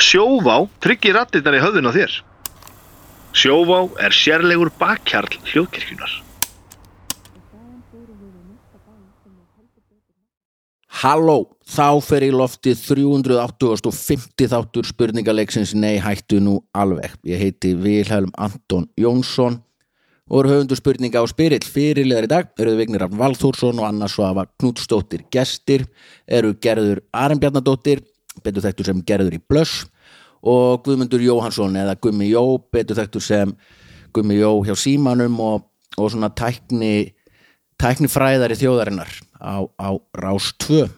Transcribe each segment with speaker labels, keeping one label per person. Speaker 1: Sjóvá tryggir rattirnar í höfðun á þér. Sjóvá er sérlegur bakkjarl hljóðkirkjunar.
Speaker 2: Halló, þá fer í loftið 385. þáttur spurningaleiksins Nei hættu nú alveg. Ég heiti Vilhelm Anton Jónsson og er höfundu spurninga á spyrill fyrirlegar í dag. Eruðu Vignir af Valþórsson og Anna Svafa Knútsdóttir gestir, eru Gerður Arnbjarnadóttir, betur þekktur sem Gerður í Blöss og Guðmundur Jóhansson eða Gummi Jó, betur þekktur sem Gummi Jó hjá Símanum og, og svona tækni tæknifræðari þjóðarinnar á, á Rás 2 uh,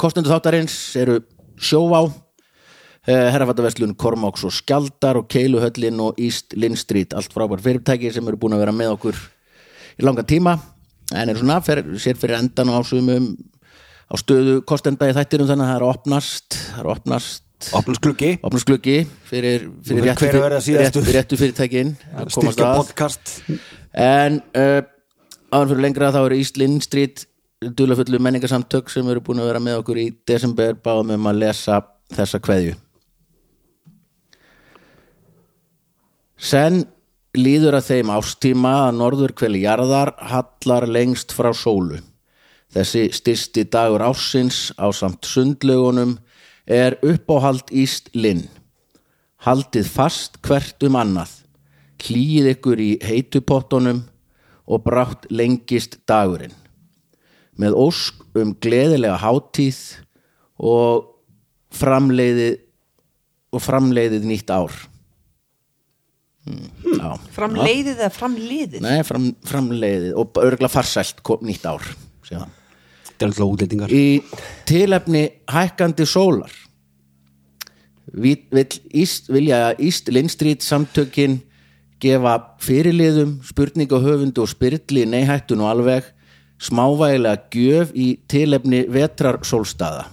Speaker 2: Kostendur þáttarins eru Sjóvá uh, Herrafattaverslun, Kormáks og Skjaldar og Keiluhöllin og East Linn Street allt frábær fyrirtæki sem eru búin að vera með okkur í langa tíma en eru svona, fer, sér fyrir endan á sumum á stöðu kostenda í þættinum þannig að það er að opnast það er að opnast
Speaker 3: Opnum skluggi
Speaker 2: opnast gluggi fyrir, fyrir
Speaker 3: Nú,
Speaker 2: réttu,
Speaker 3: hver verða
Speaker 2: fyrir,
Speaker 3: síðastur?
Speaker 2: réttu, réttu fyrirtækin að komast
Speaker 3: Styrkja
Speaker 2: að.
Speaker 3: podcast
Speaker 2: En uh, áður fyrir lengra þá eru Íslinn Street dulafullu menningarsamtök sem eru búin að vera með okkur í desember báðum um að lesa þessa kveðju. Senn líður að þeim ástíma að norður kveli jarðar hallar lengst frá sólu. Þessi styrsti dagur ársins á samt sundlögunum er uppáhald Íst Linn. Haldið fast hvert um annað, hlýið ykkur í heitupottunum og brátt lengist dagurinn. Með ósk um gleðilega hátíð og framleiðið, og framleiðið nýtt ár. Hmm, já.
Speaker 4: Framleiðið eða framliðið?
Speaker 2: Nei, fram, framleiðið og örgla farsælt kom nýtt ár síðan.
Speaker 3: Þetta er alltaf útlendingar
Speaker 2: í tilefni hækkandi sólar Vi- vill Íst, vilja Íst Lindstrít samtökin gefa fyrirliðum spurninga höfundu og spyrli neihættun og alveg smávægilega gjöf í tilefni vetrar sólstaða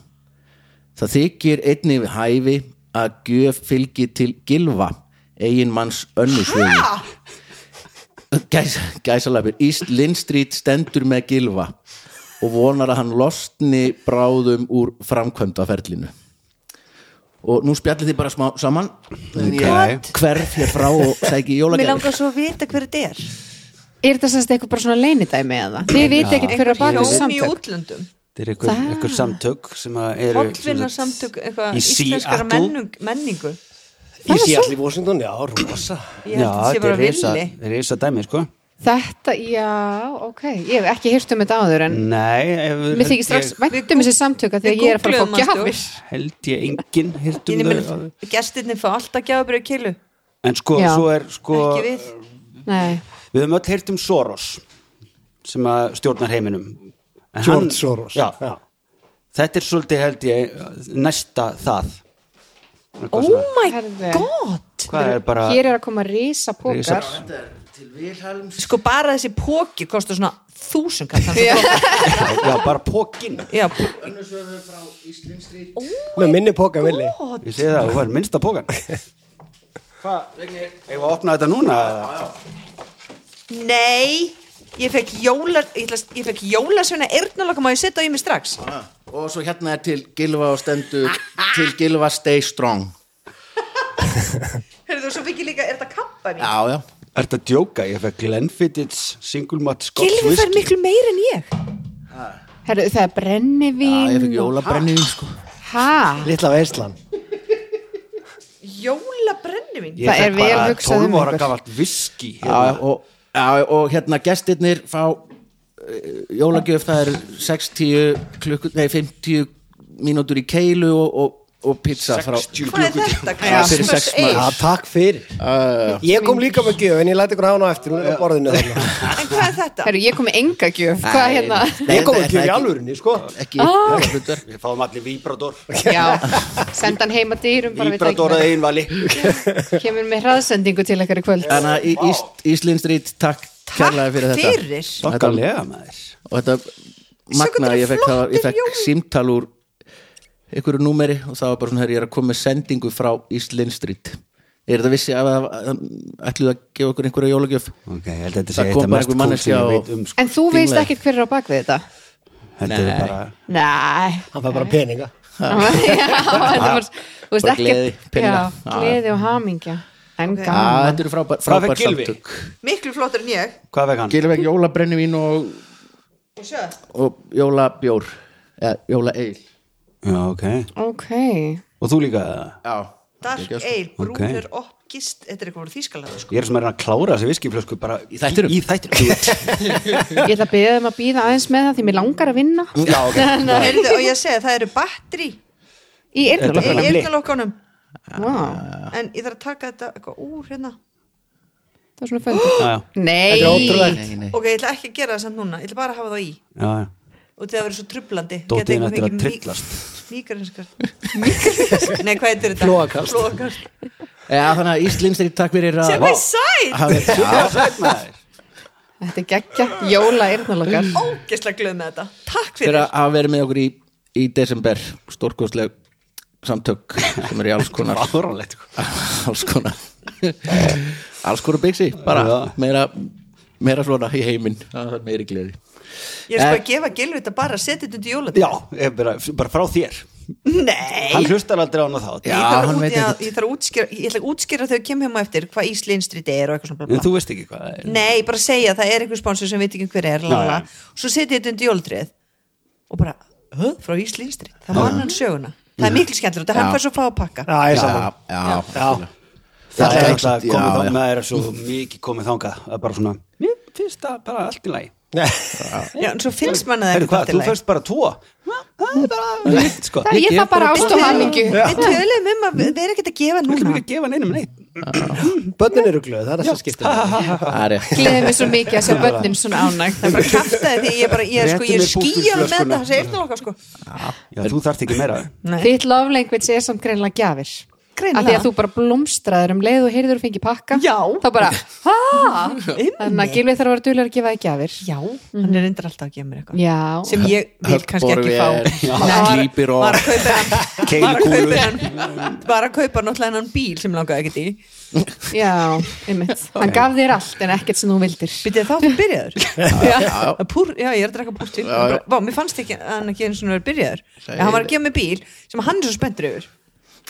Speaker 2: það þykir einni við hæfi að gjöf fylgi til gilva eigin manns önnusvögu Gæs, gæsalapir, East Lynn Street stendur með gilva og vonar að hann losni bráðum úr framkvæmdaferlinu og nú spjallið þið bara smá saman en ég
Speaker 3: Ókei.
Speaker 2: hverf hér frá og sæki
Speaker 4: Mér
Speaker 2: jólagjafir
Speaker 4: langar svo að vita hver þetta er.
Speaker 5: Er þetta semst eitthvað bara svona leinidæmi eða? Þið viti ekkert hver er að baka
Speaker 4: Einhver
Speaker 5: þessu
Speaker 4: hjón í
Speaker 5: samtök.
Speaker 4: útlöndum.
Speaker 3: Þetta er einhver, einhver samtök sem að eru
Speaker 4: Hollvinarsamtök, eitthvað
Speaker 3: Í
Speaker 4: íslenskara
Speaker 3: Seattle.
Speaker 4: mennung, menningu.
Speaker 6: Í Seattle í Washington, já, rosa
Speaker 4: Ég held að þetta sé bara
Speaker 3: reysa,
Speaker 4: villi.
Speaker 3: reysa dæmi sko
Speaker 5: Þetta, já, ok. Ég hef ekki hýrt um þetta áður en
Speaker 3: Nei, ef,
Speaker 5: mér þykir strax vænt um þessi samtöka þegar
Speaker 4: við
Speaker 5: ég er að fara að fá
Speaker 4: googluðum hann,
Speaker 5: gjafir.
Speaker 3: held ég enginn hirt
Speaker 4: Ég
Speaker 3: um
Speaker 4: nefnir,
Speaker 3: þau
Speaker 4: gestirni fá alltaf gjafabrið kilu.
Speaker 3: En sko,
Speaker 5: Já.
Speaker 3: svo er sko
Speaker 4: Ekki
Speaker 3: við.
Speaker 4: við.
Speaker 5: Nei,
Speaker 3: höfum öll hirt um Soros sem að stjórnar heiminum En
Speaker 6: George Soros
Speaker 3: já,
Speaker 6: já.
Speaker 3: Þetta er svolítið held ég næsta það Eitthvað
Speaker 4: Oh
Speaker 3: svona.
Speaker 4: my
Speaker 5: Herði.
Speaker 4: god!
Speaker 3: Hvað er bara
Speaker 5: hér er að koma risa pókar.
Speaker 3: Risa-
Speaker 4: Sko bara þessi póki kostar svona þúsund kallar.
Speaker 3: Já, bara pókin
Speaker 4: Já,
Speaker 6: Með minni póka villi
Speaker 3: Ég segi það, þú var minnsta pókan Hvað, Regnir? Ég var að opna þetta núna
Speaker 4: nei! Ég fekk jóla, ég ætla að- ég fekk jólasveina eyrnalokka, má ég setja á í mig strax?
Speaker 2: og svo hérna er til gilva og stendur til gilva stay strong
Speaker 4: Hörðu, svo fikk ég líka, er þetta kampani?
Speaker 2: já, já,
Speaker 3: Er þetta að djóka? Ég fekk Glenfiddich Single Malt Scotch
Speaker 4: Gilvi fær
Speaker 3: Whisky
Speaker 4: miklu meir en ég.
Speaker 5: Herðu, það er
Speaker 2: já ég
Speaker 5: brennivín.
Speaker 2: fikk jólabrenniðin sko
Speaker 5: Hæ?
Speaker 6: Litla veislan
Speaker 4: Jólabrennivinn?
Speaker 3: Ég
Speaker 5: Það
Speaker 3: fekk
Speaker 5: er vel
Speaker 3: bara
Speaker 5: hugsað
Speaker 3: 12
Speaker 5: um
Speaker 3: ára hérna.
Speaker 5: ykkur.
Speaker 3: gafalt viski
Speaker 2: já, og, já, og hérna gestirnir fá eh, jólagjöf það eru 60 klukku, nei 50 mínútur í keilu og, og, og pizza frá,
Speaker 4: Hvað er þetta?
Speaker 2: fyrir
Speaker 4: Christmas
Speaker 2: sex
Speaker 4: Eve?
Speaker 6: Já, takk fyrir
Speaker 2: Uh,
Speaker 6: Ég kom líka með gjöf en ég læti ykkur á hana á eftir Hún er á borðinu þarna
Speaker 4: En hvað er þetta?
Speaker 5: Herðu, ég kom með enga gjöf. Hvað er hérna?
Speaker 2: Nei,
Speaker 6: Ég kom með gjöf
Speaker 2: þetta er
Speaker 6: í
Speaker 2: ekki-
Speaker 6: alvörunni, sko
Speaker 2: ekki ekki hlutur
Speaker 3: Við fáum allir Vibrador
Speaker 5: Já, senda hann heima dýrum bara við
Speaker 3: Vibrador að einvali
Speaker 5: tækna. Kemur með hraðsendingu til ykkar í kvöld.
Speaker 2: þannig að Íst, Íslinn Street takk kærlega fyrir þetta
Speaker 4: fyrir.
Speaker 3: Þokkalega maður
Speaker 2: og þetta magnaði, ég fekk, það, ég
Speaker 4: flottir
Speaker 2: fekk símtal úr einhverju númeri og það var bara svona, herri, ég er að koma með sendingu frá Íslinn Street er þetta vissi að ætluðu að gefa okkur einhverja jólagjöf
Speaker 3: Ok, ég held að þetta
Speaker 2: Það
Speaker 3: sé
Speaker 2: kom
Speaker 3: eitthvað
Speaker 2: bara
Speaker 3: mest kúl
Speaker 2: einhver
Speaker 3: sem
Speaker 2: manneskja
Speaker 3: ég
Speaker 2: og-
Speaker 3: veit um sko.
Speaker 5: En þú veist
Speaker 2: Dinglaði.
Speaker 5: ekkert hver er á bak við þetta?
Speaker 3: Þetta er bara
Speaker 5: Nei.
Speaker 6: Hann fær bara peninga
Speaker 5: já, þetta var, þú veist,
Speaker 2: Bara
Speaker 5: ekki
Speaker 2: gleði, peninga.
Speaker 5: já,
Speaker 2: Já.
Speaker 5: gleði og hamingja en
Speaker 2: Já,
Speaker 5: gaman
Speaker 2: Ah, þetta eru frábær,
Speaker 3: Hvað fekk
Speaker 2: frábær
Speaker 3: Gylfi?
Speaker 2: samtök
Speaker 4: Miklu flottur en ég
Speaker 3: Hvað vekk hann?
Speaker 2: Gilveg jólabrennivin og,
Speaker 4: Og sjöð
Speaker 2: og jólabjór eða jólaeil
Speaker 3: Já, ok.
Speaker 5: ok,
Speaker 3: Og þú líka það?
Speaker 2: Já,
Speaker 4: Dark
Speaker 2: Geggjað, sko.
Speaker 4: Ale,
Speaker 3: Ok.
Speaker 4: brúnur okay. oppgist Þetta er eitthvað úr Þýskaland sko.
Speaker 3: Ég er sem er að klára þessi viskiflösku bara
Speaker 2: Í þættinum?
Speaker 3: Í, í þættinum.
Speaker 5: ég ætla að byrja þeim að býða aðeins með það því mér langar að vinna
Speaker 3: Já, ok.
Speaker 5: Þannig að-
Speaker 4: Heyrðu, Og ég segi, það eru batteri
Speaker 5: í
Speaker 4: í
Speaker 5: eyrnalokkunum
Speaker 4: eyrnalokkanum
Speaker 5: Vá,
Speaker 4: En ég þarf að taka þetta eitthvað úr hérna
Speaker 5: það er svona föndur
Speaker 3: já, já,
Speaker 5: nei,
Speaker 2: nei, nei.
Speaker 4: Ok, ég ætla ekki að gera það samt núna Ég ætla bara að hafa það í
Speaker 3: já, já.
Speaker 4: Og það verður svo trublandi
Speaker 3: Dótið
Speaker 4: Gæti
Speaker 3: þín
Speaker 4: einhver
Speaker 3: ættir að
Speaker 4: fengið mí-
Speaker 3: tryllast.
Speaker 4: Míkarinskast Míkarinskast Nei, hvað heitir þetta?
Speaker 6: Flogakast.
Speaker 4: Flóakast
Speaker 2: Já, þannig að Íslindstri takk fyrir
Speaker 3: Ah,
Speaker 2: að
Speaker 4: Sem er sæt
Speaker 2: að hafa-
Speaker 5: þetta er geggja jóla eyrnalokkar
Speaker 4: Ógesla glöð með þetta Takk
Speaker 2: fyrir
Speaker 4: fyrir
Speaker 2: að hafa verið með okkur í, í desember stórkostleg samtök sem eru í alls konar
Speaker 3: Fáránlegt, sko.
Speaker 2: alls konar alls konar byggsi, bara
Speaker 3: Já.
Speaker 2: meira, meira svona í heiminn það er meiri gleði
Speaker 4: Ég er sko að gefa gilvið þetta bara Setið þetta undir jólat
Speaker 3: Eh. Já, ég bara, bara frá þér.
Speaker 4: Nei
Speaker 3: Hann hlustar aldrei á hana þá.
Speaker 2: Já,
Speaker 4: ég þarf,
Speaker 2: hann
Speaker 4: að,
Speaker 2: veit
Speaker 4: út, að,
Speaker 2: ekkert.
Speaker 4: ég þarf að útskýra ég ætla að útskýra þegar ég kem hjá maður eftir hvað Íslinstrið er og eitthvað svona bla,
Speaker 3: En
Speaker 4: bla.
Speaker 3: þú veist ekki hvað það er.
Speaker 4: nei, bara segja, það er einhver sponsor sem veit ekki hver er la, la, la.
Speaker 3: Já,
Speaker 4: svo setja ég þetta undir jóldrið og bara, höf, frá Íslinstrið það mann hann söguna, það er miklu skemmtilega þetta hann fær svo fá að pakka
Speaker 6: Já, ég er
Speaker 2: já,
Speaker 6: saman Já,
Speaker 2: já,
Speaker 3: Það
Speaker 2: Já,
Speaker 3: er
Speaker 2: já.
Speaker 3: alltaf
Speaker 2: Já,
Speaker 3: komið
Speaker 2: já.
Speaker 3: þá, maður er svo mikið komið þangað. Það er bara svona, mér finnst það bara allt í lagi.
Speaker 4: já, en svo finnst mann að það er
Speaker 3: Herru, hvað,
Speaker 4: allt í
Speaker 3: þú
Speaker 4: lagi.
Speaker 3: fyrst bara tvo? Það er bara neitt, sko.
Speaker 5: það er ég það bara ást og hamingju
Speaker 4: við tölum um að við erum ekkert að gefa
Speaker 3: Við ætlum
Speaker 4: núna
Speaker 3: ekki að gefa neinum neitt.
Speaker 6: börnin eru glöð, það er það sem skiptir máli.
Speaker 2: það er rétt
Speaker 5: gleði mig svo mikið að sjá börnin svona ánægt
Speaker 4: það er bara að kafta því ég er bara, ég er sko, ég
Speaker 3: Réttu
Speaker 4: er
Speaker 3: mér
Speaker 4: skýjan með
Speaker 3: búrfílflöskuna.
Speaker 4: þetta það er eitthvað sko
Speaker 3: Já, þú þarft ekki meira.
Speaker 4: Nei.
Speaker 5: Þitt love language er samt greinilega gjafir
Speaker 4: Greinilega.
Speaker 5: Af Því að þú bara blómstraður um leið og heyrður og fengið pakka
Speaker 4: Já.
Speaker 5: Þá bara, ha Þannig að Gilvi þarf að vera duðlega að gefa þig gjafir
Speaker 4: Um? já, hann er endur alltaf að gefa mér eitthvað
Speaker 5: Já
Speaker 4: sem ég vil kannski ekki fá
Speaker 2: Höggborvél, klípir og-
Speaker 4: var að kaupa hann var að
Speaker 3: Keiluhúfur.
Speaker 4: kaupa hann var að kaupa náttúrulega hennan bíl sem langaði ekkert í
Speaker 5: Já, einmitt Hann gaf þér allt en ekkert sem þú vildir
Speaker 4: byrjaði þá fyrir byrjaður já, púr, já, ég er að drekka púr til
Speaker 2: já.
Speaker 4: Vá, mér fannst ekki að hann ekki eins og verið byrjaður
Speaker 2: Sæl.
Speaker 4: en hann var að gefa mér bíl sem hann er svo spenntur yfir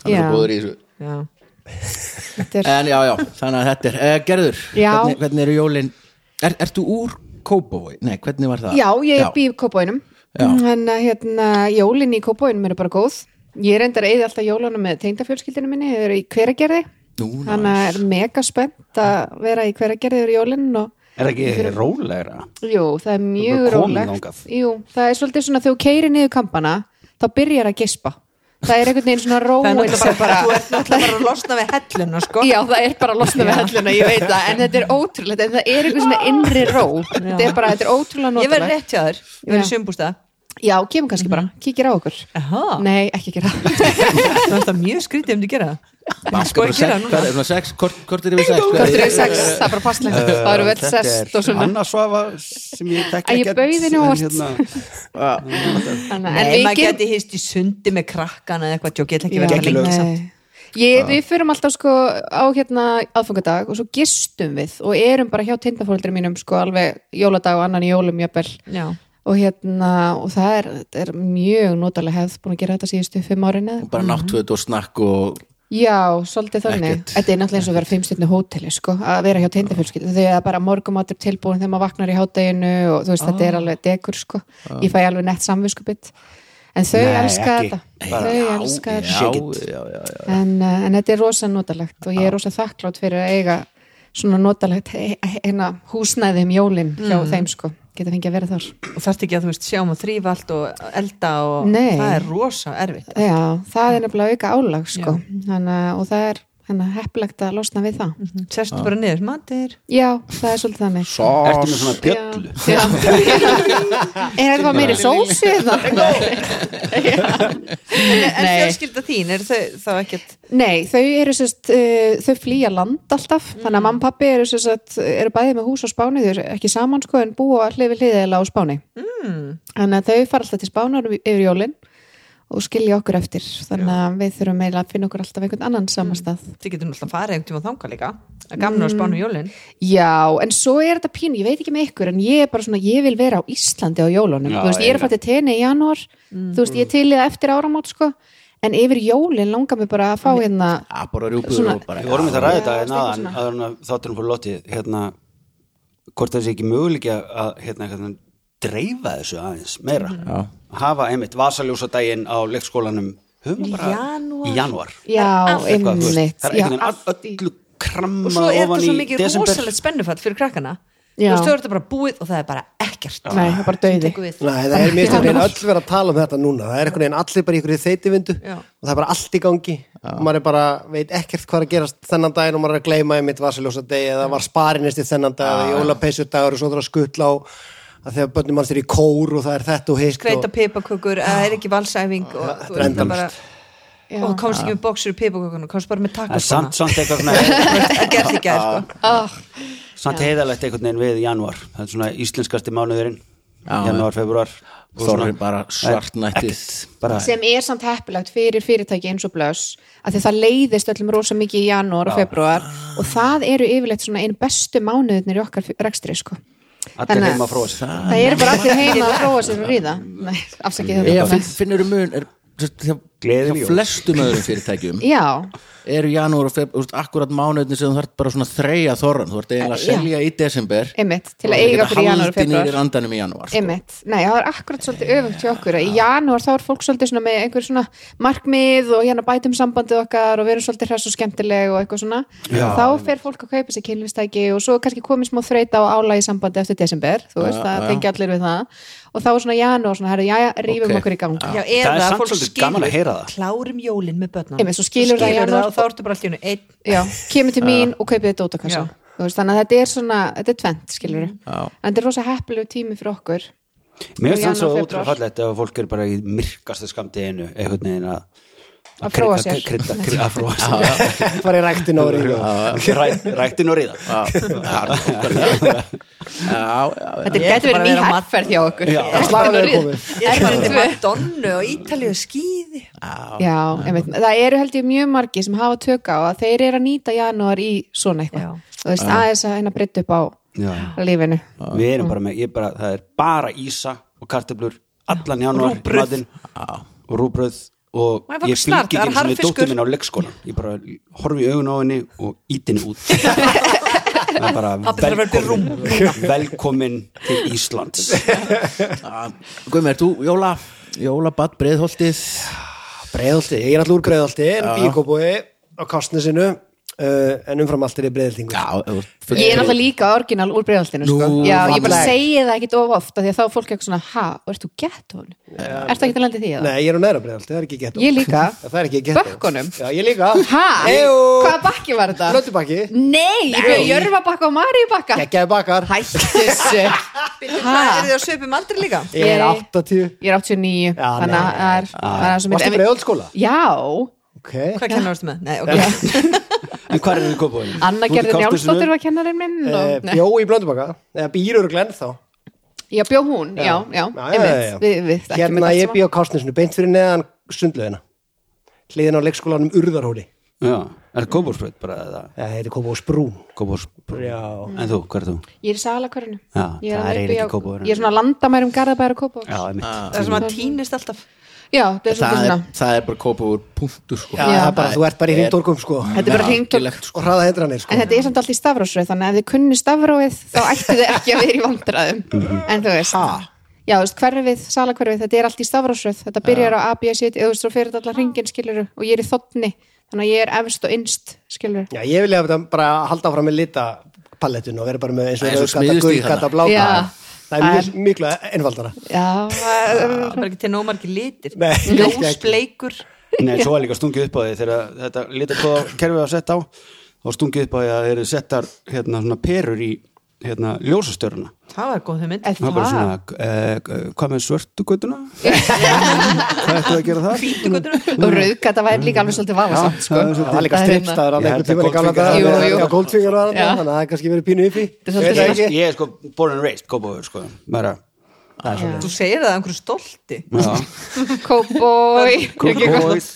Speaker 2: hann
Speaker 5: Já.
Speaker 2: er góður í þessu
Speaker 4: já.
Speaker 5: Þetta er-
Speaker 2: en já, já, þannig að þetta er uh, Gerður,
Speaker 5: Já.
Speaker 2: hvernig, hvernig eru jólin er, Ertu úr Kópavói? Nei, hvernig var það?
Speaker 5: Já, ég er býð kópóinum
Speaker 2: Já.
Speaker 5: En uh, hérna, jólin í kópóinum eru bara góð Ég reyndar að eyði alltaf jólunum með tengdafjölskyldinu minni Þau eru í hveragerði
Speaker 2: Nú, nice.
Speaker 5: Þannig að er mega spennt að vera í hveragerði yfir jólin og
Speaker 3: Er það ekki rólegra?
Speaker 5: Jú, það er mjög
Speaker 3: bara komin
Speaker 5: rólegt
Speaker 3: þangað.
Speaker 5: Jú, það er svolítið svona þegar þú keirir niður kampana þá byrjar að gespa Það er einhvern veginn svona
Speaker 4: það er
Speaker 5: róin
Speaker 4: náttúrulega
Speaker 5: sem
Speaker 4: bara, þú
Speaker 5: bara
Speaker 4: ert náttúrulega bara að losna við helluna sko.
Speaker 5: Já, það er bara að losna við helluna, ég veit það en þetta er ótrúlegt, en það er einhvern svona innri ró þetta er bara, þetta er ótrúlega
Speaker 4: ég verði
Speaker 5: notalegt Mhm.
Speaker 4: rétt hjá þér, ég verði
Speaker 5: Já.
Speaker 4: sumbústa
Speaker 5: Já, kemur kannski bara, kíkir á okkur
Speaker 4: Aha.
Speaker 5: Nei, ekki gera það
Speaker 4: það er alltaf mjög skrítið um þið gera það
Speaker 2: Sko
Speaker 4: sko
Speaker 2: er
Speaker 4: ég
Speaker 5: hérna
Speaker 4: gera það núna
Speaker 2: það sex, hvort hvort er við sex? hvað
Speaker 5: Kortur við sex, það er bara passlegt Það
Speaker 3: Um,
Speaker 5: eru vel sest og svona
Speaker 3: annarsvafa sem ég tek
Speaker 5: Æ, ég
Speaker 3: ekkert,
Speaker 5: bauð henni
Speaker 3: en hérna
Speaker 5: óvart. Þannig að-
Speaker 4: Nei,
Speaker 5: en
Speaker 4: maður
Speaker 5: við
Speaker 4: geti hist í sundi með krakkana eða eitthvað, ég get ekki verið
Speaker 5: Já.
Speaker 4: það lengi samt.
Speaker 5: Nei. Ég, við förum alltaf sko á hérna aðfangadag og svo gistum við og erum bara hjá tindafóreldri mínum sko alveg jóladag og annan í jólum jöpil
Speaker 4: Já.
Speaker 5: og hérna og það er, þetta er mjög notalega hefð búin að gera þetta síðustu fimm árin eða
Speaker 2: bara náttföt og snakk og
Speaker 5: Já, svolítið þannig.
Speaker 2: Ekkert.
Speaker 5: Þetta er náttúrulega eins og að vera fimmstjörnu hóteli, sko, að vera hjá tindafjölskyldu. Þegar bara morgumatur tilbúin þegar maður vaknar í hátteginu og þú veist, þetta
Speaker 2: Ah.
Speaker 5: er alveg dekur, sko. Ég fæ alveg nett samviskubit. En þau
Speaker 3: Nei,
Speaker 5: elska
Speaker 3: ekki.
Speaker 5: þetta.
Speaker 3: Bara-
Speaker 5: þau elska
Speaker 2: já,
Speaker 5: þetta.
Speaker 2: já, já, já.
Speaker 5: En, uh, en þetta er rosa notalegt og ég er rosa þakklátt fyrir að eiga svona notalegt he- he- hérna, húsnæði um jólin hjá þeim, sko. Geta fengið að vera þar.
Speaker 4: og þarft ekki að þú veist sjáum að þrýfa allt og elda og
Speaker 5: Nei. Eh,
Speaker 4: það er rosa erfitt
Speaker 5: Já, það er nefnilega auka álag, sko. Þannig, að- og það er hérna, heppilegt að losna við það.
Speaker 4: sestu Mhm. bara niður, matur
Speaker 5: Já, það er svolítið þannig.
Speaker 3: ertu með svona bjöllu
Speaker 5: Já. er þetta bara meiri sósu eða?
Speaker 4: en
Speaker 5: Nei.
Speaker 4: fjölskylda þín, er þau þá ekkert
Speaker 5: nei, þau eru sérst uh, þau flýja land alltaf þannig að mamma og pappi eru sérst eru bæði með hús á Spáni, þau eru ekki saman sko en búa allir við hliðilega á Spáni mm. þannig að þau fara alltaf til Spánar yfir jólin og skilja okkur eftir þannig að við þurfum eiginlega að finna okkur alltaf einhvern annan samastað
Speaker 4: Þið getur náttúrulega farið einhvern tíma þanga líka Það er
Speaker 5: Mm.
Speaker 4: gaman að spána um jólin
Speaker 5: Já, en svo er þetta pínu, ég veit ekki með ykkur en ég er bara svona, ég vil vera á Íslandi á jólunum,
Speaker 3: Já,
Speaker 5: þú veist, ég er að fara til tenni í janúar þú veist, ég er til í það eftir áramót sko en yfir jólin langar mig bara að fá hérna
Speaker 2: að bara rjúpuður
Speaker 5: Svona-
Speaker 2: og bara
Speaker 3: Við vorum þetta að ræða þetta hérna en
Speaker 5: Já, eitthvað
Speaker 3: aðan,
Speaker 5: svona.
Speaker 3: aðan að þáttunum fór lotið, hérna, hvort það sé ekki möguleika að, hérna, hérna, dreifa þessu aðeins meira.
Speaker 4: Mhm.
Speaker 3: Já. Hafa einmitt vasaljósadaginn á leikskólanum, höfum
Speaker 4: Í
Speaker 3: það bara
Speaker 4: janúar.
Speaker 3: í janúar.
Speaker 5: Já,
Speaker 3: Eitthvað, þú veist,
Speaker 5: einmitt
Speaker 3: Það er
Speaker 5: Já,
Speaker 3: einhvern veginn
Speaker 5: allt
Speaker 3: all-
Speaker 5: í-
Speaker 3: öllu
Speaker 4: Og svo
Speaker 3: kramma
Speaker 4: er þetta
Speaker 3: ofan
Speaker 4: svo
Speaker 3: í
Speaker 4: mikið
Speaker 3: desember.
Speaker 4: rosalegt spennufall fyrir krakkana Þú
Speaker 5: Já.
Speaker 4: veist, þau eru þetta bara búið og það er bara ekkert
Speaker 5: Nei, það er bara
Speaker 4: sem
Speaker 5: dauði
Speaker 4: tekur við.
Speaker 6: Nei, það er mér stundin öll verið að tala um þetta núna það er einhvern veginn allir bara í einhverju þeitivindu
Speaker 4: Já.
Speaker 6: og það er bara allt í gangi og maður er bara, veit ekkert hvað er að gerast þennan daginn og maður er að gleyma einmitt vasaljósa degi eða var sparinist í þennan dag eða jólapeysu dagur og svo þarf að skutla á að þegar börnum manns er í kór og það er þetta og hitt
Speaker 4: Skreita
Speaker 6: og
Speaker 4: pipakökur, það er ekki valsæfing og þú
Speaker 6: er
Speaker 4: veist, það bara-
Speaker 5: Já.
Speaker 4: og komst ekki með boxur í pipakökunum komst bara með
Speaker 3: En samt,
Speaker 4: takkaskona
Speaker 3: samt eitthvað svona,
Speaker 4: Það gerði ekki að sko
Speaker 3: samt heiðalegt einhvern veginn við janúar. Það er svona íslenskasti mánuðurinn,
Speaker 2: Já, já.
Speaker 3: janúar, februar. og
Speaker 2: Þorri
Speaker 3: svona-
Speaker 2: bara svartnættið
Speaker 3: Bara,
Speaker 5: sem er samt heppilegt fyrir fyrirtæki eins og blöss af því það leiðist öllum rosa mikið í janúar og februar og það eru yfirleitt svona einu bestu mánuðinir í okkar fyr- rekstri sko.
Speaker 3: allir
Speaker 5: Þannig
Speaker 3: heima
Speaker 5: að
Speaker 3: að fróa sér.
Speaker 5: það eru bara allir heima að fróa sér og ríða Nei,
Speaker 2: Já,
Speaker 5: afsakið þetta
Speaker 2: finn, finnur þú mun er, þú veist, hjá,
Speaker 3: Gleðin í
Speaker 2: hjá
Speaker 3: jól.
Speaker 2: flestum öðrum fyrirtækjum
Speaker 5: Já,
Speaker 2: eru janúar og februar, akkurat mánuðin sem þú þarf bara svona að þreyja þorran þú ert eiginlega að
Speaker 5: Já.
Speaker 2: selja í desember
Speaker 5: einmitt, til
Speaker 2: og
Speaker 5: að eiga
Speaker 2: geta
Speaker 5: fyrir janúar og
Speaker 2: haldið niður
Speaker 5: februar
Speaker 2: andanum í janúar sko.
Speaker 5: Einmitt, nei, það er akkurat svolítið öfugt hjá okkur að í janúar þá er fólk svolítið svona með einhver svona markmið og hérna bætum sambandið okkar og verum svolítið hress og skemmtileg og eitthvað svona þá fer fólk að kaupa sér kynlistæki og svo er kannski komið smá þreita og álægi sambandi eftir desember, þú veist, það tengja allir við það og þá er svona janúar svona, herru, jæja, rífum
Speaker 2: Ok.
Speaker 5: okkur í gang
Speaker 4: Já,
Speaker 3: Það er
Speaker 4: eða
Speaker 3: samt
Speaker 4: fólk
Speaker 3: svolítið gaman að heyra
Speaker 4: skilur
Speaker 3: það.
Speaker 4: klárum jólin með börnunum
Speaker 5: Einmitt, svo skilur það í janúar.
Speaker 4: og þá ertu bara allir einn
Speaker 5: já, kemur til mín og kaupið þetta dótakassa
Speaker 4: Já.
Speaker 5: Þú veist, þannig að þetta er svona, þetta er tvent skilur en þetta er rosa heppilegu tími fyrir okkur
Speaker 3: Mér finnst það
Speaker 5: Janúar,
Speaker 3: svo
Speaker 5: febrúar.
Speaker 3: ótrúlega fallegt ef fólk er bara í myrkastu skamdeginu einhvern veginn að
Speaker 5: Að fróa sér.
Speaker 3: að krydda- krydda- að fróa sér
Speaker 6: fara í ræktin og ríða
Speaker 3: Ræ- ræktin og ríða
Speaker 2: Já, já, já.
Speaker 5: þetta
Speaker 4: Ég ætla
Speaker 5: getur
Speaker 4: bara
Speaker 5: verið
Speaker 4: að
Speaker 5: ný
Speaker 4: vera á mat-
Speaker 5: herrferð hjá okkur
Speaker 6: Já, slagurinn er komið.
Speaker 4: Ég er bara til Madonna og Ítalíu skýði
Speaker 5: Já, einmitt, það eru held ég mjög margi sem hafa tök á að þeir eru að nýta janúar í
Speaker 4: Já.
Speaker 5: svona eitthvað þú veist, aðeins að hérna breytta upp á
Speaker 3: Já.
Speaker 5: lífinu
Speaker 3: Við erum bara með, ég er bara, það er bara ísa og kartöflur, allan janúar
Speaker 4: Rúgbrauð.
Speaker 3: matinn, og rúbröð og
Speaker 4: Og það er
Speaker 3: ég
Speaker 4: bara
Speaker 3: fylgi
Speaker 4: snart,
Speaker 3: ekki
Speaker 4: það
Speaker 3: eins
Speaker 4: er
Speaker 3: og
Speaker 4: harðfiskur.
Speaker 3: dóttir minn á leikskólan ég bara horfi í augun á henni og íti henni út það er bara
Speaker 4: Pabbi þarf að vera til
Speaker 3: velkomin velkomin til Íslands
Speaker 2: Guðmi, er þú jóla, jóla bad breiðholtið
Speaker 6: breiðaldi, ég er allur úr breiðaldi en bíkobói á kastnesinu uh, en umfram allt er ég breiðaldingur
Speaker 2: Já, þú ert full-
Speaker 5: Ég er náttúrulega líka orginal úr breyðaltinu sko.
Speaker 2: Nú,
Speaker 5: Já, ég bara
Speaker 6: falleg.
Speaker 5: segi það ekkit of oft af því að þá er fólk eitthvað svona, ha, og ert þú gett hún? Ert það ekki að landa í því? eða?
Speaker 6: Nei, ég er á næra breiðaldi, það er ekki gett
Speaker 5: Ég líka.
Speaker 6: Það er ekki gett
Speaker 5: Bökkunum?
Speaker 6: Já, ég líka
Speaker 5: Ha,
Speaker 6: Eyjó.
Speaker 5: hvaða bakki var þetta?
Speaker 6: Blöndubakki
Speaker 5: Nei, ég byrja Jörfabakka og Maríubakka
Speaker 6: Gekkjaði bakar
Speaker 5: Hættu þessu
Speaker 4: Það er þið á söpum aldrei líka
Speaker 6: Ég er
Speaker 5: Nei.
Speaker 6: 80
Speaker 5: Ég er 89
Speaker 6: Já,
Speaker 5: Þannig að
Speaker 6: nei.
Speaker 5: það er- það er svo mikið-
Speaker 6: Varstu breiðaldskóla?
Speaker 5: Já,
Speaker 6: Ok
Speaker 4: Hvað kennar þú með? Nei, ok
Speaker 3: en hvað er þið kópaðið?
Speaker 5: Anna Gerður Njálsdóttir var kennarinn minn
Speaker 6: Eh,
Speaker 5: og- Nei.
Speaker 6: Bjó í blöndubakka Eða býrur og glenn þá
Speaker 5: Já, bjó hún, já, já, einmitt Við- Við þekkjum
Speaker 6: Hérna
Speaker 5: þetta
Speaker 6: ég
Speaker 5: allt
Speaker 6: bý á kastnesinu Beint fyrir neðan sundlaugina Hliðin á leikskólanum Urðarhóli Eh,
Speaker 3: Já, er það kópásbröð bara eða
Speaker 6: Það heiti Kópó Sprún
Speaker 3: kópásbröð?
Speaker 6: Já.
Speaker 3: En þú, hver er þú?
Speaker 5: saman. Ég er í Salakörnu
Speaker 3: Já,
Speaker 5: Ég
Speaker 3: það
Speaker 5: er
Speaker 3: er
Speaker 5: alveg
Speaker 3: eiginlega
Speaker 5: uppi á-
Speaker 3: ekki Kópavogur.
Speaker 5: Ég er svona landamærum Garðabæra Kópavog
Speaker 3: Já, einmitt.
Speaker 4: Það er sem að týnist alltaf
Speaker 5: Já,
Speaker 2: það,
Speaker 5: það er svolítið
Speaker 2: er,
Speaker 5: svona
Speaker 2: það er bara kópaður punktur sko.
Speaker 6: Já, það er bara,
Speaker 2: Það
Speaker 6: þú ert bara í
Speaker 2: er-
Speaker 6: hringdorgum sko
Speaker 5: Þetta er bara hringtök
Speaker 2: algjörlegt, sko.
Speaker 6: Og hraða hindranir sko
Speaker 5: En þetta er samt allt í stafrósröð þannig að ef þið kunni stafróið þá ættu þið ekki að vera í vandræðum en þú veist Já, þú veist, hverfið, salakverfið, þetta er allt í stafrósröð þetta byrjar á A, B, C, D, þú veist, þú fyrir þetta allar ringin skilur og ég er í þotni þannig að ég er efst og innst skilur
Speaker 6: Já, ég vilja þetta bara halda áfram með litapalettun og vera bara með eins og
Speaker 2: Það er svo
Speaker 6: rauðgata,
Speaker 2: smiðjustig
Speaker 6: gulgata,
Speaker 2: þarna.
Speaker 6: blágata.
Speaker 5: Já.
Speaker 6: Það er mjög- miklu einfaldara.
Speaker 5: Já,
Speaker 4: Það er bara ekki til nómargi litir
Speaker 6: Nei, ekki, ekki.
Speaker 4: Ljósbleikur
Speaker 3: Nei, svo er líka stungið upp á því þegar þetta litakóða kerfið var sett á þá stungið upp á því að þeir eru settar hérna svona perur í hérna ljósastöruna
Speaker 4: Það var góð hugmynd
Speaker 5: er
Speaker 3: Það er bara
Speaker 5: það?
Speaker 3: svona, eh, hvað með svörtu göttuna? hvað ættu að gera það?
Speaker 4: Hvítu göttur
Speaker 5: og rauðgata væri líka alveg svolítið vafasamt sko.
Speaker 3: það er
Speaker 6: Það var líka
Speaker 5: Það er hérna-
Speaker 6: strippstaður að
Speaker 3: Ég held
Speaker 6: einhvern
Speaker 3: að
Speaker 6: tíma í gamla
Speaker 3: Goldfinger-
Speaker 6: daga.
Speaker 5: Jú, jú.
Speaker 6: Já, Goldfinger var
Speaker 5: Já.
Speaker 6: þarna, þannig að það er kannski verið pínu upp í.
Speaker 5: Þetta er svolítið
Speaker 3: Ég er sko born and raised kópáður sko bara það er
Speaker 4: Þú segir það af einhverju stolti
Speaker 3: svolítið
Speaker 5: Cowboy
Speaker 3: Kókóis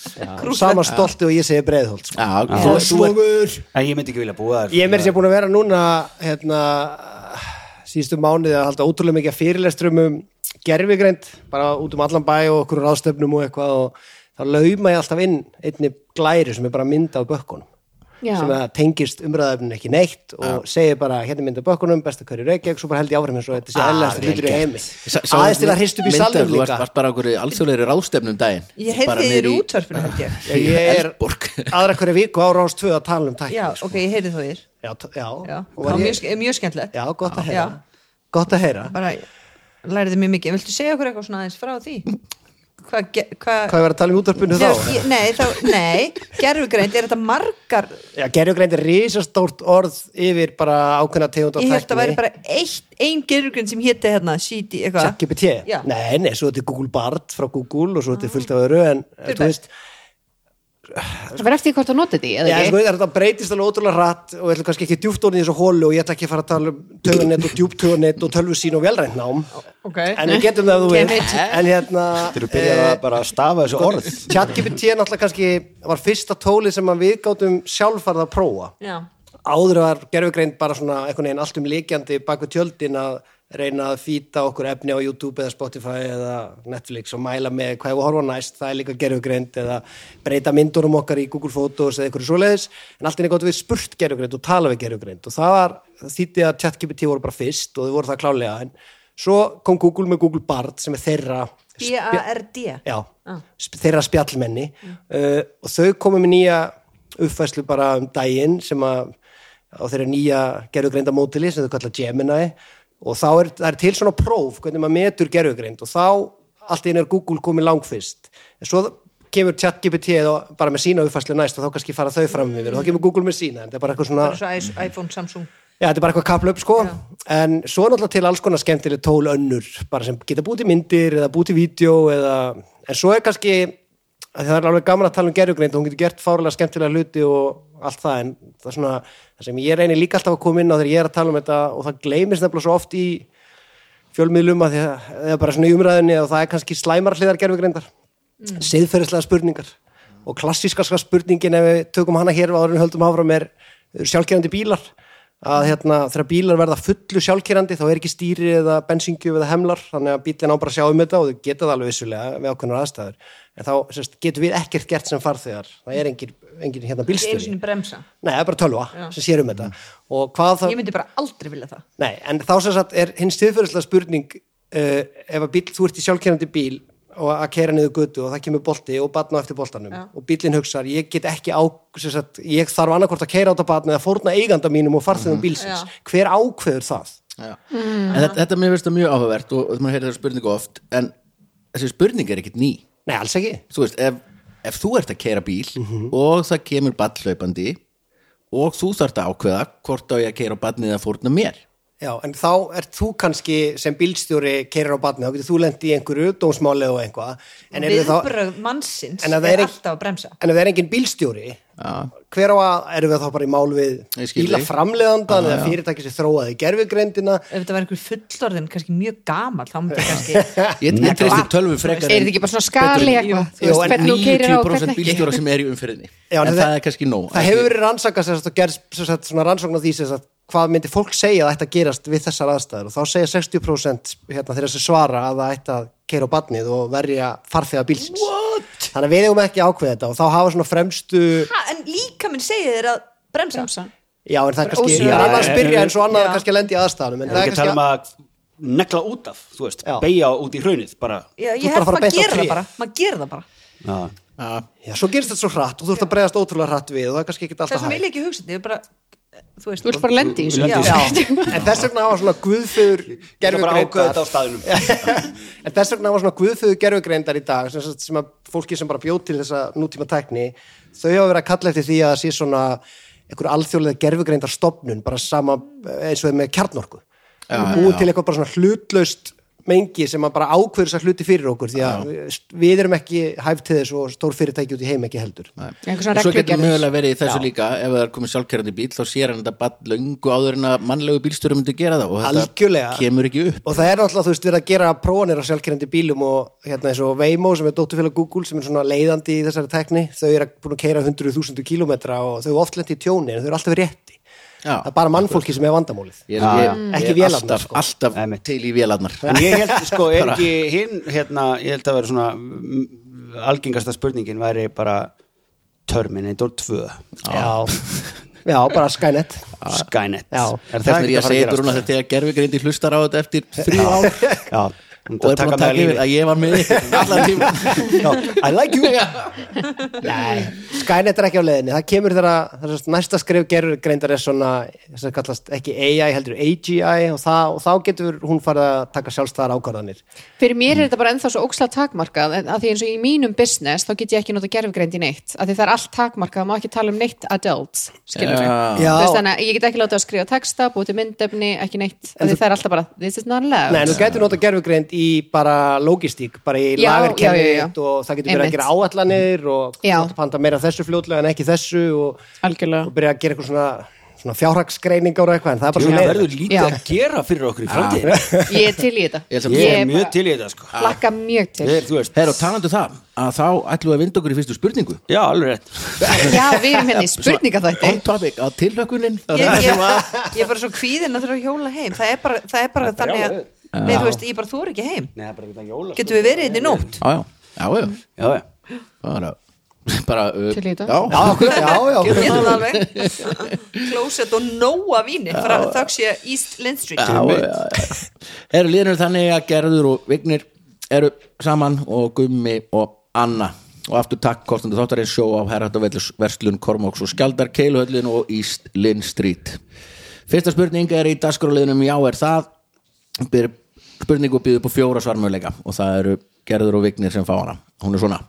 Speaker 6: sama stolti og ég segi breiðholt sko.
Speaker 2: Já, þú-
Speaker 6: Þorstvogur
Speaker 3: En ég myndi ekki vilja búa þar
Speaker 6: Ég er meira sér búin að vera núna hérna, síðustu mánuði að halda ótrúlega mikið fyrirlestrum um gerfigreind, bara út um allan bæ og okkur ráðstöfnum og eitthvað og þá lauma ég alltaf inn einni glæri sem er bara mynd af bökkunum
Speaker 5: Já.
Speaker 6: sem að tengist umræðafnum ekki neitt og segir bara hérna er mynd af bökkunum, besta hverju reykja svo bara held ég áfram eins og þetta sé ellastur hlutur í heimi
Speaker 2: Ah, Sá- sá-
Speaker 6: aðeins til að hristu upp í
Speaker 2: myndar,
Speaker 6: salnum
Speaker 2: Þú varst,
Speaker 6: líka
Speaker 2: varst bara okkur alþjóðlegri ráðstefnum daginn
Speaker 4: Ég heyrði þér í útvarpinu held ég
Speaker 6: Ég- ég er
Speaker 2: Eldborg.
Speaker 6: aðra hverju viku á ráðs 2 að tala um tækni
Speaker 4: Já,
Speaker 6: sko.
Speaker 4: ok, ég heyrði þú þér
Speaker 6: já, t- já.
Speaker 4: Já,
Speaker 6: Og
Speaker 4: það var
Speaker 6: var
Speaker 4: mjög,
Speaker 6: ég-
Speaker 4: ske- mjög skemmtilegt
Speaker 6: já, gott að
Speaker 4: Já,
Speaker 6: heyra gott að heyra
Speaker 4: bara læriði mér mikið Viltu segja okkur eitthvað svona aðeins frá því? Hvað ge-
Speaker 6: Hvað ég var að tala um í útvarpinu þá?
Speaker 4: Já, ég- Nei, þá, nei, gerfugreind er þetta margar
Speaker 6: Já, gerjugreind er risastórt orð yfir bara ákveðna tegund og
Speaker 4: Ég held að væri bara eitt, ein gerfugreind sem héti hérna, síti, eitthvað
Speaker 6: ChatGPT?
Speaker 4: Já. Ah.
Speaker 6: Nei, nei, svo þetta er Google Bard frá Google og svo þetta er fullt af öru en
Speaker 4: Fyrir
Speaker 6: þú veist,
Speaker 5: Það verður eftir því hvort þú notið því,
Speaker 6: já,
Speaker 5: eða
Speaker 6: sko,
Speaker 5: ekki?
Speaker 6: þetta breytist alveg ótrúlega rætt og ég ætla kannski ekki djúpt orðin í þessu hólu og ég ætla ekki að fara að tala um tögunett og djúpt tögunett og tölvusín og velrænt nám
Speaker 4: Ok.
Speaker 6: en við getum það að þú
Speaker 4: Kem
Speaker 6: veist
Speaker 4: hit.
Speaker 6: en hérna eh,
Speaker 3: Þeir eru byrjað að bara stafa þessu orð
Speaker 6: ChatGPT er náttúrulega kannski var fyrsta tólið sem að við gátum sjálf farið að prófa
Speaker 4: Já,
Speaker 6: áður var gerfugreind bara svona einhvern veginn allt um líkjandi bak við tjöldin að reyna að fýta okkur efni á YouTube eða Spotify eða Netflix og mæla með hvað hefur horfa næst, það er líka gerfugreind eða breyta myndunum okkar í Google Photos eða einhverju svoleiðis, en allt er gott við spurt gerfugreind og tala við gerfugreind og það var þýtti að ChatGPT voru bara fyrst og þau voru það klálega en svo kom Google með Google Bard sem er þeirra
Speaker 4: B-A-R-D
Speaker 6: já, sp- þeirra spjallmenni uh, og þau komu með nýja uppfæslu bara um daginn sem að á þeirra nýja gerðugreinda mótili sem þau kalla Gemini og þá er, það er til svona próf hvernig maður metur gerðugreind og þá allt í einu er Google komið langfyrst en svo kemur ChatGPT eða bara með sína uppfæslu næst og þá kannski fara þau fram yfir og þá kemur Google með sína en það er bara eitthvað svona
Speaker 4: Bara svo iPhone, Samsung
Speaker 6: Já, þetta er bara eitthvað kaplöp sko en svo er náttúrulega til alls konar skemmtileg tól önnur bara sem geta búið til myndir eða búið til vídeo eða... en svo er kannski að það er alveg gaman að tala um gerjugreind hún getur gert fárlega skemmtilega hluti og allt það en það, er svona, það sem ég reynir líka alltaf að koma inn á þegar ég er að tala um þetta og það gleymist nefnilega svo oft í fjölmiðlum að því að það er bara svona í umræðinni og það er kannski slæmar hliðar gerfugreindar mm. siðferðislega spurningar og klassíska sko spurningin ef við tökum hana hér áður en höldum áfram er sjálfkerandi bílar að hérna, þegar bílar verða fullu sjálfkerandi þá er ekki stýri eða bensingju eða hemlar þannig að bílinn á bara að sjá um þetta og þau geta það alveg vissulega við ákveðnar aðstæður en þá sérst, getum við ekkert gert sem farþegar það er engin, engin hérna
Speaker 4: Einu
Speaker 6: bílstjóri
Speaker 4: sinni bremsa
Speaker 6: Nei, það er bara tölva sem sér um þetta og hvað það
Speaker 4: Ég myndi bara aldrei vilja það
Speaker 6: Nei, en þá sem sagt er hinn stiðfyrðislega spurning uh, ef að bíl, þú ert í sjálfkerrandi bíl og að kæra niður götu og það kemur bolti og batna eftir boltanum og bílinn hugsar ég get ekki á, sem sagt, ég þarf annarkvort að kæra á þetta batna eða fórna eiganda mínum og farþegum bílsins, hver ákveður það?
Speaker 2: Já.
Speaker 6: Hmm.
Speaker 2: En þetta, þetta mér finnst það mjög áhugavert og, og maður heyrði þessa spurningu oft en þessi spurning er ekkit ný
Speaker 6: Nei, alls ekki
Speaker 2: þú veist, ef, ef þú ert að keira bíl og það kemur ballhlaupandi og þú þarft að ákveða hvort á ég að keira ballnið að fórna mér
Speaker 6: Já, en þá ert þú kannski sem bílstjóri kærar á batna, þá getur þú lent í einhverju dómsmáli og einhvað en eru þá-
Speaker 4: Viðbrögð mannsins
Speaker 6: En
Speaker 4: er
Speaker 6: að það er ekki-
Speaker 4: alltaf að bremsa
Speaker 6: en ef það er engin bílstjóri hver á að, erum við þá bara í mál við
Speaker 2: Ég skil þig.
Speaker 6: bílaframleðandan eða fyrirtæki sem þróaði gerfugreindina
Speaker 4: Ef þetta var einhver fullorðin, kannski mjög gamal þá myndi ég kannski
Speaker 2: ég, ég treysti tölvu frekar
Speaker 5: Er þetta ekki bara svona skali eitthvað? Þú
Speaker 6: Jú,
Speaker 5: veist,
Speaker 6: en
Speaker 5: hvernig þú keirir á og
Speaker 2: 90%
Speaker 5: hvernig ekki?
Speaker 2: bílstjóra sem er í umferðinni
Speaker 6: Já,
Speaker 2: en
Speaker 6: en
Speaker 2: það,
Speaker 6: það-
Speaker 2: er kannski nóg
Speaker 6: það hefur verið rannsakað sem sagt, og gerð sem sagt, svona rannsókn á því sem sagt, hvað myndi fólk segja að ætti að gerast við þessar aðstæður og þá segja 60% hérna, þeirra sem svara að það ætti að keira á batnið og verja farþega bílsins What? þannig að við eigum ekki að ákveða þetta og þá hafa svona fremstu
Speaker 4: ha, En líka minn segir þér að bremsa, bremsa.
Speaker 6: já en það er kannski,
Speaker 5: Ósvífur.
Speaker 6: það er annað að
Speaker 3: Já,
Speaker 6: spyrja en svo annað
Speaker 4: já.
Speaker 6: kannski að lendi í aðstæðanum en
Speaker 3: Það er ekki að tala um að negla út af, þú veist,
Speaker 6: Já.
Speaker 3: beigja út í hraunið bara,
Speaker 4: Já,
Speaker 6: Þú
Speaker 4: ég
Speaker 6: ert bara að fara beint
Speaker 4: held maður
Speaker 6: á
Speaker 4: gera
Speaker 6: tré.
Speaker 4: það bara maður gera það bara
Speaker 3: já,
Speaker 6: já, svo gerist þetta svo hrætt og þú ert að bregðast ótrúlega hrætt við og það er kannski ekki alltaf
Speaker 4: Það sem
Speaker 6: hægt.
Speaker 4: vil ég ekki hugsa þetta, ég er bara Þú veist,
Speaker 5: Þú ert bara sko. að lendi í þessu.
Speaker 3: Lendi í
Speaker 4: Já.
Speaker 6: Já, en þess vegna hafa svona guðföður
Speaker 3: gera bara ákveða þetta
Speaker 6: gerfugreindar
Speaker 3: á staðinum
Speaker 6: en þess vegna hafa svona guðföður gerfugreindar í dag sem, sagt- sem að fólki sem bara bjóð til þessa nútíma tækni, þau hafa verið að kalla eftir því að það sé svona einhver alþjóðlega gerfugreindar stopnun, bara sama eins og er með kjarnorku, já, búið til eitthvað bara svona hlutlaust mengi sem að bara ákveður þessar hluti fyrir okkur því að við erum ekki hæft til þess og stór fyrirtæki út í heim ekki heldur
Speaker 5: einhvers
Speaker 2: og
Speaker 5: svona
Speaker 2: svo getur
Speaker 5: reglugerðis.
Speaker 2: mögulega verið í þessu líka ef það er komið sjálfkerrandi bíl þá sér hann þetta bara löngu áður en að mannlegu bílstjórum myndi gera það og þetta
Speaker 6: Algjörlega.
Speaker 2: kemur ekki upp
Speaker 6: og það er alltaf, þú veist, verið að gera prófanir á sjálfkerrandi bílum og hérna eins og Waymo sem er dótturfélag Google sem er svona leiðandi í þessari tekni, þau eru að- búin að keira 100.000 kilometra og þau eru oft lent í tjóni en þau eru alltaf rétti,
Speaker 2: Já.
Speaker 6: það er bara mannfólki sem er vandamálið
Speaker 2: ég,
Speaker 3: Já,
Speaker 2: ég,
Speaker 3: já.
Speaker 2: ég,
Speaker 6: Ekki
Speaker 2: ég
Speaker 6: vélarnar,
Speaker 2: alltaf,
Speaker 6: sko.
Speaker 2: alltaf
Speaker 3: Nei, mitt.
Speaker 2: til í vélarnar
Speaker 3: En ég held, sko, er ekki hinn, hérna, ég held að vera svona mm, algengasta spurningin væri bara Terminator 2
Speaker 6: Já, já bara Skynet
Speaker 3: Skynet
Speaker 6: Já.
Speaker 3: Er
Speaker 2: þess
Speaker 3: það
Speaker 2: vegna
Speaker 3: ekki
Speaker 2: ég
Speaker 3: að fara að
Speaker 2: segi
Speaker 3: gerast?
Speaker 2: Bruna þetta þegar gerfugreindi hlustar á þetta eftir þrjú ár
Speaker 3: Já, hún
Speaker 2: og er búin að taka yfir að ég var með ykkur allan tíma
Speaker 3: Já, I like you
Speaker 6: Nei, Skynet er ekki á leiðinni það kemur þegar að það er svona næsta skrif gerur greindar er svona, þess að kallast ekki AI heldur AGI og, það, og þá getur hún farið að taka sjálfstæðar ákvarðanir
Speaker 5: fyrir mér er þetta bara ennþá svo óksla takmarkað en að því eins og í mínum business þá get ég ekki nota gerfgreind í neitt að því það er allt takmarkað, það má ekki tala um neitt adults skilur mig
Speaker 2: Já.
Speaker 5: Þú veist,
Speaker 6: Já,
Speaker 5: þannig að ég get ekki látið að skrifa texta, búið til myndefni ekki neitt, af því það er alltaf bara this is not allowed
Speaker 6: Nei, en þú getur nota gerfugreind í bara logistík, bara í
Speaker 5: Já, já, já,
Speaker 6: lagerkerfið
Speaker 5: já.
Speaker 6: og það getur verið að
Speaker 5: Einmitt.
Speaker 6: gera áallanir og
Speaker 5: Já.
Speaker 6: mátt panta meira af þessu fljótlega en ekki þessu og, og
Speaker 5: algjörlega,
Speaker 6: byrja að gera eitthvað svona, svona fjárhagsgreiningar og eitthvað en það er bara
Speaker 3: Þú
Speaker 6: svona
Speaker 3: verður lítið
Speaker 5: Já.
Speaker 3: að gera fyrir okkur í framtíðinu
Speaker 5: ég er til í þetta
Speaker 2: Ég er sem-
Speaker 3: Ég er
Speaker 5: bara
Speaker 3: mjög til í þetta, sko
Speaker 5: hlakka mjög til
Speaker 3: Ég er, þú veist,
Speaker 2: Herra, og talandu það, að þá ætlum við að vinda okkur í fyrstu spurningu
Speaker 3: já, alveg rétt
Speaker 5: já, við erum hérna í spurningaþætti
Speaker 2: On topic, að tilhlökkunin
Speaker 4: ég, ég, ég er bara svo kvíðin að þurfa að hjóla heim það er bara, það er bara þannig að nei, þú veist, ég bara þóra ekki heim
Speaker 3: Nei, það er bara ekki jóla sko.
Speaker 4: getum við
Speaker 5: hérna
Speaker 4: verið inn í nótt
Speaker 2: Já, já, já, já
Speaker 3: Já, já
Speaker 2: bara, bara uh,
Speaker 5: Til í þetta.
Speaker 2: já,
Speaker 6: Já, okkur, já, já,
Speaker 4: ég
Speaker 6: okkur.
Speaker 4: er það alveg klósett og nóa víni frá þöggs ég East Lind Street
Speaker 2: já, já, já. Eru liðnir þannig að Gerður og Vignir eru saman og Gummi og Anna og aftur takk kostandi þáttarins sjó á herratavellsverslun Kormóks og Skjaldar Keiluhöllin og East Lynn Street Fyrsta spurning er í dagskráliðnum já er það Byr, spurningu býður upp á fjóra svarmöðleika og það eru Gerður og Vignir sem fá hana hún er svona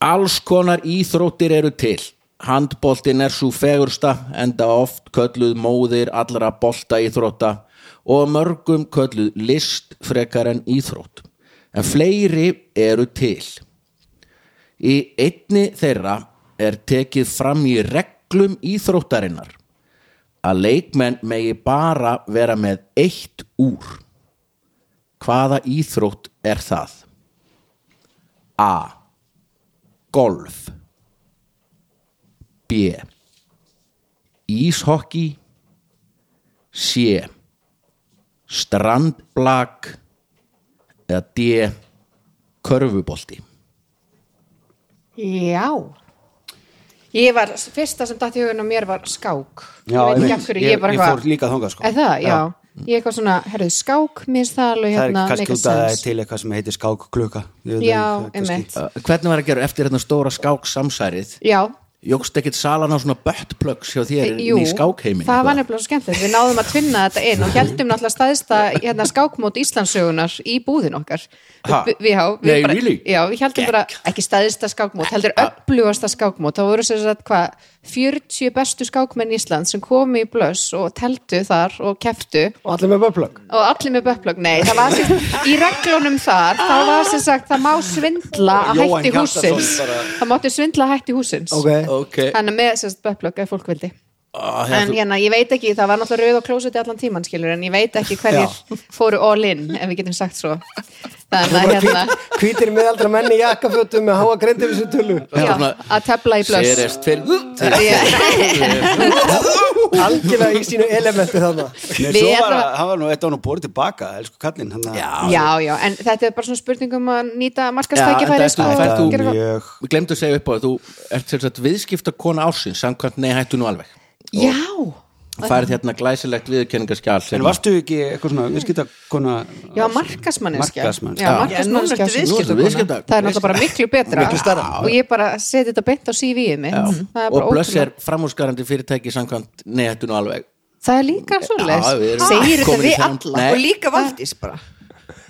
Speaker 2: Alls konar íþróttir eru til Handboltin er svo fegursta enda oft kölluð móðir allra bolta íþrótta og mörgum kölluð list frekar en íþrótt en fleiri eru til Í einni þeirra er tekið fram í reglum íþróttarinnar að leikmenn megi bara vera með eitt úr Hvaða íþrótt er það? A golf B íshokki C strandblak eða D körfubolti
Speaker 5: já ég var, fyrsta sem datt í hugun á mér var skák
Speaker 3: Já,
Speaker 5: ég
Speaker 3: einmitt.
Speaker 5: veit ekki af hverju, ég,
Speaker 3: Ég-
Speaker 5: er bara
Speaker 3: ég
Speaker 5: eitthvað-
Speaker 3: fór líka þangað, sko.
Speaker 5: Er það, já, ég eitthvað svona, herrðu skák minnst það alveg
Speaker 3: Það er
Speaker 5: hérna
Speaker 3: kannski
Speaker 5: make
Speaker 3: út að það er
Speaker 5: sense.
Speaker 3: til eitthvað sem heitir skákklukka Ég veit það ekki,
Speaker 5: já,
Speaker 3: það er kannski-
Speaker 5: einmitt
Speaker 2: Uh, Hvernig var að gera eftir hérna stóra skáksamsærið?
Speaker 5: já,
Speaker 2: Jókst ekkit salan á svona buttplugs hjá þér
Speaker 5: jú,
Speaker 2: inn í skákheimin?
Speaker 5: það var nefnilega svo skemmtilegt við náðum að tvinna þetta inn og heldum náttúrulega stæðsta hérna, skákmót Íslandsögunar í búðin okkar
Speaker 2: Ha?
Speaker 5: Vi- við, já, við
Speaker 2: Nei,
Speaker 5: bara,
Speaker 2: really?
Speaker 5: já, við heldum bara ekki stæðsta skákmót, heldur öflugasta skákmót þá voru sér að hvað 40 bestu skákmenn Íslands sem komu í blöss og teltu þar og keftu
Speaker 6: og allir með böplögg
Speaker 5: og allir með bökplögg, nei, það var sér í reglunum þar, þá var sér sagt það má svindla að
Speaker 3: Jóhann
Speaker 5: hætti
Speaker 3: Hjartarson
Speaker 5: húsins
Speaker 3: bara-
Speaker 5: það mátti svindla að hætti húsins
Speaker 6: okay.
Speaker 2: Ok
Speaker 5: þannig með sérst bökplögg ef fólk vildi
Speaker 2: Ah, hérna,
Speaker 5: en
Speaker 2: þú-
Speaker 5: hérna, ég veit ekki, það var náttúrulega rauð á klósetti allan tíman skilur, en ég veit ekki hverjir fóru all in, ef við getum sagt svo þannig að hérna
Speaker 6: hvítir miðaldra menni í jakkafötum með háa greindi við sér tullu
Speaker 5: já,
Speaker 2: svona-
Speaker 5: að tefla í blöss
Speaker 2: Serist fyrir
Speaker 6: algjörlega í sínu elementi þarna
Speaker 3: Nei,
Speaker 5: Við
Speaker 3: svo var
Speaker 5: ætlum
Speaker 3: að,
Speaker 5: að-
Speaker 3: hann var nú eitt án og bórið tilbaka, elsku kallinn hann að-
Speaker 5: já, já, en þetta er bara svona spurningum að nýta
Speaker 2: Já,
Speaker 5: markastækifæri
Speaker 2: en þetta- þetta er
Speaker 5: og gera eitthvað.
Speaker 3: mjög
Speaker 2: Við glemdu að segja upp á það, þú ert sem sagt viðskipta kona ásins, samkvæmt nei hættu nú alveg.
Speaker 5: já
Speaker 2: Og færið hérna glæsilegt viðurkenningaskjál.
Speaker 3: En varstu ekki eitthvað svona, við skita kona
Speaker 5: Já, markasmanneskja
Speaker 3: Markaðsmanneskja.
Speaker 5: Já,
Speaker 2: Já.
Speaker 4: Já, nú
Speaker 5: markasmanneskja
Speaker 4: ertu
Speaker 5: sem-
Speaker 2: Nú ertu viðskipta.
Speaker 5: Það er náttúrulega bara miklu betra
Speaker 2: Miklu stærra.
Speaker 5: og ég bara seti þetta beint á CV-ið mitt Mm. Það er bara
Speaker 2: og blöss er
Speaker 5: ótrúlega.
Speaker 2: framhúsgarandi fyrirtæki samkvæmt nei hættu nú alveg.
Speaker 5: Það er líka
Speaker 2: Já, við
Speaker 5: svoleiðis
Speaker 2: erum
Speaker 5: Segir þetta
Speaker 2: komin í
Speaker 5: við
Speaker 2: þennan-
Speaker 5: alla
Speaker 2: Nei.
Speaker 4: og líka Valdís bara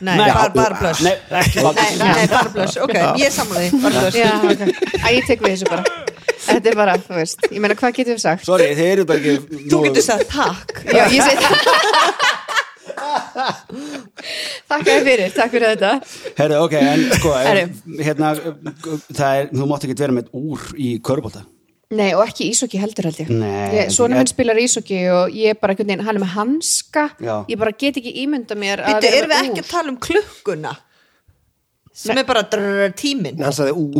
Speaker 4: nei,
Speaker 3: Nei,
Speaker 4: bara,
Speaker 3: já,
Speaker 4: bara blöss
Speaker 3: Nei,
Speaker 4: nei,
Speaker 3: ekki Valdís
Speaker 4: nei, bara blöss, ok, ég er samlaði bara blöss
Speaker 5: Já, ok. Æ, ég tek við þessu bara Þetta er bara, þú veist, ég meina hvað getum við sagt
Speaker 3: Sorry, þið eru bara ekki
Speaker 4: þú getur sagt takk
Speaker 5: Já, ég segi það Takk að fyrir, takk fyrir þetta
Speaker 3: Herri, ok, en sko
Speaker 5: Herri.
Speaker 3: hérna, það er, þú mátt ekki vera með úr í körbólta
Speaker 5: Nei, og ekki ísokki heldur held ég
Speaker 3: Nei,
Speaker 5: Ég- Svona
Speaker 3: ég-
Speaker 5: minn spilar ísokki og ég bara einhvern veginn, hann er með hanska
Speaker 3: Já.
Speaker 5: Ég bara get ekki ímynda mér að
Speaker 4: Býttu,
Speaker 5: vera
Speaker 4: erum við
Speaker 5: með
Speaker 4: ekki
Speaker 5: úr.
Speaker 4: að tala um klukkuna sem er bara drrrr, tíminn
Speaker 6: hann sagði úr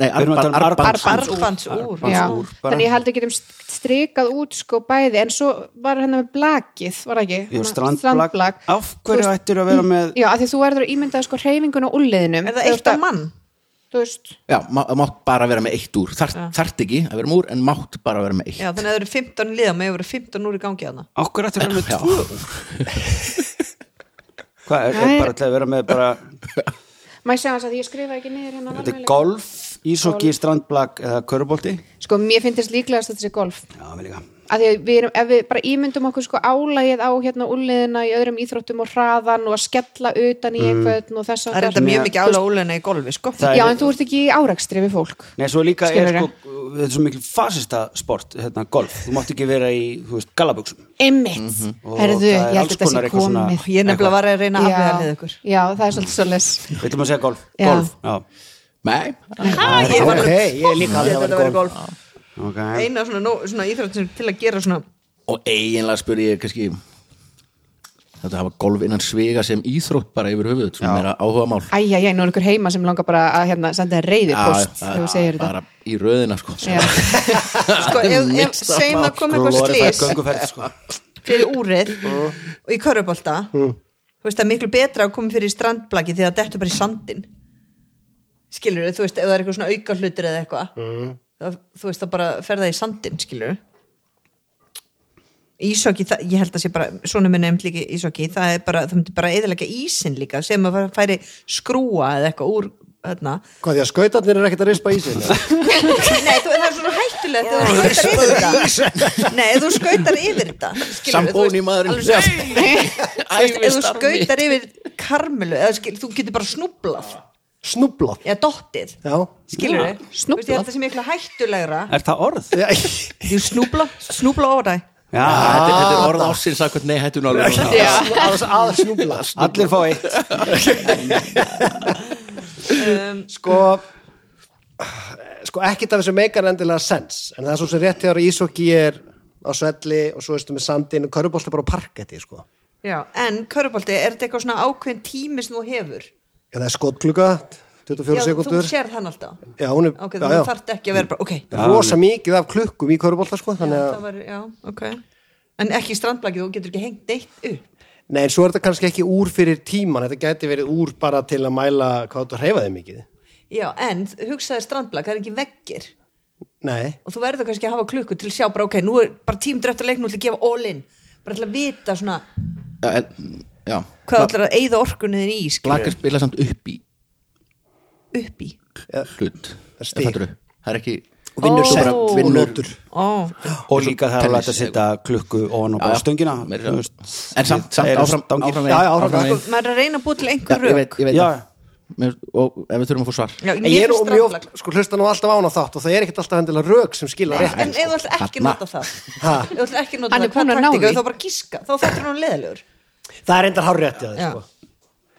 Speaker 2: Nei,
Speaker 3: Við erum að tala um
Speaker 2: arbands-
Speaker 3: armbands-
Speaker 4: Arbands úr
Speaker 5: Já,
Speaker 3: úr, bara-
Speaker 5: þannig ég held við getum st- strikað út sko bæði en svo var hann með blakið, var það ekki?
Speaker 3: Jú,
Speaker 5: Svona
Speaker 3: strandblag. Af hverju
Speaker 5: Þú veist-
Speaker 3: ættir að vera með
Speaker 5: Já, af því þú verður að ímynda sko hreyfingun og úlliðinum
Speaker 4: Er það eitt af mann?
Speaker 5: Þú veist,
Speaker 2: Já, má- mátt bara vera með eitt úr Þart, þart ekki að vera með úr en mátt bara vera með eitt
Speaker 4: Já, þannig að það eru 15 liða, maður eru 15 úr í gangi hana
Speaker 3: Af hverju ættir að vera með
Speaker 2: Já.
Speaker 3: tvö úr? Hvað, er, er
Speaker 5: Nei.
Speaker 3: bara til að vera með bara
Speaker 5: maður segja hans að ég skrifa ekki niður hérna
Speaker 3: Þetta er
Speaker 5: varmæli.
Speaker 3: golf, ísokki, strandblag eða körbólti
Speaker 5: Sko, mér finnst líklegast að þetta sé golf
Speaker 3: Já, mér líka
Speaker 5: að því að við erum, ef við bara ímyndum okkur sko álægið á hérna úliðina í öðrum íþróttum og hraðan og að skella utan í einhvern og þess
Speaker 4: Það
Speaker 5: að
Speaker 4: er þetta mjög mikið ála úlena í golfi, sko
Speaker 3: Mm. Það-
Speaker 5: Já, en þú ert ekki í árekstri við fólk
Speaker 3: Nei, svo líka er
Speaker 5: Skilurðu?
Speaker 3: sko, þetta er svo mikil fasista sport, hérna, golf Þú mátt ekki vera í, þú veist, gallabuxum
Speaker 5: Einmitt, mm
Speaker 3: Mhm. Og
Speaker 5: herðu,
Speaker 3: það er
Speaker 5: ég
Speaker 3: alls
Speaker 5: held þetta
Speaker 3: konar
Speaker 5: sé
Speaker 3: eitthvað svona-
Speaker 5: komið
Speaker 4: Ég er nefnilega var að reyna að aflega lið
Speaker 5: já,
Speaker 4: ykkur
Speaker 5: já, það er svolítið svolítið
Speaker 3: Við ætlum að segja golf,
Speaker 5: Já.
Speaker 3: golf Já,
Speaker 2: Nei,
Speaker 4: Ah, Ég var
Speaker 6: ok, ég er líka
Speaker 4: að
Speaker 6: alveg
Speaker 4: þetta
Speaker 6: að
Speaker 4: verið
Speaker 6: vera golf
Speaker 4: golf
Speaker 3: ok
Speaker 4: Eina svona, nó- svona íþrótt sem til að gera svona
Speaker 2: og eiginlega spurði ég kannski þetta hafa golf innan svega sem íþrótt bara yfir höfuð sem er að áhuga mál
Speaker 5: Æja, já, nú er einhver heima sem langar bara að hérna, senda þér reyði post þegar þú segir þetta
Speaker 2: bara í röðina sko
Speaker 5: Já.
Speaker 4: Sko, ef, ef segjum að koma eitthvað
Speaker 3: Glorified
Speaker 4: slís
Speaker 3: gönguferð, sko
Speaker 4: fyrir úrið og í körubólta þú veist það er miklu betra að koma fyrir í strandblaki því að þetta er bara í sandin skilur þú veist ef það er eitthvað svona auka hlutur eða eitthvað það, þú veist það bara fer það í sandin skilur Ísokki, það, ég held að sé bara svona minn nefnd líka ísokki, það er bara þú myndir bara eðalega ísin líka sem að færi skrúa eða eitthvað úr hérna. þarna.
Speaker 6: hvað því að skautarnir er ekkert að rispa í sig
Speaker 4: Nei, þú, það er svona hættulegt ef þú skautar yfir þetta Nei, ef þú skautar yfir þetta skilurðu,
Speaker 2: Sambóni
Speaker 4: þú veist,
Speaker 2: maðurinn.
Speaker 4: alveg svona- Þú veist, Ef þú
Speaker 2: Ævistarf
Speaker 4: skautar yfir karmelu eða skil, þú getur bara snúblað
Speaker 6: snúblað
Speaker 4: eða dottið
Speaker 6: já,
Speaker 4: skilur þau,
Speaker 5: snúblað.
Speaker 4: ég held það sem miklu hættulegra
Speaker 3: Er það orð?
Speaker 6: já,
Speaker 4: þú snúbla, snúbla over þæ
Speaker 3: Já,
Speaker 2: þetta, þetta er orð ásins að hvernig hættu nálega
Speaker 5: Já.
Speaker 6: að snúbla
Speaker 3: allir fá eitt
Speaker 6: sko sko ekkert af þessu meikar endilega sens en það er svo sem rétt þegar ísokki er á svelli og svo veistu með sandin og körubólta bara á parketti sko já,
Speaker 4: Já, en körubolti, er þetta eitthvað svona ákveðin tími sem þú hefur?
Speaker 6: það er skotkluka 24
Speaker 4: Já, þú
Speaker 6: sekundur
Speaker 4: sér þann alltaf
Speaker 6: já, hún er,
Speaker 4: ok,
Speaker 6: já,
Speaker 4: þú
Speaker 6: já,
Speaker 4: þarft ekki að vera bara, ok
Speaker 6: það er rosa mikið af klukkum í körubólta sko þannig
Speaker 4: það
Speaker 6: að,
Speaker 4: var, já, ok en ekki strandblaki, þú getur ekki hengt neitt upp
Speaker 6: nei en svo er þetta kannski ekki úr fyrir tíman, þetta gæti verið úr bara til að mæla hvað þú hreyfaði mikið
Speaker 4: já, en hugsaði strandblaki, það er ekki veggir
Speaker 6: nei,
Speaker 4: og þú verður kannski að hafa klukku til að sjá bara ok, nú er bara tímundur eftir leiknum til að gefa all in bara til að vita svona
Speaker 2: já,
Speaker 4: hvað ætlar að eyða orkunniðin í skilur,
Speaker 2: blakar spila samt upp í
Speaker 4: upp í
Speaker 2: hlut
Speaker 6: er stig.
Speaker 2: Fattarðu? það er ekki
Speaker 6: og vinnur
Speaker 4: Ó.
Speaker 6: sem
Speaker 4: Og
Speaker 6: vinnur
Speaker 2: notur.
Speaker 4: ó,
Speaker 3: Og líka það er alveg hægt að
Speaker 2: Tennis,
Speaker 3: setja klukku ofan á
Speaker 2: Já,
Speaker 3: bara
Speaker 2: já.
Speaker 3: stöngina
Speaker 2: Meira-
Speaker 3: þú veist.
Speaker 2: en samt, samt
Speaker 3: Það eru
Speaker 2: áfram,
Speaker 3: stangir.
Speaker 2: áfram,
Speaker 6: Já, já, áfram.
Speaker 2: veginn.
Speaker 4: maður er að reyna að búa til
Speaker 2: Já,
Speaker 4: einhver
Speaker 2: ég
Speaker 4: rök
Speaker 2: veit, ég veit
Speaker 3: Já.
Speaker 2: það. Mér- og ef við þurfum að fá svar
Speaker 4: já,
Speaker 6: En ég er
Speaker 4: finnst
Speaker 6: nú mjög oft,
Speaker 4: strandblak-
Speaker 6: sko, hlusta nú alltaf án á þátt og það er ekkert alltaf endilega rök sem skilja rétt.
Speaker 4: en ef þú ætlar ekki að
Speaker 2: Þarna.
Speaker 4: nota það
Speaker 6: Ha.
Speaker 4: ef þú ætlar ekki að nota
Speaker 5: Hann er
Speaker 4: það, hvað
Speaker 5: búinn að ná
Speaker 4: taktika
Speaker 5: því.
Speaker 4: þá bara gíska, þá þarftur hann leðilegur
Speaker 6: Það er endar hár rétt í það,
Speaker 4: Já.
Speaker 6: sko.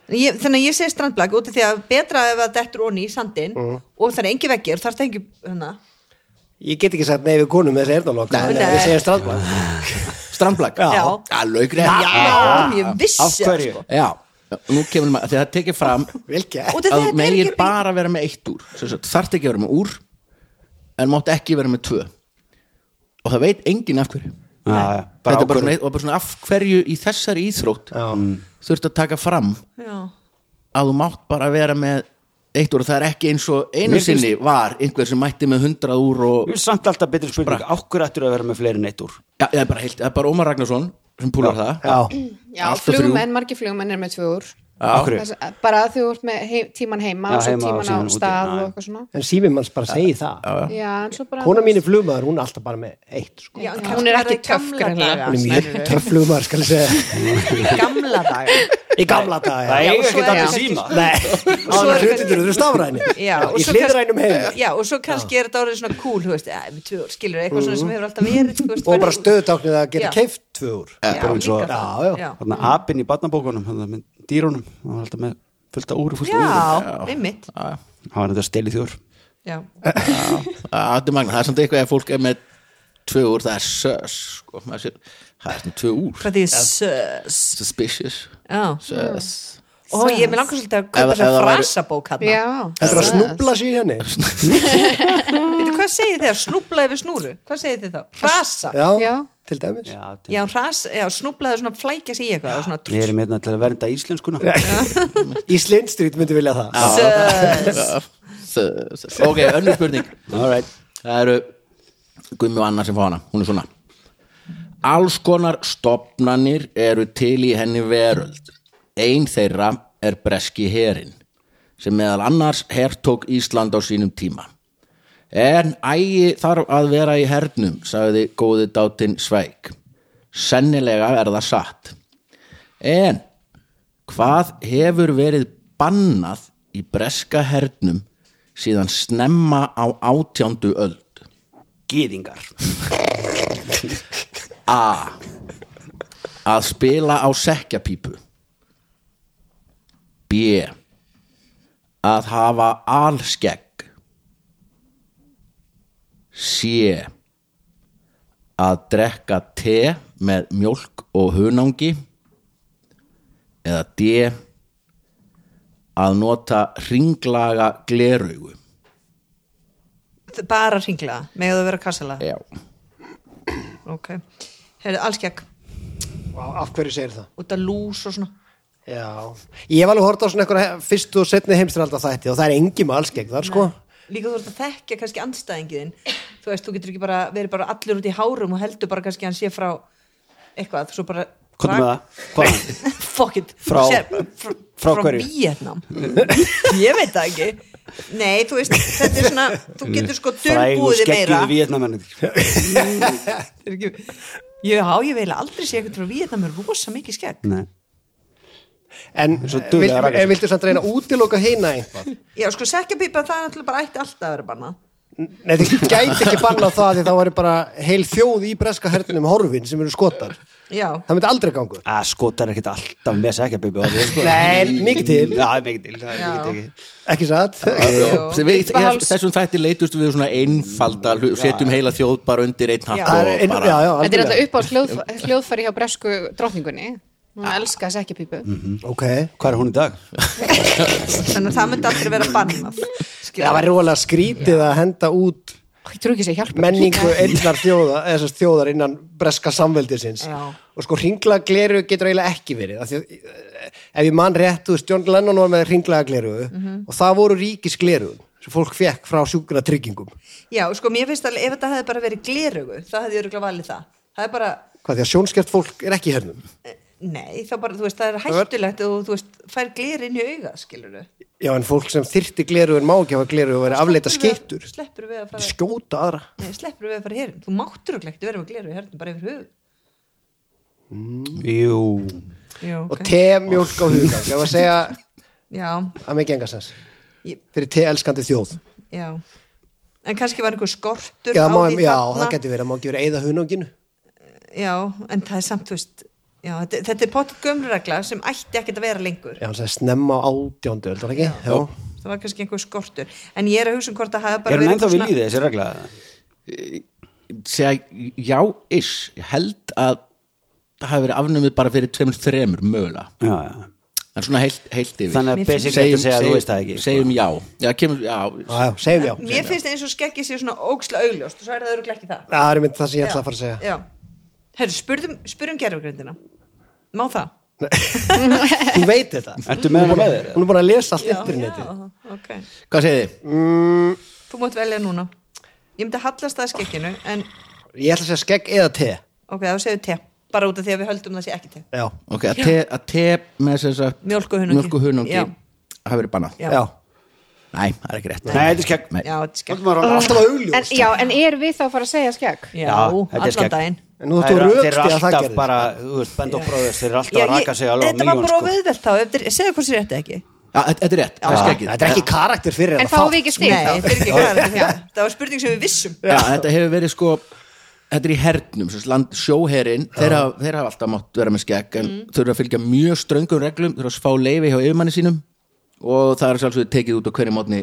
Speaker 4: ég, þannig að ég segi strandblak út af því að betra ef það dettur onni í sandin
Speaker 6: Mhm.
Speaker 4: og það er engi veggir, hérna. þarf það engi hana.
Speaker 6: Ég get ekki sagt nei við konum með þessi erðanlokk, en
Speaker 4: Nei.
Speaker 6: við segjum strandmann.
Speaker 2: strandblag
Speaker 6: Já.
Speaker 2: já, laugri
Speaker 4: já,
Speaker 6: Ah.
Speaker 4: ég vissi
Speaker 3: Af
Speaker 4: það,
Speaker 3: hverju?
Speaker 4: sko.
Speaker 2: já, nú kemur maður þegar það tekið fram
Speaker 6: Vilkja?
Speaker 4: Út af því að
Speaker 2: að
Speaker 4: þetta er
Speaker 2: megir
Speaker 4: ekki-
Speaker 2: bara vera með eitt úr Sem sagt, þarft ekki að vera með úr en mátt ekki vera með tvö og það veit enginn af hverju
Speaker 3: Já, já,
Speaker 2: þetta
Speaker 3: bara
Speaker 2: er bara,
Speaker 3: ákvörðun.
Speaker 2: svona, og bara svona af hverju í þessari íþrótt Mm. þurft að taka fram
Speaker 4: Já.
Speaker 2: að þú mátt bara vera með eitt úr og það er ekki eins og einu
Speaker 3: Mér finnst-
Speaker 2: sinni var einhver sem mætti með hundrað úr og
Speaker 3: Mér er samt alltaf betri spurning, á hverju ættir að vera með fleiri neitt úr?
Speaker 2: já, það er bara, heilt, það er bara Ómar Ragnarsson sem púlar það
Speaker 6: Já.
Speaker 5: Já,
Speaker 2: Allt og þrjú.
Speaker 5: flugmenn, margir flugmenn er með tvö úr
Speaker 3: Akkur,
Speaker 5: Þess- bara að þú ert með heim, tíman heima
Speaker 3: Já,
Speaker 5: og svo
Speaker 3: heima og
Speaker 5: tíman
Speaker 3: síðan
Speaker 5: á
Speaker 3: úti,
Speaker 5: stað
Speaker 3: já,
Speaker 5: og
Speaker 3: já.
Speaker 5: eitthvað svona
Speaker 6: en síminn manns bara segir það
Speaker 5: já, en svo bara
Speaker 6: kona mín er flugmaður, hún er alltaf bara með eitt sko.
Speaker 4: Já, en
Speaker 5: Hún
Speaker 4: kannski
Speaker 5: er
Speaker 4: var það
Speaker 5: ekki
Speaker 4: í
Speaker 5: töff,
Speaker 4: gamla
Speaker 5: greinilega.
Speaker 6: hún er
Speaker 4: daga,
Speaker 6: mjög
Speaker 4: skilurðu.
Speaker 6: töff flugmaður skal ég segja,
Speaker 4: Í gamla daga
Speaker 6: í gamla daga
Speaker 3: það
Speaker 6: já.
Speaker 4: og
Speaker 3: eiga
Speaker 4: svo
Speaker 3: ekki
Speaker 4: er
Speaker 3: allir
Speaker 4: kannski
Speaker 3: síma
Speaker 6: Nei, áður hlutindur eru stafræni
Speaker 4: Já,
Speaker 6: í
Speaker 4: og svo kannski-
Speaker 6: hliðrænum heim
Speaker 4: Já, og svo kannski er þetta orðið svona cool, þú veist, ja, við tvö ár, skilur, eitthvað svona sem hefur alltaf verið, þú veist,
Speaker 6: Mm. og bara stöðutáknir að
Speaker 4: Já.
Speaker 6: gera keift tvö úr
Speaker 4: Já,
Speaker 3: bara eins og-
Speaker 4: líka það.
Speaker 6: Já, já.
Speaker 4: já.
Speaker 3: Þarna apinn í barnabókunum, hann með dýrunum, hann var alltaf með fullt af úri, fullt af úri.
Speaker 4: Já, einmitt
Speaker 3: Hann var þetta stelið þjóður.
Speaker 4: Já,
Speaker 2: Á, þetta er magna, það er samt eitthvað að fólk er með tvö úr, það er sös sko, maður sér, það er svona tvö úr
Speaker 4: hvað því sös
Speaker 2: suspicious,
Speaker 4: Já,
Speaker 2: sös
Speaker 4: og ég með langar svolítið að
Speaker 2: Ef-
Speaker 4: kaupa
Speaker 2: ef það
Speaker 4: þessa
Speaker 2: væri-
Speaker 4: frasabók hann
Speaker 5: já,
Speaker 6: Þetta er að snubla sér í henni
Speaker 4: Veitu, hvað segir þið að snúbla yfir snúru? Hvað segir þið þá? Frasa? Já,
Speaker 6: Já,
Speaker 5: Já.
Speaker 6: til dæmis
Speaker 3: Já,
Speaker 4: já, hras, já snúblaði svona flækja sig í eitthvað og svona
Speaker 3: Við erum hérna til að vernda íslenskuna.
Speaker 6: Í Slindstrít myndi vilja það
Speaker 4: sös
Speaker 2: sös ok, önnur spurning
Speaker 3: All right.
Speaker 2: það eru Gummi og Anna sem fá hana, hún er svona alls konar stopnanir eru til í henni veröld ein þeirra er breski herin sem meðal annars hertók Ísland á sínum tíma en ægi þarf að vera í hernum sagði góði dátinn Sveik sennilega er það satt en hvað hefur verið bannað í breska hernum síðan snemma á átjándu öld
Speaker 3: Gýðingar.
Speaker 2: A að spila á sekkjapípu B að hafa alskegg C að drekka te með mjólk og hunangi eða D að nota ringlaga gleraugu
Speaker 4: bara hringla, megðu að vera kassala
Speaker 2: Já,
Speaker 4: ok, heyrðu, alls gekk
Speaker 6: Vá, Af hverju segir það?
Speaker 4: út af lús og svona
Speaker 6: Já, ég hef alveg hort á svona einhverja fyrstu og setni heimstralda þætti og það er engi með allskegg þar sko
Speaker 4: líka þú ert að þekkja kannski andstæðingiðin þú veist, þú getur ekki bara, verið bara allur út í hárum og heldur bara kannski að hann sé frá eitthvað, svo bara
Speaker 3: Hvað með það? Hvaðan?
Speaker 4: fuck it
Speaker 3: Frá-
Speaker 4: Þú sér- fr
Speaker 3: frá
Speaker 4: frá
Speaker 3: hverju?
Speaker 4: Vietnam ég veit það ekki nei, þú veist, þetta er svona þú getur sko
Speaker 3: Frægu
Speaker 4: dölbúið meira
Speaker 3: skeggjuðu vietnamennir.
Speaker 4: Þetta er ekki- já, ég vil aldrei sé eitthvað frá Vietnam er rosa mikið skegg
Speaker 3: Nei.
Speaker 6: En
Speaker 3: Svo dugleg að
Speaker 6: vilt-
Speaker 3: raka sig.
Speaker 6: en viltu samt reyna að útiloka heina einhvað?
Speaker 4: já, sko, sekkjapípa það er náttúrulega bara ætti alltaf að vera banna
Speaker 6: Nei, þið gæti ekki banna það því þá væri bara heil þjóð í breska hernum horfin sem eru skotar
Speaker 4: já,
Speaker 6: Það myndi aldrei gangu
Speaker 3: Að Ah, skotar ekkert alltaf með sækjabibi.
Speaker 6: Nei, mikið til.
Speaker 3: sko. Já, mikið til. Það er
Speaker 4: Já.
Speaker 3: mikið til.
Speaker 6: Ekki satt?
Speaker 4: Jú.
Speaker 2: Sem við, ég,
Speaker 5: Uppáhalds-
Speaker 2: þessum þætti leitust við svona einfalda hlut, setjum heila þjóð bara undir einn hatt
Speaker 6: Það
Speaker 2: og
Speaker 6: er ein-
Speaker 2: bara
Speaker 6: Já, já,
Speaker 5: þetta er alltaf
Speaker 6: algjörlega
Speaker 5: upp á hljóð, hljóðfæri hjá bresku drottningunni hún elskar þess ekki pípu
Speaker 6: Ok
Speaker 3: Hvað er hún í dag?
Speaker 4: þannig að það myndi aldrei vera bannað skilur.
Speaker 6: Það væri rólega skrítið að henda út
Speaker 5: ég trú ekki sér hjálpa
Speaker 6: menningu einnar þjóða, eða þessar þjóðar innan breska samveldisins
Speaker 4: Já.
Speaker 6: og sko ringlaða gleru getur eiginlega ekki verið af því að eh, ef ég man rétt, þú veist, John Lennon var með ringlaða gleru
Speaker 5: Mhm.
Speaker 6: og það voru ríkis gleru sem fólk fekk frá sjúkuna tryggingum
Speaker 4: já, sko, mér finnst að ef þetta hefði bara verið glerugu það hefði ég örgulega valið það það er bara eh,
Speaker 6: hvað því að sjónskert fólk er ekki í hernum
Speaker 4: Nei, þá bara, þú veist, það er hættulegt og þú veist, fær glir inn í auga, skilur þau
Speaker 6: já en fólk sem þyrti gleru en má ekki hafa gleru og verið afleita skittur
Speaker 4: Sleppur við að fara,
Speaker 6: skjóta aðra
Speaker 4: nei, sleppur við að fara hérin Þú máttur okkur ekkert vera með glir í hérna bara yfir höfuð
Speaker 3: Jú.
Speaker 4: Já,
Speaker 6: og temjólk á hugang ég var að segja
Speaker 4: Já,
Speaker 6: að mig gengast
Speaker 4: Ég-
Speaker 6: þess fyrir teelskandi þjóð
Speaker 4: já En kannski var einhver skortur
Speaker 6: já,
Speaker 4: á
Speaker 6: má,
Speaker 4: því
Speaker 6: já
Speaker 4: þarna.
Speaker 6: það getur verið að má ekki verið að eyða hunanginu
Speaker 4: Já, en það er samt, þú veist Já, þetta, þetta er potið gömluregla sem ætti ekkert að vera lengur
Speaker 6: Já, hann sagði snemma á átjándu öld, var það ekki? Já.
Speaker 4: Það var kannski einhver skortur En ég er að hugsa um hvort það hafa bara
Speaker 3: Er hún
Speaker 4: verið
Speaker 3: ennþá
Speaker 4: einhver
Speaker 3: við líðið þessi regla?
Speaker 2: segja já ish ég held að það hafi verið afnumið bara fyrir tveimur þremur mögulega
Speaker 3: Já, já.
Speaker 2: en svona heilt, heilt yfir
Speaker 3: Þannig að basic þetta segja að þú veist það ekki. sko.
Speaker 2: segjum já, já, kemur, já.
Speaker 6: Já, já, segjum já.
Speaker 4: Mér finnst eins og skeggi sér svona óksla augljóst og svo er það örugglega ekki það
Speaker 6: Það er mynd það sem ég ætla að fara að segja.
Speaker 4: Já, herru, spurðum, spurðum gerfugrindina Má það?
Speaker 6: Hún veit þetta.
Speaker 3: Ertu með hana með þér?
Speaker 6: Hún er bara að lesa allt internetið.
Speaker 4: já, ok
Speaker 2: hvað segið þið?
Speaker 4: Þú mátt velja núna Ég myndi að hallast það skekkinu en
Speaker 6: Ég ætla að segja skegg eða te.
Speaker 4: ok, þá segðu te bara út af því að við höldum það sé ekki til
Speaker 6: já,
Speaker 2: ok, að te, að te með sem sagt
Speaker 4: Mjólkurhunungi.
Speaker 2: mjólkuhunungi
Speaker 4: Já.
Speaker 2: hafi verið bannað
Speaker 4: Já.
Speaker 6: já,
Speaker 2: nei, það er ekki rétt
Speaker 3: Nei, þetta er skegg
Speaker 2: Nei.
Speaker 4: já, þetta er skegg
Speaker 6: Þetta var alltaf augljóst
Speaker 5: en, já, en er við þá að fara að segja skegg?
Speaker 4: já,
Speaker 3: Já, þetta er skegg.
Speaker 4: allan daginn
Speaker 6: En nú þú
Speaker 3: Þeir eru-
Speaker 6: rögst
Speaker 3: þeir
Speaker 6: ég
Speaker 3: eru
Speaker 6: að það
Speaker 3: alltaf
Speaker 6: gerði
Speaker 3: bara, þú veist, bend og bróðist þeir eru alltaf
Speaker 4: Já,
Speaker 3: að raka
Speaker 4: ég-
Speaker 3: sig alveg á
Speaker 4: þetta var
Speaker 3: miljón
Speaker 4: bara
Speaker 3: sko.
Speaker 4: auðvelt þá eftir, segðu hvort sér rétti ekki
Speaker 2: Já, þetta þetta er rétt, það er skeggið
Speaker 6: Þetta er ekki karakter fyrir
Speaker 5: en
Speaker 6: þetta
Speaker 5: þá
Speaker 6: fátt.
Speaker 5: við ekki
Speaker 4: nei,
Speaker 5: stig
Speaker 4: þetta er ekki hvað það var spurning sem við vissum
Speaker 2: Já, þetta hefur verið sko Þetta er í hernum, sem sagt, land, sjóherin þeir hafa, þeir hafa alltaf mátt vera með skegg en þurfa að fylgja mjög ströngum reglum þurfa að fá leifi hjá yfirmanni sínum og það er sjálfsögðu tekið út á hverju mótni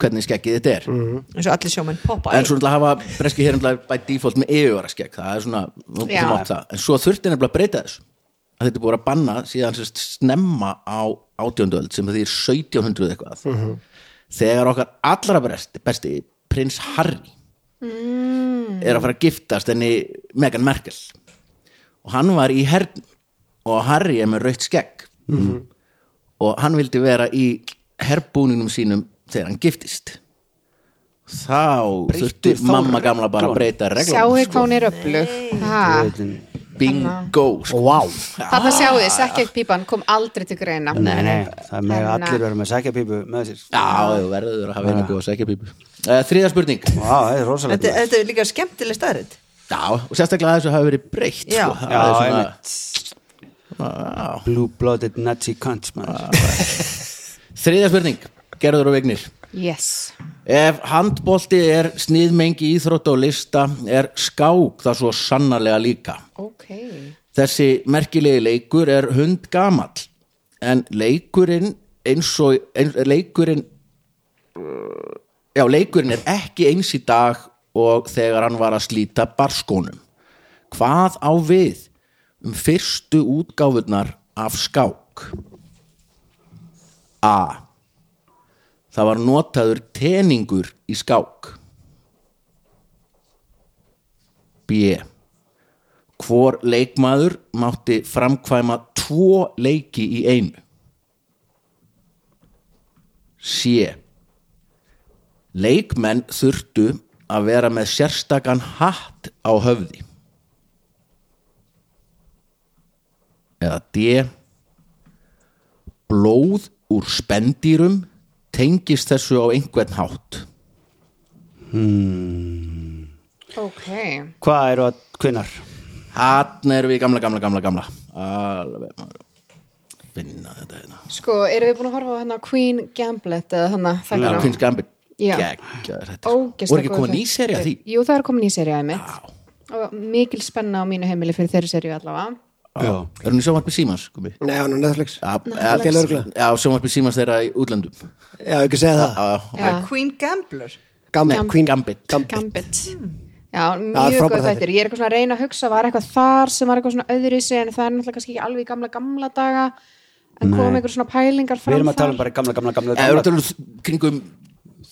Speaker 2: hvernig skeggið þetta er
Speaker 4: eins og allir sjómenn poppa
Speaker 2: en svo náttúrulega hafa breski hér náttúrulega by default með yfirvara skegg það er svona, þú
Speaker 5: Já.
Speaker 2: mátt það en svo þurfti nefnilega að breyta þessu að þetta er búið að banna síðan sérst snemma á átjóndöld sem því er 1700 eitthvað þegar okkar allra besti, besti prins Harry er að fara að giftast henni Meghan Merkel og hann var í hern og Harry er með rautt skegg
Speaker 5: Mhm.
Speaker 2: og hann vildi vera í herbúningnum sínum þegar hann giftist þá
Speaker 3: Breyttu
Speaker 2: þurfti
Speaker 3: þá
Speaker 2: mamma gamla bara að
Speaker 3: reglunum.
Speaker 2: breyta
Speaker 5: sjáu
Speaker 2: reglum
Speaker 5: þið hvað hún Hérna. er öflug það
Speaker 2: bingo sko.
Speaker 6: Vá,
Speaker 5: sjáu þið, sekkjagpípan kom aldrei til greina Hérna,
Speaker 3: Nei, nei, það með
Speaker 4: Hérna.
Speaker 5: Þannig að-
Speaker 3: allir verið með sækjapípu með sér
Speaker 2: já, þú verður að hafa
Speaker 3: Ah.
Speaker 2: einu góða sækjapípu uh, þriða spurning
Speaker 3: Vá, það er rosalegt
Speaker 4: þetta, þetta er líka skemmtileg staðrætt
Speaker 2: já, og sérstaklega að þessu hafi verið breytt
Speaker 4: Já.
Speaker 2: sko. Það
Speaker 3: Já,
Speaker 2: er svona-
Speaker 3: einmitt Blue-blooded Nazi cunts maður.
Speaker 2: þriðja spurning, gerður og vignir
Speaker 5: yes
Speaker 2: Ef handbolti er sniðmengi íþrótt og lista er skák það svo sannarlega líka.
Speaker 5: ok
Speaker 2: Þessi merkilegi leikur er hund gamall en leikurinn eins og eins, leikurinn uh, já, leikurinn er ekki eins í dag og þegar hann var að slíta barskónum. Hvað á við um fyrstu útgáfurnar af skák? A. Það var notaður teningur í skák. B. Hvor leikmaður mátti framkvæma tvo leiki í einu? C. Leikmenn þurftu að vera með sérstakan hatt á höfði. Eða D blóð úr spendýrum tengist þessu á einhvern hátt
Speaker 5: ok
Speaker 3: Hvað eru að kvinnar?
Speaker 2: hann erum við í gamla, gamla, gamla, gamla alveg maður. finna þetta hérna
Speaker 5: sko, erum við búin að horfa á hana Queen Gamblet eða hana
Speaker 2: Já,
Speaker 5: þættina?
Speaker 2: Queen's Gambit
Speaker 5: Já.
Speaker 2: Geggjaður þetta. sko.
Speaker 5: Ógeðslega
Speaker 2: voru ekki
Speaker 5: góð
Speaker 2: komin í
Speaker 5: þættir.
Speaker 2: seri að því
Speaker 5: Jú, það er komin í serið mitt og mikil spenna á mínu heimili fyrir þeirri serið allavega
Speaker 3: Já.
Speaker 2: er hún í sjónvarpi Símans komið
Speaker 6: nei, hann er Netflix Til
Speaker 2: já,
Speaker 6: örugglega.
Speaker 2: já, sjónvarpi Símans þeirra í útlöndum
Speaker 6: Já, ekki segja það
Speaker 2: Já,
Speaker 5: Já.
Speaker 4: Queen Gambler
Speaker 6: Gambit,
Speaker 5: Gambit.
Speaker 6: Queen
Speaker 2: Gambit.
Speaker 6: Gambit.
Speaker 5: Gambit Já,
Speaker 6: það er
Speaker 5: mjög
Speaker 6: frábæra
Speaker 5: góð þættir, ég er eitthvað svona að reyna að hugsa var eitthvað þar sem var eitthvað svona öðruvísi en það er náttúrulega kannski ekki alveg í gamla gamla daga en kom eitthvað svona pælingar
Speaker 3: Við
Speaker 5: fram
Speaker 3: erum að tala um
Speaker 5: þar.
Speaker 3: bara gamla, gamla, gamla,
Speaker 2: eða eru
Speaker 3: gamla.
Speaker 2: tölum kringum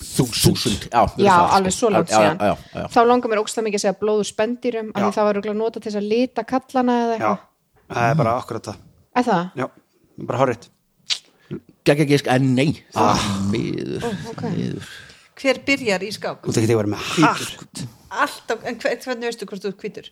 Speaker 2: þúsund já, við erum
Speaker 5: Já,
Speaker 2: það, sko.
Speaker 5: alveg svo langt
Speaker 2: Já, já,
Speaker 5: síðan
Speaker 2: já, já, já.
Speaker 5: Þá langar mér ógstlega mikið að segja blóður spendýrum af því það var örugglega notað til þess að lita kallana eða
Speaker 3: Já,
Speaker 5: eitthvað
Speaker 3: það er bara akkurat það
Speaker 5: Er það?
Speaker 3: Já, bara horrið
Speaker 2: geggja gísk, en nei það er miður,
Speaker 5: Ah. ok.
Speaker 2: miður
Speaker 4: hver byrjar í skák?
Speaker 3: Þú tekið þig verið með hatt
Speaker 4: alltaf, en hver, hvernig veistu hvort þú ert hvítur?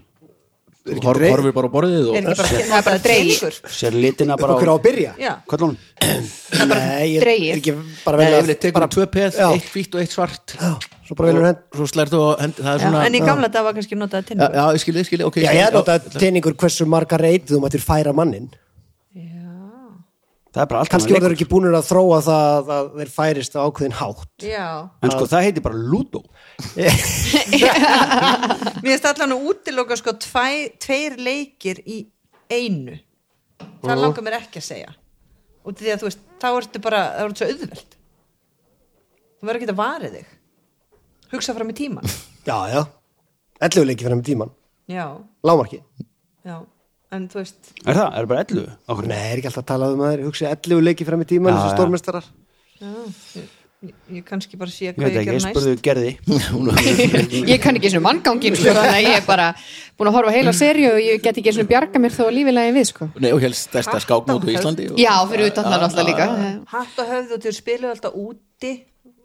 Speaker 2: Hor- horfir bara á borðið
Speaker 4: er
Speaker 2: og
Speaker 4: ekki bara
Speaker 5: Það er bara dregið.
Speaker 4: teningur?
Speaker 3: Sér litina bara
Speaker 6: Okkur á að byrja
Speaker 4: já,
Speaker 3: Kvöldlunum
Speaker 6: Nei, ég
Speaker 5: dregið.
Speaker 6: er ekki bara
Speaker 2: Nei,
Speaker 6: vel
Speaker 2: yfirleitt tekur bara tvö peð,
Speaker 6: Já.
Speaker 2: eitt hvitt og eitt svart
Speaker 6: Svo bara velur henn
Speaker 2: Svo slær þú og hendi, það er
Speaker 4: já,
Speaker 2: svona
Speaker 4: en í gamla dag var kannski notað
Speaker 2: Já,
Speaker 4: teningur
Speaker 2: já, ég skilði, ég skilði, ok
Speaker 6: Já, ég er notað teiningur hversu marga reit þú mættir færa mannin
Speaker 3: Það er bara allt
Speaker 6: Kannski
Speaker 3: annað
Speaker 6: voru
Speaker 3: leikur.
Speaker 6: þeir ekki búnir að þróa það að þeir færist á ákveðin hátt
Speaker 4: já,
Speaker 3: En sko það heitir bara Ludo
Speaker 4: mér finnst allan að útiloka sko tvæ, tveir leikir í einu það langar mér ekki að segja út af því að þú veist, þá ertu bara það ertu svo auðvelt þú verður ekki að vara þig hugsa fram í tíman
Speaker 6: Já, já 11 leiki fyrir með tíman
Speaker 4: já,
Speaker 6: Lámarki
Speaker 4: já, en þú veist
Speaker 3: Er það? Er það bara 11? Okkur
Speaker 6: Nei, er ekki alltaf að tala um að þeir hugsi 11 leiki fyrir með tíman
Speaker 3: Já,
Speaker 6: þessu
Speaker 3: já.
Speaker 6: stórmestarar
Speaker 4: já, ég, ég, ég kannski bara sé
Speaker 3: Ég
Speaker 4: hvað
Speaker 3: veit
Speaker 4: ég,
Speaker 3: ekki, ég
Speaker 4: ger næst
Speaker 3: spurði gerði
Speaker 5: ég kann ekki eins og manngangin sko, þannig að ég er bara búin að horfa á heila serju og ég get ekki eins og bjarga mér þó að lífilega við sko.
Speaker 2: Nei, og helst stærsta skákmót á Íslandi og...
Speaker 5: Já, fyrir utan það náttúrulega líka
Speaker 4: hatt og höfðu og þau spiluðu alltaf úti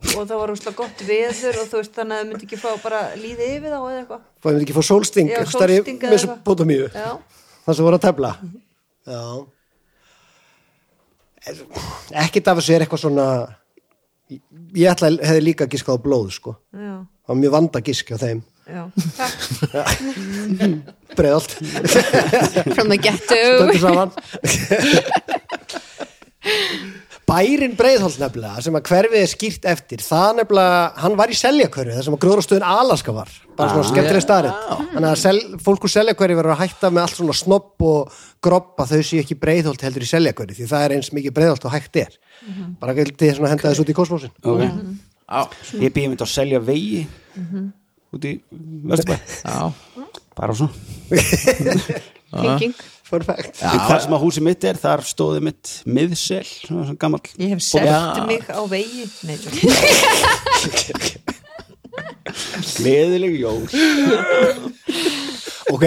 Speaker 4: og það var úrslega gott veður og þú veist þannig að þau myndi ekki fá bara líði yfir þá eða eitthvað
Speaker 6: Fáðum við ekki að fá sólsting,
Speaker 4: Já,
Speaker 6: ekki starri
Speaker 4: sólsting eða
Speaker 6: mesopotamíu,
Speaker 4: Já,
Speaker 6: það sem voru að tefla. Já. Er- Ekkert af þessu er eitthvað svona, ég ætla að hefði líka giskað á blóð, sko.
Speaker 4: já,
Speaker 6: Það var mjög vanda gisk á þeim,
Speaker 4: já
Speaker 6: breiðalt,
Speaker 5: from the ghetto
Speaker 6: stöndum saman. Bærin breiðholt nefnilega, sem að hverfið er skýrt eftir, það nefnilega, hann var í seljakörfi, þar sem að gróðrastöðun Alaska var, bara svona skemmtileg starrið. Þannig að sel, fólk úr seljakörfi verður að hætta með allt svona snopp og groppa þau séu ekki breiðholt heldur í seljakörfi, því það er eins mikið breiðholt og hægt er. Bara gildið svona henda þessu út í kosmosin.
Speaker 3: ok
Speaker 2: Á,
Speaker 3: ég býði mynd að selja vegi út í Vesturbæ
Speaker 2: á,
Speaker 3: bara svona
Speaker 5: Ah. thinking
Speaker 6: Perfect.
Speaker 3: En þar sem að húsið mitt er, þar stóði mitt miðsel, svona gammal
Speaker 4: Ég hef selt mig á vegi Nei, tjók.
Speaker 3: gleðileg jól
Speaker 6: Ok,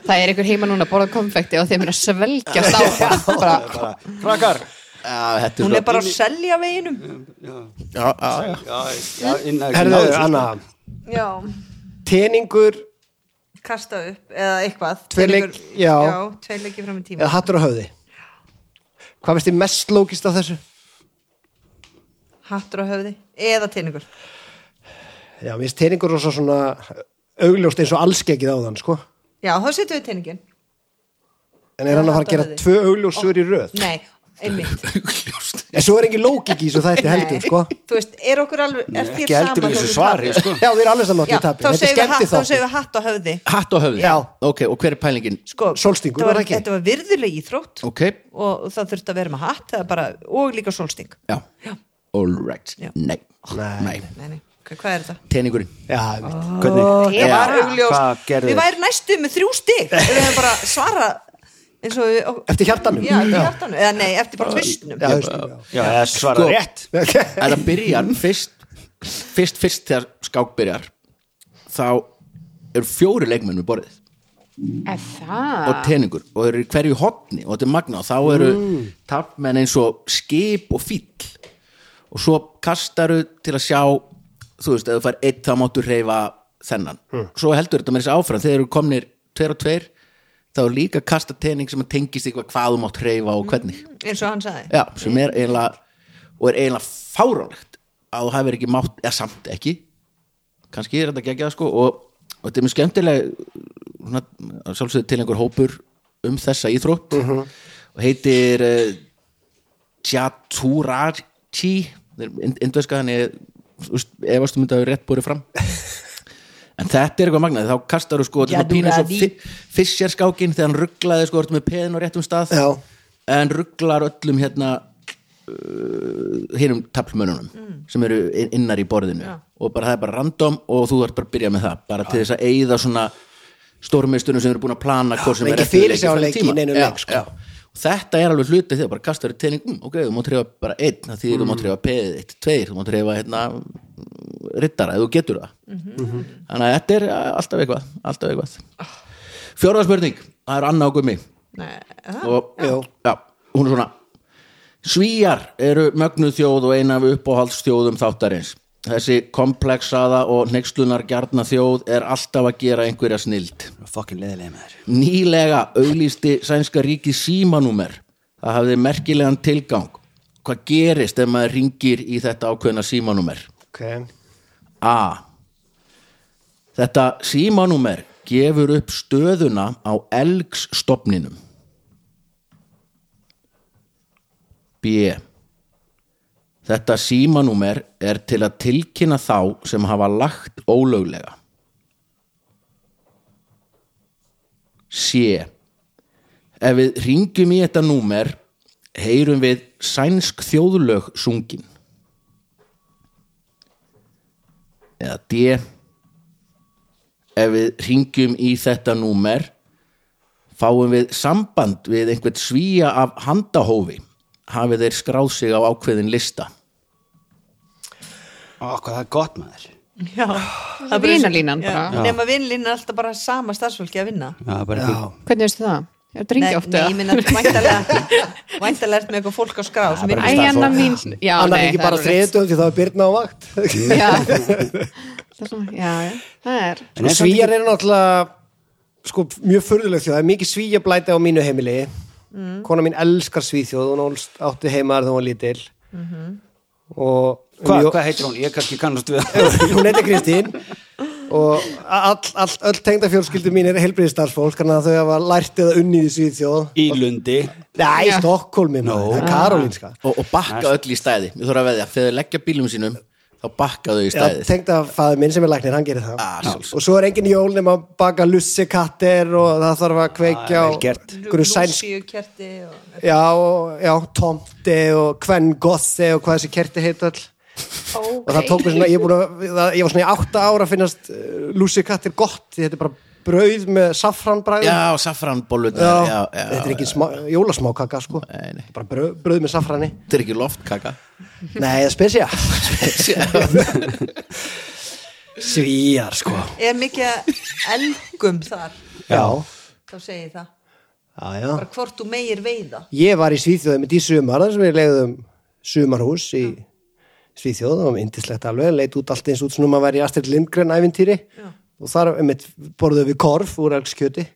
Speaker 5: það er einhver heima núna að borða konfekti og þeim er að svelgjast á það bara,
Speaker 3: bara, krakkar
Speaker 2: á, þetta
Speaker 4: hún
Speaker 2: er
Speaker 4: er bara á selja veginum
Speaker 2: svo á, á,
Speaker 3: já, já, inn að-
Speaker 6: herðu,
Speaker 3: inn að-
Speaker 6: Anna,
Speaker 4: Já,
Speaker 6: teningur
Speaker 4: kasta upp eða eitthvað
Speaker 6: Tveir leik-
Speaker 4: Tekur-
Speaker 6: já.
Speaker 4: já tveir leikir fram í tíma
Speaker 6: eða hattur á höfði? Hvað veist þið mest lókist af þessu?
Speaker 4: Hattur á höfði eða teiningur
Speaker 6: Já, mér finnst teiningur rosa svona augljóst eins og allskegið á þann, sko.
Speaker 4: Já, þá setjum við teiningin
Speaker 6: En er hann að fara að gera
Speaker 4: Þetta
Speaker 6: tvö augljósur í röð?
Speaker 4: Nei, einmitt
Speaker 6: En svo er engin lókik í þessu þætti heldur,
Speaker 4: Nei.
Speaker 6: sko.
Speaker 4: Þú veist, er okkur alveg er þér
Speaker 3: ekki heldur
Speaker 4: sama
Speaker 3: í
Speaker 4: þó
Speaker 3: þessu
Speaker 4: þú
Speaker 3: svari
Speaker 4: tapir?
Speaker 3: sko.
Speaker 6: Já, þið er alveg saman átt
Speaker 4: Já,
Speaker 6: í tapir.
Speaker 4: þá
Speaker 6: Þetta er
Speaker 4: segjum
Speaker 6: skemmti
Speaker 4: við,
Speaker 6: þáttur.
Speaker 4: við hatt á höfði
Speaker 2: hatt á höfði
Speaker 6: Já.
Speaker 2: ok, og hver er pælingin
Speaker 4: sko,
Speaker 6: Sólstingur
Speaker 4: þetta var,
Speaker 6: var það ekki?
Speaker 4: þetta var virðuleg íþrótt
Speaker 2: ok,
Speaker 4: og það þurfti að vera með hatt eða bara, og líka sólsting
Speaker 2: já, all right
Speaker 4: Já.
Speaker 2: nei,
Speaker 6: Nei.
Speaker 2: nei,
Speaker 4: nei, nei, hva- hvað er þetta?
Speaker 2: teningurinn
Speaker 6: Já, einmitt.
Speaker 3: hvernig,
Speaker 4: Ég
Speaker 3: Hvað-
Speaker 4: var
Speaker 3: hvað
Speaker 4: augljóst,
Speaker 3: gerðu
Speaker 4: við
Speaker 3: þið?
Speaker 4: væri næstu með þrjú stig ef við hefum bara svara eins og við, og,
Speaker 6: eftir hjartanum.
Speaker 4: já, í hjartanu, eða nei, eftir bara tvistnum
Speaker 6: Já, hausnum, já.
Speaker 3: já, það svarar
Speaker 2: Sko.
Speaker 3: rétt
Speaker 6: Ok.
Speaker 2: þetta byrjar fyrst fyrst, fyrst þegar skák byrjar þá eru fjóri leikmenn við borðið
Speaker 5: er það
Speaker 2: og teningur og eru í hverju hotni og þetta er magna og þá eru mm. tapmenn eins og skip og fíll og svo kastaru til að sjá þú veist, ef þú fær eitt þá máttu reyfa þennan, svo heldur þetta með þessi áfram þegar eru komnir tveir og tveir þá er líka kasta tening sem að tengist eitthvað hvað þú mátt reyfa og hvernig
Speaker 4: eins og hann sagði
Speaker 2: já, sem er eiginlega og er eiginlega fáránlegt að þú hafir ekki mátt, eða samt ekki kannski er þetta geggjað sko og, og þetta er mjög skemmtileg svona, að sjálfsögðu til einhver hópur um þessa íþrótt og heitir uh, Tjatúrachi það er ind- indverska þannig ég, þú veist, efast um þetta hefur rétt borið fram en þetta er eitthvað magnað þá kastar þú sko þetta er svona pínu svo
Speaker 4: Jaduradi.
Speaker 2: fissjarskákin þegar hann rugglaði sko ertu með peðin á réttum stað
Speaker 6: Já.
Speaker 2: en rugglar öllum hérna hinnum taflmönunum sem eru inn- innar í borðinu og bara það er bara random og þú ert bara að byrja með það bara til þess að eyða svona stórmeistunum sem eru búin að plana hvort sem
Speaker 6: engin
Speaker 2: er eftir leik í
Speaker 6: fyrirsjáanleiki
Speaker 2: þann tíma.
Speaker 6: í neinum
Speaker 2: Já,
Speaker 6: leik, sko.
Speaker 2: já. Og þetta er alveg hluti þegar bara kastar í teining mm, ok, þú mátt reyfa bara einn það því þú
Speaker 6: Mm.
Speaker 2: mátt reyfa peðið, eitt, tveir þú mátt reyfa hérna rittara, ef þú getur það
Speaker 6: Mhm.
Speaker 2: þannig að þetta er uh, alltaf eitthvað, alltaf eitthvað.
Speaker 6: Ah.
Speaker 2: fjóraða spurning, það er Anna og Gummi
Speaker 4: Nei, það-
Speaker 2: og
Speaker 6: Já.
Speaker 2: já, hún er svona Svíjar eru mögnuð þjóð og eina af uppáhaldsþjóðum þáttarins þessi komplexaða og nexlunar gjarna þjóð er alltaf að gera einhverja snild
Speaker 3: fucking leðilega með þér
Speaker 2: nýlega auglýsti sænska ríki símanúmer það hafði merkilegan tilgang hvað gerist ef maður ringir í þetta ákveðna símanúmer
Speaker 6: Ok.
Speaker 2: A. Þetta símanúmer gefur upp stöðuna á elgsstopninum. B. Þetta símanúmer er til að tilkynna þá sem hafa lagt ólöglega. C. Ef við ringjum í þetta númer, heyrum við sænsk þjóðlög sungin. eða D ef við ringjum í þetta númer fáum við samband við einhvern svíja af handahófi hafi þeir skráð sig á ákveðin lista
Speaker 3: Ó, hvað það er gott með þér
Speaker 4: já, það er bara-
Speaker 5: vinalínan
Speaker 4: Já,
Speaker 5: bara.
Speaker 4: nema vinalínan er alltaf bara sama starfsfólki að vinna
Speaker 3: Já, bara
Speaker 6: Já.
Speaker 3: einhver-
Speaker 5: hvernig veistu það? Ég er dringi óttu
Speaker 4: Nei, ég minna væntalega væntalega ert með eitthvað fólk á skrá sem vinnur
Speaker 5: Æ, enna mín Já,
Speaker 6: annar
Speaker 5: nei,
Speaker 6: ekki
Speaker 5: það
Speaker 6: bara
Speaker 5: er alveg-
Speaker 6: þriðdönd því það er byrna á vakt
Speaker 5: Já. Það er svona- Já, já, það er
Speaker 3: En er samt
Speaker 6: svíjar Sko, eru náttúrulega sko, mjög furðuleg þjóð, það er mikið svíjablæti á mínu heimili
Speaker 4: Mm.
Speaker 6: kona mín elskar svíþjóð hún ólst átti heima þar þegar hún var lítil
Speaker 4: Mhm.
Speaker 6: og
Speaker 3: Hvað
Speaker 6: Jó-
Speaker 3: hva heitir hún? Ég kannski kannast við
Speaker 6: hún heiti Kristín og all, all, öll tengdafjölskyldu mín er helbriðstarfsfólk þannig að þau hafa lært eða unnið í Svíþjóð
Speaker 3: Í Lundi
Speaker 6: Nei,
Speaker 5: Já.
Speaker 6: Stokkólmi, no. það er Karolínska
Speaker 2: og, og bakka öll í stæði Ég þarf að veðja, þegar þau leggja bílum sínum þá bakka þau í
Speaker 6: Já,
Speaker 2: stæði
Speaker 6: tengdafæður minn sem er læknir, hann gerir það
Speaker 2: Ah, sjálfsagt.
Speaker 6: og svo er engin jól nema að baka lussikatter og það þarf að kveikja
Speaker 3: Ah,
Speaker 6: á
Speaker 3: vel gert.
Speaker 6: einhverju sænsk
Speaker 4: kerti og...
Speaker 6: já, og- já, tomti og kvenn gossi og hvað þessi kerti heit all og það tók mér svona, ég, er búin að, það, ég var svona í átta ára að finnast uh, lussikattir gott, því þetta er bara brauð með safranbræðum
Speaker 2: Já, saffranbólun
Speaker 6: Já,
Speaker 2: já, já,
Speaker 6: þetta er ekki smá, jólasmákaka sko
Speaker 2: Nei, nei.
Speaker 6: bara brauð, brauð með safrani
Speaker 2: Þetta er ekki loftkaka
Speaker 6: Nei, það er spesja Svíjar sko
Speaker 4: er mikið að elgum þar
Speaker 6: Já,
Speaker 4: þá segi ég það
Speaker 6: já, já
Speaker 4: bara hvort þú meir veiða
Speaker 6: Ég var í Svíþjóð með í sumar þar sem við legðum sumarhús í Svíþjóð það var yndislegt alveg, leit út allt eins út sem að vera í Astrid Lindgren æfintýri og þar einmitt, borðuðum við korf úr elgskjöti,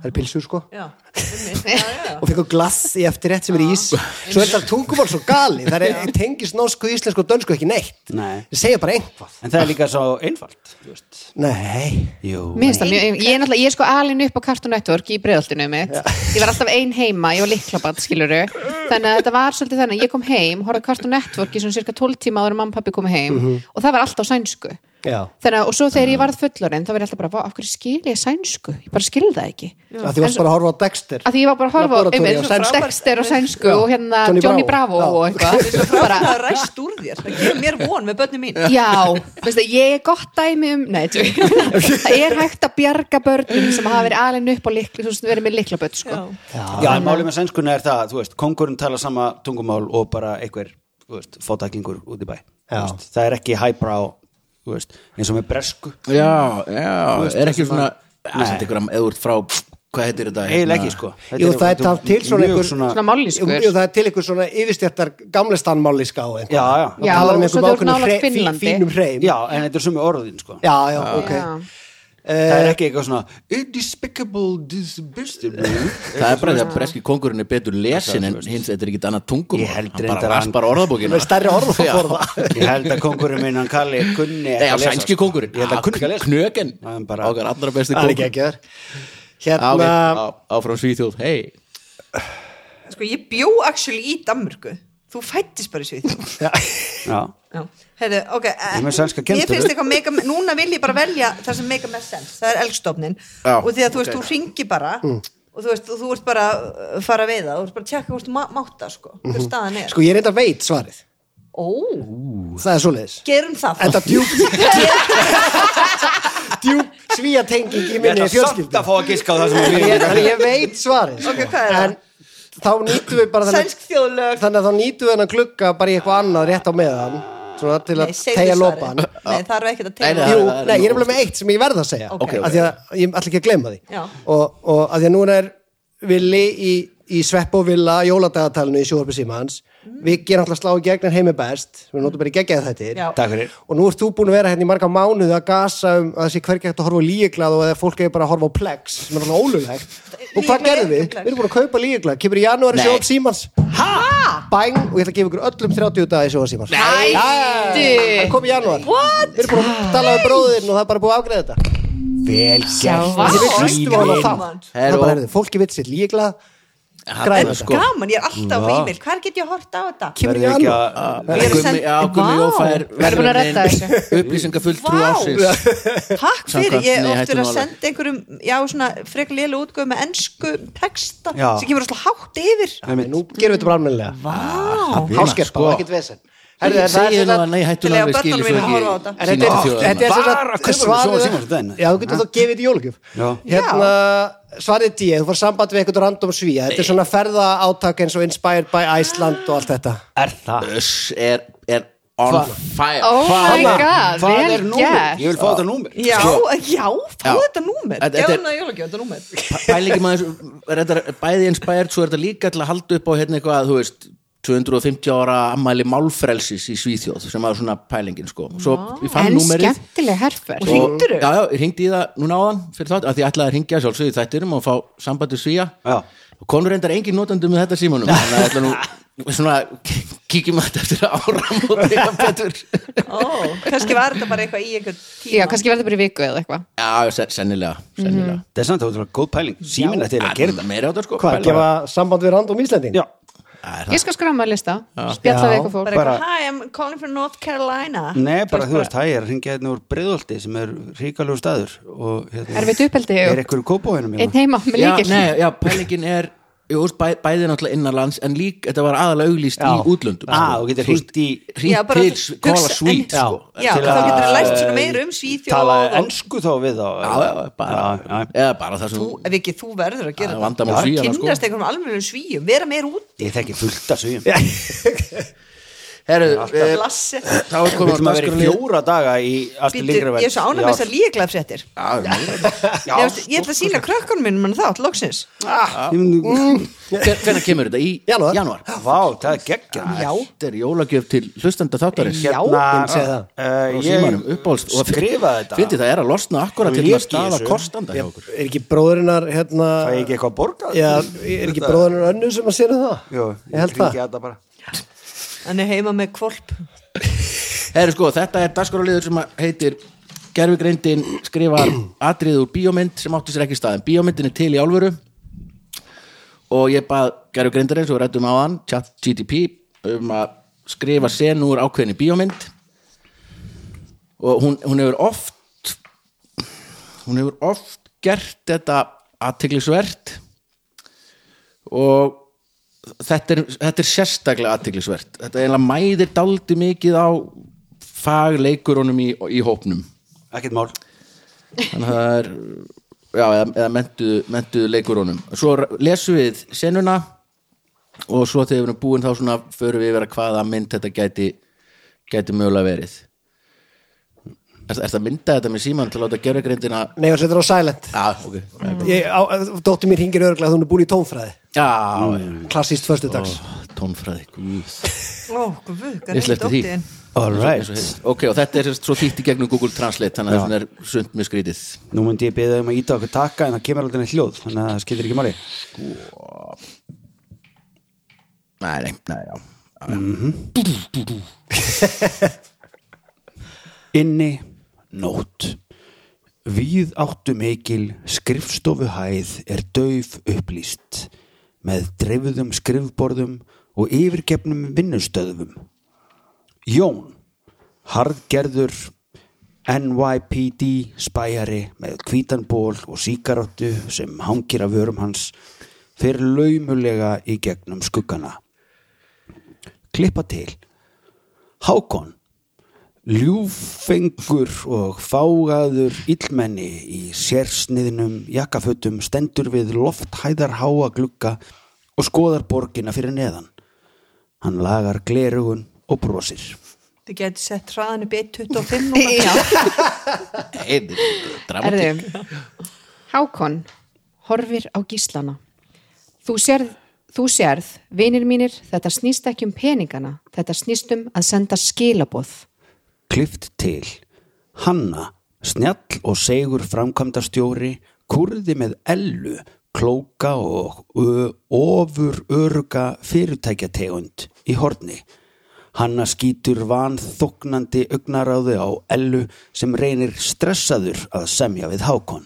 Speaker 6: það er pilsur sko
Speaker 4: já, einmitt, já, já.
Speaker 6: og fengið glass í eftirrétt sem er í ís svo er þetta tungumál svo gali það er tengist norsku, íslensku og dönsku ekki neitt
Speaker 3: Nei.
Speaker 6: það segja bara einhvað
Speaker 3: En það er líka svo einfalt þú veist.
Speaker 6: Nei,
Speaker 3: Jú
Speaker 5: Mér finnst það mjög, ég, ég, er náttúrulega- ég er sko alin upp á Cartoon Network í breðaltinu mitt Ég var alltaf ein heima, ég var liklabatt skiluru Þannig að þetta var svolítið þannig að Ég kom heim, horfði á Cartoon Network í svona cirka 12 tíma áður en mamma og pappi komi heim
Speaker 6: Mhm.
Speaker 5: og það var alltaf á sænsku
Speaker 6: já
Speaker 5: Þannig að, og svo þegar ég varð fullorinn þá var ég alltaf bara, "Vá, af hverju skil ég sænsku? Ég bara skil það ekki
Speaker 6: að því varst bara að horfa á Dexter
Speaker 5: að því ég var bara að horfa á
Speaker 6: Laboratory
Speaker 5: einmitt,
Speaker 6: á sænsku.
Speaker 5: Dexter og sænsku og hérna
Speaker 6: Johnny
Speaker 5: Johnny,
Speaker 6: Bravo.
Speaker 5: Bravo, og eitthvað
Speaker 4: bara
Speaker 5: bara,
Speaker 4: það ræst úr þér það gefur mér von með börnum mín
Speaker 5: já, veistu, ég er gott dæmi um nei, tjú, það er hægt að bjarga börnum sem hafa verið alveg upp á likla, þú veist, verið með liklaböld sko.
Speaker 3: Já, en málið með sænskunni er það, þú veist, kongurinn talar sama tungumál og bara einhver, þú veist, fótæklingur út í bæ. Þú
Speaker 6: Já.
Speaker 3: Veist, það er ekki highbrow, þú veist, eins og með bresku.
Speaker 6: Hérna-
Speaker 2: Já, já,
Speaker 3: veist,
Speaker 2: er ekki
Speaker 3: það sem
Speaker 2: svona
Speaker 3: að-
Speaker 2: Það er eitthvað eður frá Hvað heitir þetta? hérna?
Speaker 3: Eiginlega ekki, sko. Þetta
Speaker 6: Jú, það er
Speaker 3: þetta
Speaker 6: tamt til svona
Speaker 3: mjög
Speaker 6: einhver-
Speaker 5: svona
Speaker 6: Jú,
Speaker 5: mállýskur
Speaker 6: jú, það er til einhver svona yfirstjættar gamlestan máliska og
Speaker 3: Já,
Speaker 6: einhvað
Speaker 3: já.
Speaker 6: og
Speaker 5: Já,
Speaker 6: talar um
Speaker 5: og svo
Speaker 6: einhver
Speaker 5: þú ert
Speaker 6: ákveðnum
Speaker 5: nálægt
Speaker 6: hre- fí-
Speaker 5: Finnlandi.
Speaker 6: fínum hreim
Speaker 3: Já, en þetta er sumi orðin, sko.
Speaker 6: já, já, ok
Speaker 5: Já.
Speaker 3: Það er ekki eitthvað svona, indespicable disbestable.
Speaker 2: Það er bara því að breski kongurinn er betur lesin en hins, þetta er ekki annað tungum
Speaker 3: Ég held
Speaker 2: Hann
Speaker 3: reyndar
Speaker 2: bara
Speaker 3: að
Speaker 2: las
Speaker 3: hann-
Speaker 2: bara orðabókina
Speaker 6: það er stærri orð að borða
Speaker 3: Ég held að kongurinn minn, hann kalli kunni
Speaker 2: Nei,
Speaker 3: ekki
Speaker 2: á
Speaker 3: að lesa,
Speaker 2: sænski
Speaker 3: sko.
Speaker 2: kongurinn
Speaker 6: Ah,
Speaker 3: Ég held að kunni ekki að lesa.
Speaker 2: Knöken
Speaker 3: Hann bara-
Speaker 2: Okkar allra besti
Speaker 6: það er ekki
Speaker 2: kongur
Speaker 6: ekki þar
Speaker 2: Á, ok,
Speaker 6: hérna,
Speaker 2: á- Áfram Svíþjóð, hei
Speaker 4: sko ég bjó actually í Danmörku þú fættist bara í svið
Speaker 3: Já,
Speaker 4: Heru, okay, eh,
Speaker 3: Ég er með sænska kenntölu.
Speaker 4: mér finnst eitthvað mega, núna vil ég bara velja það sem mega með sens, það er elgstofnin
Speaker 2: Já,
Speaker 4: og því að þú veist, þú ringi bara og þú veist, og þú ert bara að fara við það, þú ert bara að tjekka hvort þú má- máta sko, hver staðan er
Speaker 6: sko ég reynda veit svarið
Speaker 4: Ó,
Speaker 6: það er svoleiðis
Speaker 4: gerum það þá.
Speaker 6: en það djúb djúb svíjatenging í
Speaker 3: ég
Speaker 6: minni
Speaker 3: ætla samt
Speaker 6: fjölskyldu
Speaker 3: að fá að giska á það sem
Speaker 6: Þannig
Speaker 3: við
Speaker 6: ég- þannig ég veit svarið sko.
Speaker 4: Ok, hvað er það?
Speaker 6: en þá nýtum við bara þennan-
Speaker 4: Sænsk þjóðlög
Speaker 6: þannig að þá nýtum við hennan glugga bara í eitthvað annað rétt á meðan svona til að
Speaker 4: Nei, segðu
Speaker 6: tegja
Speaker 4: svarið.
Speaker 6: lopan
Speaker 4: Nei, það er ekkert að
Speaker 2: Nei,
Speaker 4: tegja
Speaker 2: nei,
Speaker 6: Jú,
Speaker 2: það er
Speaker 6: nei,
Speaker 2: nú-
Speaker 6: ég er bara með eitt sem ég verð að segja
Speaker 4: Ok, ok.
Speaker 6: að því að ég ætla ekki að glemma því
Speaker 4: Já.
Speaker 6: og, og að því að núna er Vili í, í Svepp og Villa jóladagatalinu í sjóharpi símans við gerum alltaf slá í gegnin heimi best við notum bara í geggjaði þættir
Speaker 4: Mm. Já.
Speaker 3: Takk fyrir.
Speaker 6: og nú ert þú búin að vera hérna í marga mánuði að gasa um að þessi hvergi hægt að horfa á líeglað og að fólk hefur bara að horfa á plex sem er alltaf ólulegt og
Speaker 4: Lygiglað
Speaker 6: hvað gerðum
Speaker 4: er
Speaker 6: við?
Speaker 4: ekki Plex.
Speaker 6: Við erum búin að kaupa líeglað kemur í janúari
Speaker 2: Nei.
Speaker 6: sjóharp símans bæng og ég ætla að gefa ykkur öllum 30 dagi sjóharp símans
Speaker 5: Hættu
Speaker 6: Það kom í janúar Við erum búin að tala um bróðinn og það er bara búið að afgreða þetta
Speaker 3: Vel
Speaker 5: gert. vá.
Speaker 6: Við hlustum á hana
Speaker 4: Svín.
Speaker 6: þátt Það
Speaker 2: Herru.
Speaker 6: er bara, herðu, fólki vitt sér líklað Græna
Speaker 2: sko.
Speaker 6: þetta
Speaker 4: Gaman, ég er alltaf á e-mail, hvar get ég að horta á þetta?
Speaker 6: Kemur í
Speaker 3: Verður ekki
Speaker 6: janúar
Speaker 3: að-
Speaker 4: Við erum
Speaker 2: Gummi,
Speaker 4: send-
Speaker 2: já, Gummi
Speaker 4: Vá.
Speaker 2: Jófær
Speaker 5: Við erum búin að redda þessu.
Speaker 2: Upplýsingafulltrú
Speaker 4: Vá.
Speaker 2: ásins
Speaker 4: Takk fyrir,
Speaker 2: Samkvæmt
Speaker 4: ég
Speaker 2: nei,
Speaker 4: oft verið
Speaker 2: hættu
Speaker 4: að
Speaker 2: nú alveg.
Speaker 4: senda einhverjum já, svona frekar lélu útgöð með ennsku texta
Speaker 3: Já.
Speaker 4: sem kemur alltaf hátt yfir
Speaker 6: Ah, Nú gerum við þetta bara almennilega
Speaker 4: Vá,
Speaker 6: Háskerpa,
Speaker 2: sko.
Speaker 6: ekkert vesen Herðu, en það er sem
Speaker 2: Herðu, Segir nú að
Speaker 6: sagt-
Speaker 2: nei, hættu
Speaker 4: Til
Speaker 2: nú
Speaker 4: að
Speaker 2: alveg
Speaker 4: börnunum
Speaker 2: skilur svo
Speaker 4: mínum að horfa á
Speaker 2: ekki
Speaker 4: þetta.
Speaker 6: En þetta
Speaker 2: sýnir
Speaker 6: er-
Speaker 2: þjóðina.
Speaker 6: þetta er sem
Speaker 3: Bara
Speaker 6: sagt-
Speaker 3: kössunum, svo
Speaker 6: svarið-
Speaker 3: var símans daginn.
Speaker 6: Já, þú getur þá gefið þetta í jólugjöf
Speaker 3: Já.
Speaker 6: Hérna, svarið D Þú fór samband við einhvern random svíja Þetta er svona ferða eins og Inspired by Iceland og allt þetta
Speaker 3: Er það?
Speaker 2: Öss er, er on
Speaker 3: Hva-
Speaker 2: fire
Speaker 5: Oh my
Speaker 3: Hana, hvað
Speaker 5: god, vel
Speaker 3: er númer? Ég
Speaker 5: gert
Speaker 3: vil fá þetta númer
Speaker 4: Já, já, fá
Speaker 2: Sko. Já.
Speaker 4: þetta númer
Speaker 2: Þetta-
Speaker 4: Já,
Speaker 2: þetta er-
Speaker 4: ná, ég vil ekki þetta númer
Speaker 2: pælingi maður er þetta bæði inspired svo er þetta líka til að halda upp á hérna eitthvað þú veist 250 ára ammæli málfrelsis í Svíþjóð sem var svona pælingin sko svo ég fann
Speaker 5: En
Speaker 2: númerið
Speaker 5: skemmtileg herfer
Speaker 4: Og- Hringdirðu?
Speaker 2: Já, já, ég hringdi í það núna áðan fyrir þátt af því ég ætlaði að hringja sjálfsögðu í þættinum og fá sambandi svíja
Speaker 3: Já.
Speaker 2: og konur reyndar engin notandi með þetta símanum þannig að ég ætla nú svona kíkjum að þetta eftir áramóti að betur
Speaker 4: Ó, kannski var þetta bara eitthvað í einhvern tíma
Speaker 5: Já, kannski verður bara í viku eða eitthvað
Speaker 2: Já, se- sennilega, sennilega
Speaker 3: Það er samt að þetta var góð pæling Síminn ætti eiginlega Mm. að gera þetta
Speaker 2: meira á þetta sko
Speaker 6: Hvað,
Speaker 2: pæla.
Speaker 6: gefa samband við random Íslanding?
Speaker 3: Já,
Speaker 2: Já, er það-
Speaker 5: Ég skal skráma að lista, spjalla við eitthvað fólk
Speaker 4: Bara
Speaker 3: Bara-
Speaker 4: eitthvað, hi, I'm calling from North Carolina
Speaker 3: Nei, bara þú veist, hæ, ég er að hringja hérna úr Breiðolti sem er ríkalegu staður og hérna,
Speaker 5: Erfitt uppeldi og-
Speaker 3: Er eitthvað kópóinum
Speaker 5: Einn heima með
Speaker 2: já,
Speaker 5: líkil
Speaker 2: nei, já, pælingin er jú, veist, bæ, bæði náttúrulega innanlands en lík, þetta var aðalega auglýst í útlöndum sko.
Speaker 3: ah, og getur hringt í
Speaker 4: Já,
Speaker 2: hringt
Speaker 4: bara
Speaker 2: til
Speaker 4: hugsa-
Speaker 2: s- Kola
Speaker 4: hugsa-
Speaker 2: Sweet
Speaker 3: Já.
Speaker 2: sko.
Speaker 4: Já,
Speaker 3: Til
Speaker 4: þá
Speaker 3: að-
Speaker 4: getur það lært svona meira um Svíþjóð
Speaker 3: tala
Speaker 4: og-
Speaker 3: ennsku þá við þá
Speaker 2: já, já, já, bara,
Speaker 3: já, já.
Speaker 2: eða bara það sem
Speaker 4: Þú, ef ekki þú verður að
Speaker 2: Það
Speaker 4: gera
Speaker 2: er vandamál Svíana, sko.
Speaker 4: Kynnast einhverjum alveg svíum, vera meir út
Speaker 3: Ég þekki fullt af svíum
Speaker 2: Herru, eh,
Speaker 4: Lassi
Speaker 2: þá er
Speaker 3: Við
Speaker 2: komið
Speaker 3: viljum að vera í fjóra daga í Astrid
Speaker 4: Býtu,
Speaker 3: Lindgren
Speaker 4: ég er svo ánæg með þessar líklafréttir Ég veist, ég ætla að sína krökkunum mínum en þátt, loksins Mm.
Speaker 3: líkra
Speaker 2: hvernig kemur þetta í
Speaker 6: Janúar.
Speaker 2: janúar
Speaker 3: Vá, það er geggjað
Speaker 4: Já,
Speaker 2: þetta er jólagjöf til hlustenda þáttarins
Speaker 3: Hérna,
Speaker 6: ég segi það.
Speaker 3: eh,
Speaker 2: Á
Speaker 3: ég
Speaker 2: símanum, uppáhalds og
Speaker 3: skrifa þetta
Speaker 2: fyndi það er að losna akkurat til
Speaker 3: Lék
Speaker 2: að
Speaker 3: í
Speaker 2: staða
Speaker 3: þessu.
Speaker 2: kostanda hjá
Speaker 6: Er
Speaker 2: okkur
Speaker 6: ekki bróðurinnar hérna
Speaker 3: Fæ ég ekki eitthvað að borga?
Speaker 6: Já, er ekki bróðurinnar önnu sem að sér um það?
Speaker 3: Jó,
Speaker 6: ég held það
Speaker 3: hringi þetta bara
Speaker 4: hann er heima með kvolp
Speaker 2: Herru sko, þetta er dagskorulegur sem að heitir Gerfugreindin skrifar atrið úr bíómynd sem átti sér ekki stað en bíómyndin er til í álfuru og ég bað Gerfugreindarins og rættum á hann, chat GTP um að skrifa senu úr ákveðinni bíómynd og hún, hún hefur oft hún hefur oft gert þetta aðteglisvert og þetta er, þetta er sérstaklega aðtiklisvert þetta eiginlega mæðir daldi mikið á fagleikurunum í, í hópnum
Speaker 3: Ekkert mál
Speaker 2: þannig að það er já, eða, eða mentuðu, mentuðu leikurunum svo r- lesum við senuna og svo þegar við erum búin þá svona förum við yfir að hvaða mynd þetta gæti gæti mögulega verið Er, er það að mynda þetta með síman til að láta gera greindina
Speaker 6: Nei, það setur á silent
Speaker 2: Já, ok
Speaker 6: ég, á, Dóttir mér hingir örglega að hún er búin í tónfræði
Speaker 2: Já,
Speaker 6: Mm. Klassíst föstudags
Speaker 2: já, tónfræði Guð
Speaker 4: Ó, guð, hvað
Speaker 2: Ég
Speaker 4: er
Speaker 2: sleppti því.
Speaker 4: dóttiðin?
Speaker 3: All
Speaker 2: Eins og heyrist. ok, og þetta er sem sagt svo þýtt í gegnum Google Translate þannig að það er sund með skrítið
Speaker 3: Nú myndi ég beða um að íta okkur taka en það kemur aldrei neitt hljóð þannig að það skiptir ekki máli
Speaker 2: nei, nei, nei,
Speaker 3: Inni,
Speaker 2: já
Speaker 3: nótt Víð áttu mikil skrifstofuhæð er dauf upplýst með dreifðum skrifborðum og yfirgefnum vinnustöðum Jón harðgerður NYPD spæjari með hvítan ból og síkarottu sem hangir af vörum hans fer laumulega í gegnum skuggana Klippa til Hákon Ljúfengur og fágaður illmenni í sérsniðnum jakkafötum stendur við lofthæðarháa glugga og skoðar borgina fyrir neðan. Hann lagar glerugun og brosir.
Speaker 4: Þið getur sett hraðan upp í 1.25 núna
Speaker 2: Einnig, dramatík
Speaker 5: Erðu, Hákon horfir á gíslana Þú sérð, þú sérð, vinir mínir þetta snýst ekki um peningana þetta snýst um að senda skilaboð
Speaker 3: Klift til. Hanna, snjall og segur framkvæmdastjóri, kurði með ellu, klóka og ö- ofur öruga fyrirtækjategund í horni. Hanna skýtur vanþóknandi augnaráðu á ellu sem reynir stressaður að semja við hákon.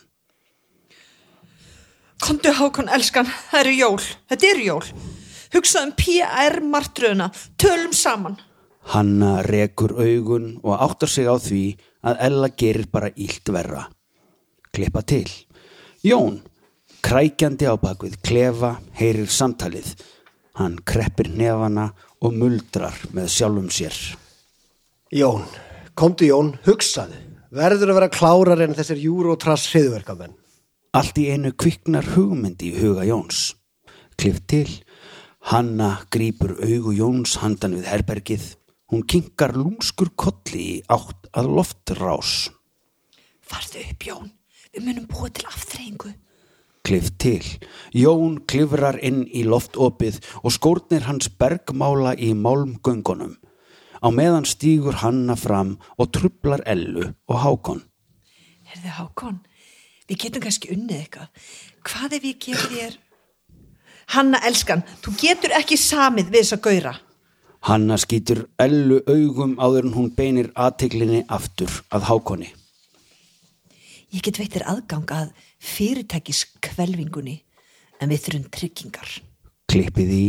Speaker 4: Kondu Hákon, elskan, það eru jól Þetta eru jól um Hugsaðum PR martröðuna, tölum saman
Speaker 3: Hanna rekur augun og áttar sig á því að Ella gerir bara illt verra. Klippa til. Jón, krækjandi á bak við klefa, heyrir samtalið. Hann kreppir nefana og muldrar með sjálfum sér.
Speaker 6: Jón, komdu Jón, hugsaðu Verður að vera klárar en þessir júrótrass hriðverkamenn
Speaker 3: Allt í einu kviknar hugmyndi í huga Jóns. Klipp til. Hanna grípur augu Jóns handan við herbergið. Hún kinkar lúmskur kolli í átt að loftrás.
Speaker 4: Farðu upp Jón, við munum búa til aftreyingu.
Speaker 3: Klif til. Jón klifrar inn í loftopið og skórnir hans bergmála í málmgöngunum. Á meðan stígur hanna fram og trublar Ellu og Hákon.
Speaker 4: Herðu Hákon, við getum kannski unnið eitthvað. Hvað ef ég gef þér... Hanna elskan, þú getur ekki samið við þess að gauðra.
Speaker 3: Hanna skýtur Ellu augum áður en hún beinir aðteglinni aftur að Hákoni.
Speaker 4: Ég get veitir aðgang að fyrirtækis kvelvingunni en við þurfum tryggingar.
Speaker 3: Klippið í.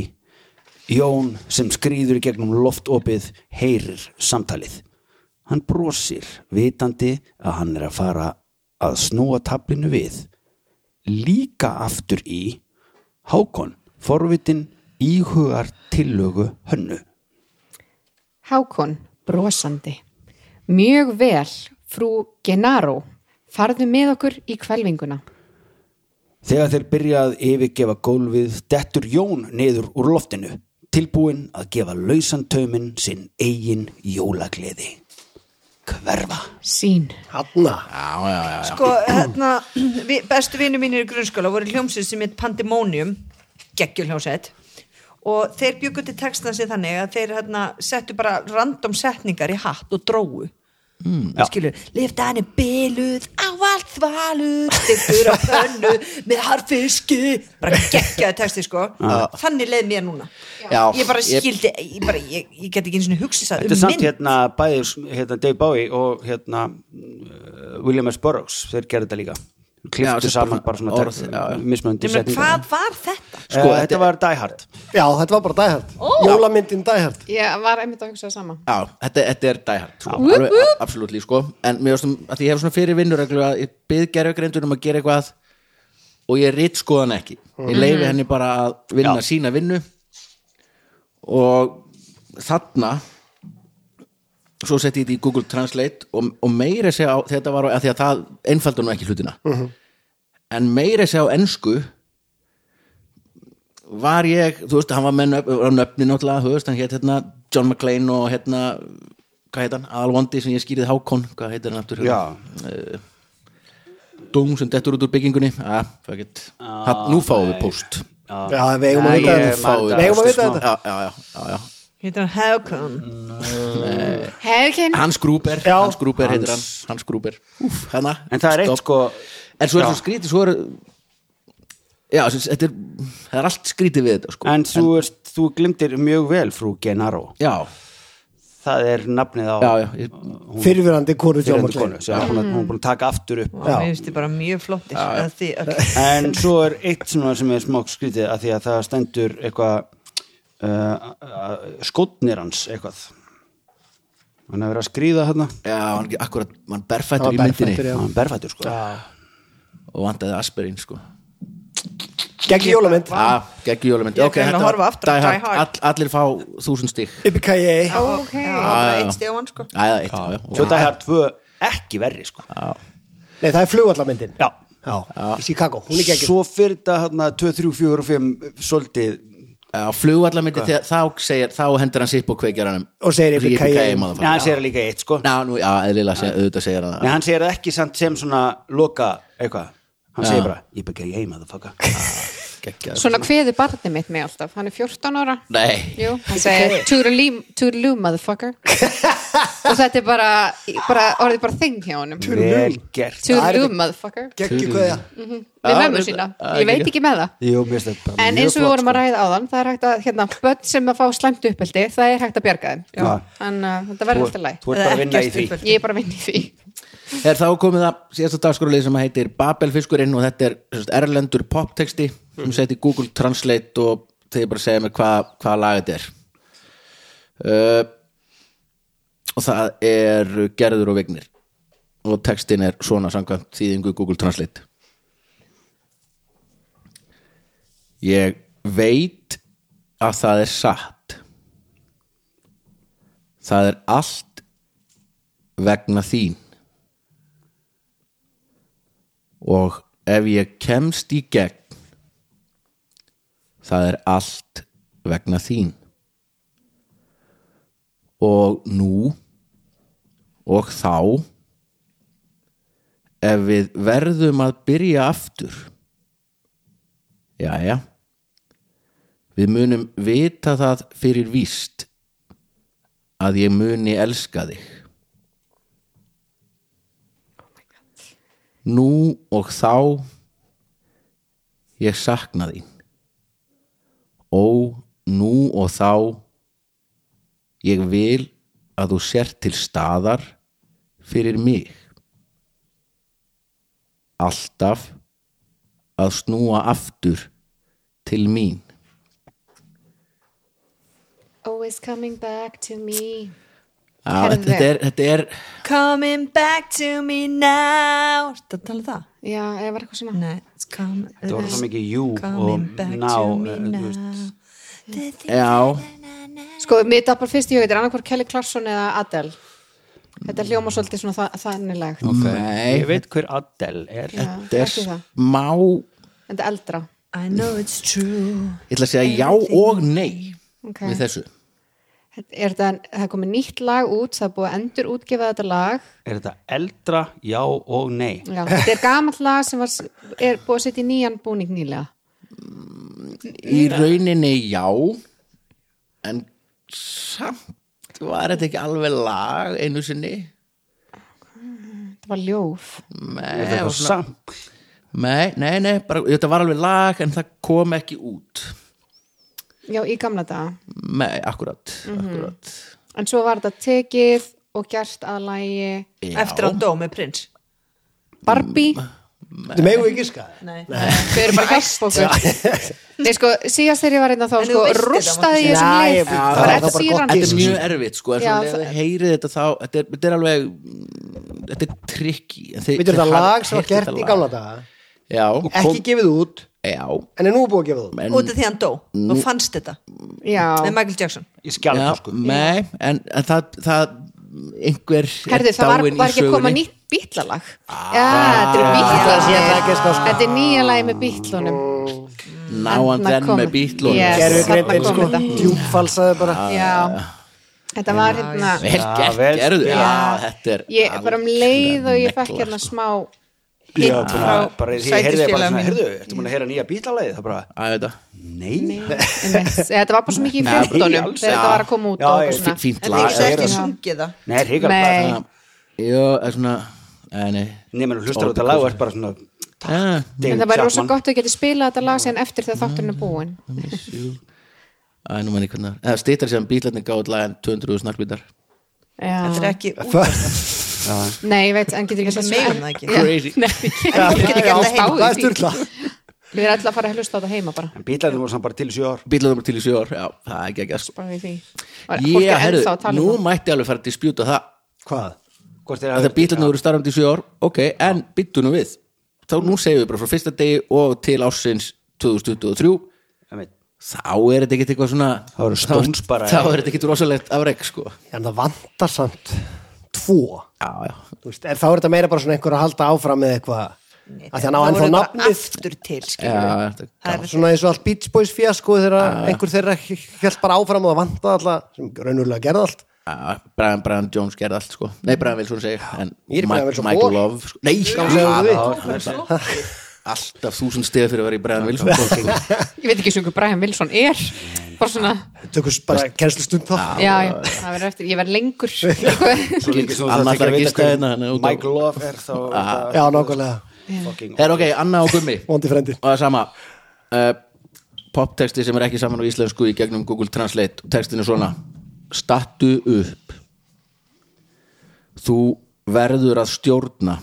Speaker 3: Jón sem skrýður í gegnum loftopið heyrir samtalið. Hann brosir, vitandi að hann er að fara að snúa tablinu við. Líka aftur í Hákon, forvitin íhugar tillögu hönnu.
Speaker 5: Hákon, brosandi. Mjög vel, frú Genaro. Farðu með okkur í kvelvinguna.
Speaker 3: Þegar þeir byrja að yfirgefa gólfið dettur Jón niður úr loftinu tilbúinn að gefa lausantaumin sinn eigin jólagleði. Hverfa.
Speaker 5: Sín.
Speaker 6: Hanna
Speaker 4: Sko, hérna, vi, bestu vinnu mínir í grunnskóla voru hljómsið sem heit Pandemonium, geggjulhjómsett, og þeir byggu til textan sér þannig að þeir hérna, settu bara random setningar í hatt og dróu. Mm, skilur, liftan er byluð á allt þvalur styrkur á pönnu með harfiski bara geggjaði texti sko þannig leið mér núna
Speaker 2: Já.
Speaker 4: ég bara
Speaker 2: Ég-
Speaker 4: skildi, ég, bara, ég, ég get ekki eins og hugsa það
Speaker 3: Þetta er
Speaker 4: um
Speaker 3: samt
Speaker 4: mynd
Speaker 3: hérna bæði hérna Dave Bowie og hérna uh, William S. Burroughs, þeir gerðu þetta líka.
Speaker 2: Já,
Speaker 3: Kliftu
Speaker 2: sem
Speaker 3: saman
Speaker 2: bara
Speaker 3: bara svona
Speaker 2: orð,
Speaker 3: orð,
Speaker 2: já, já.
Speaker 3: mismöndi
Speaker 4: Ég meina,
Speaker 3: setningar.
Speaker 4: hvað var þetta?
Speaker 3: Sko,
Speaker 2: Sko,
Speaker 3: þetta,
Speaker 2: þetta-
Speaker 3: var Die Hard.
Speaker 6: Já, þetta var bara dæhært oh. Jólamyndin dæhært
Speaker 5: Ég var einmitt að hugsa það sama.
Speaker 2: Já, þetta, þetta er dæhært sko, alveg, absolutt sko en mér finnst að ég hef svona fyrir vinnureglu að ég byrð gerðugrindur um að gera eitthvað og ég rít skoðan ekki ég leifi henni bara að vinna sína vinnu og þarna svo setti ég þetta í Google Translate og, og meira segja á, þetta var á, að því að það einfaldar nú ekki hlutina en meira segja á ennsku var ég, þú veist, hann var með nöfn, var nöfni náttúrulega, þú veist, hann hétt hérna John McClane og hérna hvað heit hann, Alvondi sem ég skýrið Hákon hvað heitir hann aftur
Speaker 3: Já.
Speaker 2: Eh, Dung sem dettur út úr byggingunni ah, fuck ah, nú fáum við post
Speaker 6: Já, við eigum að
Speaker 3: Nei,
Speaker 6: vita
Speaker 3: ég
Speaker 6: þetta
Speaker 3: man
Speaker 6: Við eigum að
Speaker 3: þetta
Speaker 6: vita
Speaker 3: smá.
Speaker 6: þetta
Speaker 2: já, já, já, já, já.
Speaker 4: Hérna, Hákon
Speaker 5: Helgin.
Speaker 2: Hans Grúber,
Speaker 6: Já.
Speaker 2: Hans Grúber heitir hann
Speaker 3: Hans.
Speaker 2: Hans Grúber, úf, hana
Speaker 3: En það er eitt
Speaker 2: stopp.
Speaker 3: sko,
Speaker 2: en svo
Speaker 3: Já.
Speaker 2: er svo skrítið, svo er já, sem sagt, þetta er það er allt skrítið við þetta sko
Speaker 3: en þú, veist, þú glimtir mjög vel frú Gennaro.
Speaker 2: já,
Speaker 3: Það er nafnið á
Speaker 2: já, já, Mm. ég,
Speaker 6: Fyrirverandi konu John
Speaker 3: fyrirhendu konu
Speaker 6: McClane
Speaker 3: sem hún er búin að taka aftur upp
Speaker 4: Mér finnst þið bara mjög flottir að því, okay.
Speaker 3: en svo er eitt svona sem er smák skrítið að því að það stendur eitthvað uh, uh, skotnir hans eitthvað hann er verið að skrýða hérna
Speaker 2: já, hann, akkurat, hann
Speaker 6: Það
Speaker 2: berfættur
Speaker 6: var
Speaker 2: í myndinni
Speaker 6: berfættur, já.
Speaker 3: hann er berfættur sko
Speaker 2: og vandaði Asperin sko
Speaker 6: Gegn jólamynd
Speaker 2: Já, geggjum jólamynd
Speaker 4: Ég
Speaker 2: Ok,
Speaker 4: kann að
Speaker 2: þetta
Speaker 4: horfa
Speaker 2: var
Speaker 4: aftur á
Speaker 2: Die
Speaker 4: Die
Speaker 2: Hard.
Speaker 4: Hard.
Speaker 2: All, Allir fá þúsund stík
Speaker 6: Yippee-ki-yay
Speaker 5: Ok.
Speaker 4: bara
Speaker 2: já.
Speaker 4: eitt stig á hann sko
Speaker 2: Æða, eitt já, já.
Speaker 3: svo það er tvö ekki verri sko
Speaker 6: Nei, það er flugvallamyndin
Speaker 3: já
Speaker 6: Já, í Chicago, hún er gegn
Speaker 3: svo fyrir þetta hérna 2, 3, 4 og 5 svolítið
Speaker 2: já Flugvallamyndi, þegar- þá, segir, þá hendur hann sipp og kveikjar hann
Speaker 6: Og segir
Speaker 2: Rípi
Speaker 6: yippee-ki-yay.
Speaker 2: kæði
Speaker 3: en hann segir það líka í eitt sko
Speaker 2: Já, nú, já, eðlilega, seg, auðvitað segir hann
Speaker 3: en
Speaker 2: það
Speaker 3: hann segir það ekki samt sem svona loka eitthvað hann segir
Speaker 2: Já.
Speaker 3: bara ég byggja ég maður faka
Speaker 2: Geggjaður.
Speaker 5: Svona kveði barnið mitt mig alltaf. Hann er 14 ára.
Speaker 2: Nei,
Speaker 5: Jú, hann segir "Toodaloo- Toodaloo motherfucker og þetta er bara, bara orðið bara þing hjá honum
Speaker 3: vel gert
Speaker 5: Toodaloo motherfucker
Speaker 6: Geggjum kveðja
Speaker 5: við
Speaker 2: Já,
Speaker 5: mömmu
Speaker 2: þetta-
Speaker 5: sína,
Speaker 2: já,
Speaker 5: ég veit
Speaker 2: ekki.
Speaker 5: ekki með það
Speaker 3: Jú, mér finnst þetta bara
Speaker 5: en
Speaker 3: mjög
Speaker 5: eins og við
Speaker 3: flott,
Speaker 6: sko.
Speaker 5: vorum að ræða áðan það er hægt að, hérna, börn sem að fá slæmt uppeldi það er hægt að bjarga þeim
Speaker 3: Já.
Speaker 5: þannig að þetta verður
Speaker 3: Þú-
Speaker 5: alltaf læg
Speaker 3: Þú ert bara að vinna í því
Speaker 4: Ekkert uppeldi.
Speaker 5: ég er bara að vinna í því
Speaker 2: er þá komið að síðasta dagskorulið sem heitir Babelfiskurinn og þetta er sem sagt, erlendur poptexti sem seti Google Translate og þeir bara segja mér hvað hva lag þetta er uh, og það er Gerður og Vignir og textin er svona samkvæmt þýðingu Google Translate Ég veit að það er satt Það er allt vegna þín og ef ég kemst í gegn það er allt vegna þín og nú og þá ef við verðum að byrja aftur jæja við munum vita það fyrir víst að ég muni elska þig nú og þá ég sakna þín ó nú og þá ég vil að þú sért til staðar fyrir mig alltaf að snúa aftur til mín
Speaker 5: Always coming back to me
Speaker 2: Já,
Speaker 5: Herðu.
Speaker 2: þetta er, þetta er
Speaker 4: Coming back to me now Þetta tala um það?
Speaker 5: Já, eða var eitthvað svona
Speaker 4: Nei, it's come
Speaker 3: Það var svo mikið you og
Speaker 4: Coming back
Speaker 3: now,
Speaker 4: to me
Speaker 3: eh, þú
Speaker 4: now
Speaker 3: veist.
Speaker 2: já,
Speaker 5: Sko, mér dappar fyrst í huga, þetta er annarkvort Kelly Clarkson eða Adele Þetta hljóma svolítið svona þa þannilegt
Speaker 2: nei,
Speaker 3: Ég veit hver Adele Mm, er
Speaker 5: Já,
Speaker 2: þetta er
Speaker 5: ekki það.
Speaker 2: smá
Speaker 5: Þetta er eldra
Speaker 4: I know it's true
Speaker 2: ég ætla að segja já og nei
Speaker 5: Ok.
Speaker 2: við þessu
Speaker 5: Þetta- Er það, það er komið nýtt lag út, það er búið að endur útgefa þetta lag
Speaker 3: Er þetta eldra, já og nei
Speaker 5: Já, þetta er gamalt lag sem var, s- er búið að setja í nýjan búning nýlega
Speaker 2: í rauninni já en samt var þetta ekki alveg lag einu sinni
Speaker 5: Þetta var ljóf
Speaker 2: nei,
Speaker 3: Er þetta samt
Speaker 2: nei, nei, nei bara, þetta var alveg lag en það kom ekki út
Speaker 5: Já, í gamla daga
Speaker 2: nei, akkurat, akkurat.
Speaker 5: En svo var þetta tekið og gert að lagi
Speaker 2: Já.
Speaker 4: Eftir hann dó með prins
Speaker 5: Barbie
Speaker 6: Mm.
Speaker 3: sko.
Speaker 6: Þetta megum við ekki skaði
Speaker 4: Nei,
Speaker 5: Þau eru bara hjálp okkur Nei sko, síðast þegar ég var einna þá
Speaker 4: En þú
Speaker 5: sko
Speaker 4: veist þetta,
Speaker 5: rústaði
Speaker 4: Matthías.
Speaker 5: ég sem
Speaker 6: Nei,
Speaker 5: lið
Speaker 6: ég-
Speaker 5: Það
Speaker 6: það
Speaker 5: var
Speaker 6: var
Speaker 5: eftir
Speaker 6: bara
Speaker 5: síðan
Speaker 6: gott
Speaker 2: þetta er
Speaker 6: Gísli.
Speaker 2: mjög erfitt sko er
Speaker 5: Já,
Speaker 2: já,
Speaker 5: það-
Speaker 2: heyrið þetta þá, þetta er, þetta er alveg mm, þetta er tricky en þið-
Speaker 6: Við erum
Speaker 2: þið
Speaker 6: þetta
Speaker 2: hafið
Speaker 6: lag sem var
Speaker 2: heyrt
Speaker 6: gert
Speaker 2: þetta
Speaker 6: í
Speaker 2: lag.
Speaker 6: gamla daga
Speaker 2: já,
Speaker 6: Ekki gefið út,
Speaker 2: já,
Speaker 6: en er nú búið að gefa það út
Speaker 4: Út af því hann dó Nú fannst þetta Með
Speaker 5: Já,
Speaker 4: Michael Jackson
Speaker 3: Ég
Speaker 2: já
Speaker 3: skjálpa sko
Speaker 2: nei, en, en það, það einhver
Speaker 5: herðu það var,
Speaker 2: dáinn í
Speaker 5: var ekki að koma
Speaker 2: sögunni.
Speaker 5: nýtt bítlalag Já, þetta er
Speaker 6: Það sé að það
Speaker 5: bítlalag
Speaker 6: ekki sko
Speaker 5: Þetta er nýja lagi með bítlunum
Speaker 2: Now and
Speaker 5: Þarna
Speaker 2: then
Speaker 5: kom-
Speaker 2: með bítlunum
Speaker 5: Yes.
Speaker 6: Gerðu
Speaker 5: Þarna
Speaker 6: greindin
Speaker 5: kom
Speaker 6: sko,
Speaker 5: þetta.
Speaker 3: hérna.
Speaker 6: djúpfalsaði bara
Speaker 5: Já, þetta var hérna
Speaker 2: Vel gert,
Speaker 3: vel
Speaker 2: gerðu
Speaker 3: spilað.
Speaker 2: Já, þetta er
Speaker 5: Ég bara um leið og ég fekk
Speaker 2: negla,
Speaker 5: hérna
Speaker 2: sko.
Speaker 5: smá
Speaker 3: Já,
Speaker 5: hint
Speaker 3: bara,
Speaker 5: frá
Speaker 3: bara, ég heyrði bara
Speaker 4: sætisfélagum
Speaker 3: svona,
Speaker 4: mínum.
Speaker 3: heyrðu, ertu múin að heyra nýja bílalegið? Það bara,
Speaker 2: sko. Æ, þetta
Speaker 3: nei,
Speaker 5: Einmitt. Þetta var bara svo mikið í
Speaker 2: Nei,
Speaker 5: fjöldunum
Speaker 3: alls.
Speaker 5: þegar þetta
Speaker 2: Já.
Speaker 5: var að koma út
Speaker 3: Já,
Speaker 5: og
Speaker 3: já,
Speaker 5: eitthvað svona.
Speaker 2: Fínt
Speaker 4: En
Speaker 2: lag
Speaker 4: það
Speaker 3: það er
Speaker 4: er ekki
Speaker 3: það.
Speaker 4: sungið það
Speaker 3: nei, hrigar
Speaker 5: Nei.
Speaker 3: bara,
Speaker 2: Já, Jó, það er svona Æ, nei
Speaker 3: nema þú hlustar á þetta lag og ert bara svona
Speaker 2: Ah,
Speaker 5: En
Speaker 3: David
Speaker 5: það væri rosa
Speaker 3: Chapman.
Speaker 5: gott að geta spilað þetta lag síðan eftir þegar þátturinn er búin
Speaker 2: miss you. Æ, nú manni hvernig Það stýttar sem bílarnir gáði lag en 200 snarkvítar
Speaker 4: Þetta er
Speaker 5: Já.
Speaker 4: ekki út af það
Speaker 5: Nei, ég veit, en getur
Speaker 4: Við
Speaker 5: ekki að
Speaker 4: megum það ekki
Speaker 2: Crazy
Speaker 5: Nei, við
Speaker 6: Já,
Speaker 5: getum ekki
Speaker 6: já, Það
Speaker 5: alltaf spáðið
Speaker 6: er styrla
Speaker 5: Við erum alltaf að fara að hlusta á þetta heima bara
Speaker 3: En bílalegið voru samt bara til í sjö ár
Speaker 2: Bílarnir voru til í sjö ár, já, það er ekki ekki að sko
Speaker 5: Bara við því Var- Fólk
Speaker 2: Ég,
Speaker 5: er
Speaker 2: herru,
Speaker 5: ennþá að tala
Speaker 2: nú
Speaker 5: um
Speaker 2: mætti alveg fara að dispjúta það
Speaker 6: Hvað?
Speaker 3: Hvort þeir
Speaker 2: að
Speaker 3: hafi-
Speaker 2: það bílarnir voru starfandi í sjö ár ok, en byttu nú við þá nú segjum við bara frá fyrsta degi og til ársins 2023
Speaker 3: Einmitt.
Speaker 2: þá er þetta ekkert eitthvað svona
Speaker 3: Þá eru Stones
Speaker 2: þá-
Speaker 3: bara-
Speaker 2: þá er þetta ekkert rosalegt afreg sko
Speaker 6: En það vantar samt tvo
Speaker 2: já, já,
Speaker 6: Þú veist, er, Þá er þetta meira bara svona einhver að halda áfram með eitthvað að því að ná ennþá
Speaker 4: Það voru bara
Speaker 6: nafnið
Speaker 4: Aftur til,
Speaker 2: já,
Speaker 4: skilur
Speaker 2: þetta-
Speaker 4: Það er
Speaker 6: svona eins og allt Beach Boys fjasko þegar einhver þeirra held bara áfram og það vantaði alltaf sem raunurlega gerði allt
Speaker 2: já, Brian, Brian Jones gerði allt sko nei, Brian Wilson segir en
Speaker 6: Ég er Brian
Speaker 2: Mike,
Speaker 6: Wilson
Speaker 2: Michael
Speaker 6: Ball.
Speaker 2: Love sko. nei,
Speaker 6: segðu
Speaker 2: já,
Speaker 6: við.
Speaker 2: alltaf þúsund stegi fyrir að vera í Brian Wilson Ball, sko.
Speaker 5: Ég veit ekki sem hver Brian Wilson er Bara svona,
Speaker 6: tökur bara kennslustund þá
Speaker 5: já, já, það verður eftir Ég verð lengur Já,
Speaker 3: Svo lengi sem þú
Speaker 2: Anna
Speaker 3: þarft ekki að
Speaker 2: ætlar að
Speaker 3: vita
Speaker 2: gista
Speaker 3: hver
Speaker 2: hérna, hann er út á-
Speaker 3: Michael Love er þá
Speaker 6: já, nákvæmlega,
Speaker 3: fucking
Speaker 2: Her, ok, Anna og Gummi
Speaker 6: vondi frendi
Speaker 2: og það er sama uh, poptexti sem er ekki saman á íslensku í gegnum Google Translate og textin er svona stattu upp þú verður að stjórna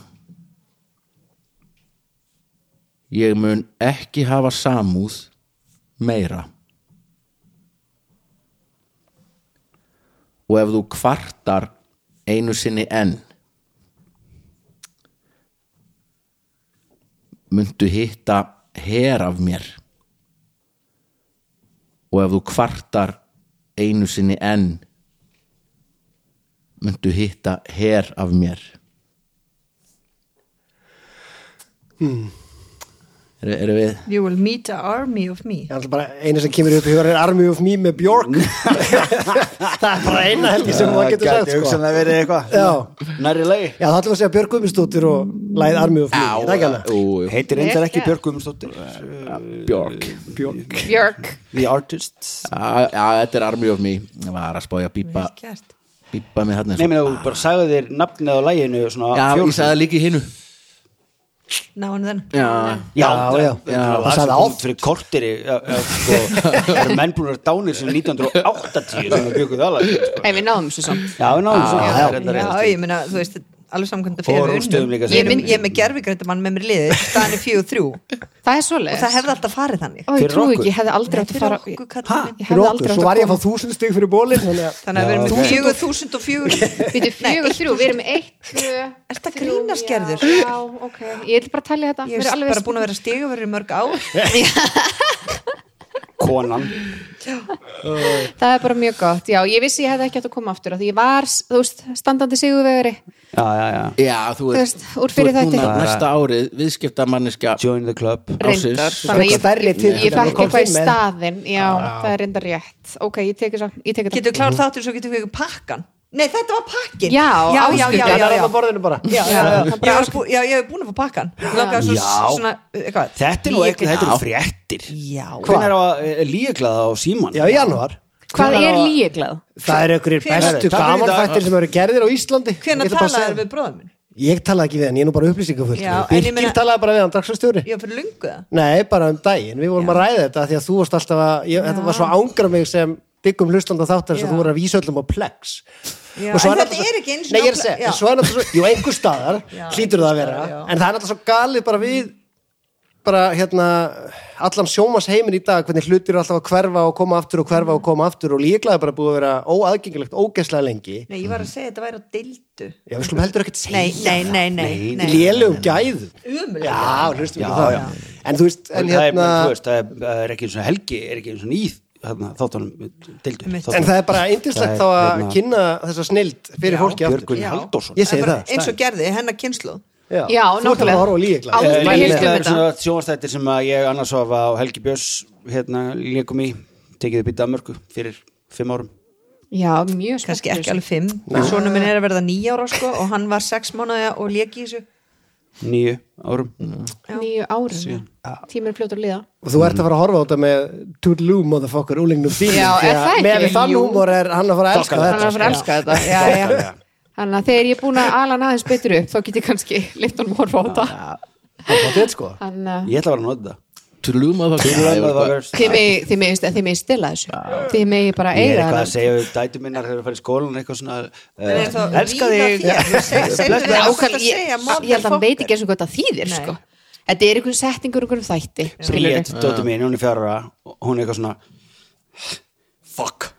Speaker 2: ég mun ekki hafa samúð meira og ef þú kvartar einu sinni enn myndu hitta her af mér og ef þú kvartar einu sinni enn myndu hitta her af mér Hmm. eru, eru við
Speaker 4: You will meet an army of me
Speaker 6: Ég ætla bara, eina sem kemur upp í hugan er Army of Me með Björk Það er bara eina held ég sem maður getur sagt sko.
Speaker 3: hugsanlega verið um eitthvað
Speaker 6: Já,
Speaker 3: Nærri lagi
Speaker 6: já það ætlum við að segja Björk Guðmundsdóttir og læð Army of Me, er það ekki hana?
Speaker 2: Ú,
Speaker 3: Heitir reyndar ekki
Speaker 5: Ekki.
Speaker 3: Björg Guðmundsdóttir
Speaker 2: Björk
Speaker 6: Björk
Speaker 5: Björk
Speaker 3: The Artists
Speaker 2: Já, já, þetta er Army of Me Ég var að spája bípa
Speaker 4: Gert.
Speaker 2: bípa mig hann
Speaker 3: Nei, meni, þú bara sagði þér nafnið á læginu svona
Speaker 2: Já,
Speaker 3: fjórum
Speaker 2: ég sagði líki hinnu
Speaker 4: Ná hann þenn
Speaker 2: Já,
Speaker 3: Já,
Speaker 6: Já, já.
Speaker 3: það
Speaker 6: Það sagði
Speaker 3: var sem
Speaker 6: oft.
Speaker 3: kom fyrir kortir sko, eru menn búin að vera dánir sem 1980 sem við bygguð alveg sko.
Speaker 5: Ei, við náðum þessu samt
Speaker 3: Já, við náðum
Speaker 6: Já,
Speaker 3: svona
Speaker 6: já.
Speaker 3: það er hérna reyndar
Speaker 4: Já,
Speaker 3: rétt.
Speaker 4: ég meina, þú veist, alveg samkvæmt að
Speaker 3: Fór úr stöðum líka
Speaker 4: Ég
Speaker 3: seinum.
Speaker 4: minn- ég er með gerfigrættamann með mér í liði staðan er fjögur þrjú og
Speaker 5: Það er svoleiðis
Speaker 4: það hefði alltaf farið þannig
Speaker 5: Ó, ég
Speaker 3: Fyrir
Speaker 5: trúi
Speaker 3: okkur.
Speaker 5: ekki, ég hefði aldrei átt að fara
Speaker 4: Fyrir okkur,
Speaker 5: Ha?
Speaker 4: kallinn minn.
Speaker 6: Ah,
Speaker 5: Ég
Speaker 6: Fyrir
Speaker 5: hefði
Speaker 6: okkur,
Speaker 5: aldrei
Speaker 6: svo var ég að
Speaker 5: átt að
Speaker 6: fá þúsund stygg fyrir bólin Þannig að
Speaker 4: Þannig að við erum með fjögur þúsund og fjögur
Speaker 5: Býtu fjögur þrjú, við erum með eitt, tvö
Speaker 4: Ertu að
Speaker 5: þrjú,
Speaker 4: grínast, Gerður?
Speaker 5: já, Já, ok, ég ætla bara að tellja þetta
Speaker 4: Ég
Speaker 5: Mér
Speaker 4: er
Speaker 5: alveg
Speaker 4: bara búin að vera stigavörður í mörg á
Speaker 3: Konan
Speaker 5: Það er bara mjög gott, já, ég vissi ég hefði ekki átt að koma aftur af Því ég var, þú veist, standandi sigurvegari
Speaker 3: Já, já, já
Speaker 2: já þú
Speaker 5: Þú
Speaker 2: ert
Speaker 5: veist, úr fyrir
Speaker 2: þú ert
Speaker 5: þætti.
Speaker 2: núna Næsta árið, viðskiptamanniska
Speaker 3: Join the club
Speaker 2: Ársins.
Speaker 5: Reyndar, þannig
Speaker 6: Fékk
Speaker 5: að
Speaker 6: stærri
Speaker 5: ég, ég,
Speaker 6: titil
Speaker 5: ég
Speaker 6: en þú
Speaker 5: fekk
Speaker 6: komst
Speaker 5: eitthvað í
Speaker 6: inn með. Ah.
Speaker 5: staðin Já, það er reyndar rétt Ok, ég tek þess ég tek þetta
Speaker 4: Getur klár þáttur svo getur við ykkur pakkan Nei, þetta var pakkin
Speaker 5: Já,
Speaker 4: já, já, já,
Speaker 6: Það
Speaker 4: já,
Speaker 6: er
Speaker 4: já.
Speaker 6: á borðinu bara
Speaker 4: Já, já, já.
Speaker 5: það
Speaker 4: Ég var bú- já, ég hef búin að fá pakkan Langaði svo,
Speaker 3: Já.
Speaker 4: svona, eitthvað
Speaker 3: Þetta er nú eitthvað, þetta er fréttir
Speaker 4: Já,
Speaker 3: Hvernig er að líklaða á síman?
Speaker 6: Já, í janúar
Speaker 5: Hvað er líeglað?
Speaker 6: Það eru einhverjir
Speaker 4: Hvenær-
Speaker 6: bestu
Speaker 3: Takk fyrir í dag.
Speaker 6: gamanfættir sem eru gerðir á Íslandi Ég
Speaker 4: hvenær
Speaker 6: ætla bara að
Speaker 4: talaður
Speaker 6: segja-
Speaker 4: við bróðum minn?
Speaker 6: Ég talaði ekki við hann, ég er nú bara upplýsingafull
Speaker 4: Já, en ég
Speaker 6: Birgir
Speaker 4: meina-
Speaker 6: talaði bara við hann, dagsfæðstjóri
Speaker 4: Ég var fyrir lungu það
Speaker 6: Nei, bara um daginn, við vorum að ræða þetta af því að þú varst alltaf að, ég, þetta var svo ángra mig sem byggum hlustanda þáttar
Speaker 4: Já.
Speaker 6: sem þú voru að vísa öllum á plex
Speaker 4: Já,
Speaker 6: Og svo
Speaker 4: en þetta
Speaker 6: náttúrulega-
Speaker 4: er ekki einu
Speaker 6: Nei,
Speaker 4: sinni
Speaker 6: ég er að
Speaker 4: á Plex, já.
Speaker 6: segja, en svo er náttúrulega svo, jú, einhver staðar
Speaker 4: Já.
Speaker 6: hlýtur það að vera,
Speaker 4: Já, já.
Speaker 6: en það er náttúrulega svo galið bara við bara hérna, allan sjómas heimin í dag hvernig hlutir eru alltaf að hverfa og koma aftur og hverfa og koma aftur og líklaði bara búið að vera óaðgengilegt, ógeðslega lengi
Speaker 4: Nei, ég var að segja þetta væri á deildu
Speaker 6: Já, við skulum heldur ekkert segja
Speaker 4: Nei, nei, nei, nei,
Speaker 3: Nei,
Speaker 4: nei.
Speaker 6: Lélugum gæðum
Speaker 4: Ömurlegt.
Speaker 6: Já, hlustum
Speaker 3: Já,
Speaker 6: við það
Speaker 3: já.
Speaker 6: En þú veist, en
Speaker 3: En
Speaker 6: hérna
Speaker 3: það, er, þú veist, það, er, það er ekki eins og helgi er ekki eins og nýð þarna, þáttunum deildu
Speaker 4: Einmitt.
Speaker 6: En það er bara
Speaker 3: Það
Speaker 6: yndislegt
Speaker 3: er,
Speaker 6: þá að
Speaker 3: hérna,
Speaker 6: kynna þessa snild fyrir fólki aftur.
Speaker 3: Björgun
Speaker 4: Já.
Speaker 3: Halldórsson
Speaker 6: Ég segi
Speaker 4: bara
Speaker 6: það.
Speaker 4: Eins og gerði, hennar kynslu
Speaker 5: Já,
Speaker 6: Þú ert alveg
Speaker 5: nákvæmlega.
Speaker 6: að horfa á líkla.
Speaker 3: Eh,
Speaker 5: Aldrei heyrt um
Speaker 3: líklega er
Speaker 5: þetta.
Speaker 3: svona sjónastættir sem að ég annars ofa á Helgi Björns hérna líkum í tekið upp í Danmörku fyrir fimm árum
Speaker 5: Já, mjög spennt
Speaker 4: Kannski
Speaker 5: fyrir
Speaker 4: ekki
Speaker 5: þessu.
Speaker 4: alveg fimm Svona minn er að verða nýja ára sko Og hann var sex mánuði og lék í þessu
Speaker 3: nýju árum
Speaker 5: Nýju árum, tímur fljótt að liða
Speaker 6: Og þú ert að fara að horfa á þetta með Toodaloo motherfucker úlingnum þínum.
Speaker 5: Já,
Speaker 6: því
Speaker 5: er
Speaker 6: að
Speaker 5: það ekki?
Speaker 6: Með við þann
Speaker 5: Jú.
Speaker 6: húmor er hann að fara að elska
Speaker 3: Þokkalega.
Speaker 5: Hann er
Speaker 6: þetta.
Speaker 5: að fara að elska þetta já, já. Þannig að þegar ég er búin að ala hann aðeins betur upp þá get ég kannski leitt honum horfa á þetta
Speaker 6: Það er þetta sko.
Speaker 5: Þannig að
Speaker 3: ég ætla að vera að nota
Speaker 2: Trúma það
Speaker 3: það
Speaker 5: Þið megi- þið megi þið megi stila þessu Þið megi bara
Speaker 3: ég er
Speaker 5: eiga
Speaker 3: eitthvað að
Speaker 5: það
Speaker 3: segja við dætu minnar þegar við farið í skólan eitthvað svona
Speaker 4: Það er
Speaker 3: uh,
Speaker 4: þá
Speaker 3: elska
Speaker 4: vín á
Speaker 3: þig
Speaker 4: þér. Þú seg- segðu við
Speaker 3: Bless, bless.
Speaker 4: á- ákvæmt
Speaker 5: Ákvæmlega,
Speaker 4: að
Speaker 5: ég,
Speaker 4: segja,
Speaker 5: ég held að hann
Speaker 4: motherfucker.
Speaker 5: veit ekki eins og hvað það þýðir
Speaker 4: Nei.
Speaker 5: sko. Þetta er einhvern setningur, einhvern þætti skilurðu.
Speaker 3: Bríett, dóttu mín, hún er fjara ára og hún er eitthvað svona fuck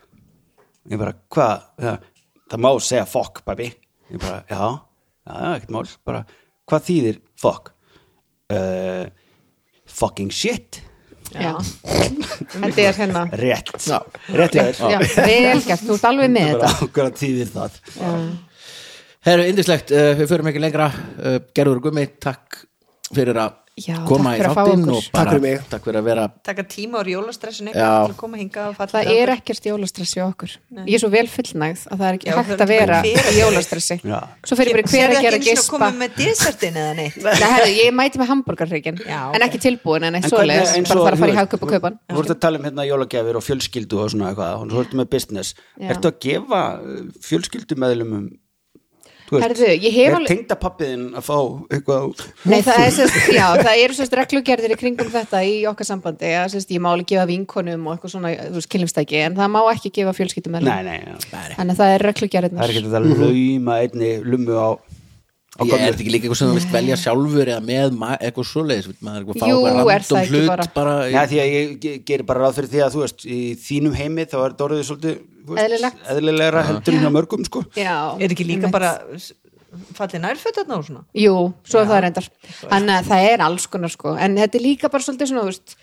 Speaker 3: ég bara, hvað, það, það má segja fuck, baby ég bara, já, já, já, ekkert mál bara, hvað þýðir fuck uh, fucking shit
Speaker 5: Já. Þetta er hérna
Speaker 3: rétt, rétt ég
Speaker 5: Já,
Speaker 3: er
Speaker 5: vel gert, þú ert alveg með þetta
Speaker 3: bara, hvað þýðir það
Speaker 2: Herru, indislegt, uh, við förum ekki lengra uh, Gerður og Gummi, takk fyrir að
Speaker 5: Já,
Speaker 2: koma
Speaker 5: takk
Speaker 2: í
Speaker 5: fyrir að fá
Speaker 2: þáttinn
Speaker 5: okkur.
Speaker 2: og bara,
Speaker 6: Takk fyrir mig.
Speaker 2: Takk fyrir að vera
Speaker 4: Taka tíma úr jólastressin
Speaker 2: Já.
Speaker 4: eitthvað til að koma hingað og falla
Speaker 5: Það er ekkert jólastressi á okkur Ég er svo vel fullnægð að það er ekki
Speaker 4: Já,
Speaker 5: hægt
Speaker 4: það er
Speaker 5: að
Speaker 4: ekki
Speaker 5: vera
Speaker 4: bara
Speaker 5: í
Speaker 4: fyrir-
Speaker 5: jólastressi
Speaker 3: Já.
Speaker 5: Svo fyrir bara hver
Speaker 4: Sérðu
Speaker 5: að
Speaker 4: ekki
Speaker 5: gera
Speaker 4: einu sinni að
Speaker 5: gespa
Speaker 4: koma með desertin eða neitt
Speaker 5: Nei, herru, ég mæti með hambúrgarhryggjum
Speaker 4: Já.
Speaker 5: en ekki tilbúin en
Speaker 3: En
Speaker 5: eitt
Speaker 3: hvernig-
Speaker 5: svoleiðis,
Speaker 3: eins
Speaker 5: bara
Speaker 3: og,
Speaker 5: þarf að
Speaker 3: þú
Speaker 5: fara í
Speaker 3: veist,
Speaker 5: hagkaup og kaupan
Speaker 3: Þú voru að tala um hérna jólagjafir og fjölskyldu og svona eitthvað, hún voru með business
Speaker 5: Já.
Speaker 3: Ertu að gefa eh, fjölskyldumeðlumum þú veist,
Speaker 5: Herðu, ég hef
Speaker 3: Er
Speaker 5: alveg-
Speaker 3: tengdapappiðin að fá eitthvað á-
Speaker 5: Nei, það er sérst, já, það eru sérst reglugerðir í kringum þetta í okkar sambandi að sérst, ég má alveg gefa vinkonum og eitthvað svona, þú veist, kynlumstæki en það má ekki gefa fjölskyldum
Speaker 3: Nei, nei, já.
Speaker 5: Þannig að það er reglugerðirnar
Speaker 3: það er ekki þetta að um lauma einni lummu á, á
Speaker 2: Ég er
Speaker 3: gömlu.
Speaker 2: þetta ekki líka eitthvað sem þú vilt velja sjálfur eða með ma- eitthvað svoleiðis vill maður eitthvað fá
Speaker 5: Jú,
Speaker 2: bara
Speaker 5: er það
Speaker 2: random
Speaker 5: ekki
Speaker 2: hlut
Speaker 5: bara?
Speaker 2: bara í-
Speaker 3: Já, því að ég ge- geri bara ráð fyrir því að þú veist, í þínum heimi þá er þetta orðið svolítið þú
Speaker 5: Eðlilegt.
Speaker 3: eðlilegra heldur en á mörgum sko.
Speaker 5: Já,
Speaker 4: Er ekki líka
Speaker 5: einmitt.
Speaker 4: bara fallið nærfötarna og svona
Speaker 5: Jú, svo er það reyndar Þannig að það er alls konar sko en þetta er líka bara svolítið svona, þú veist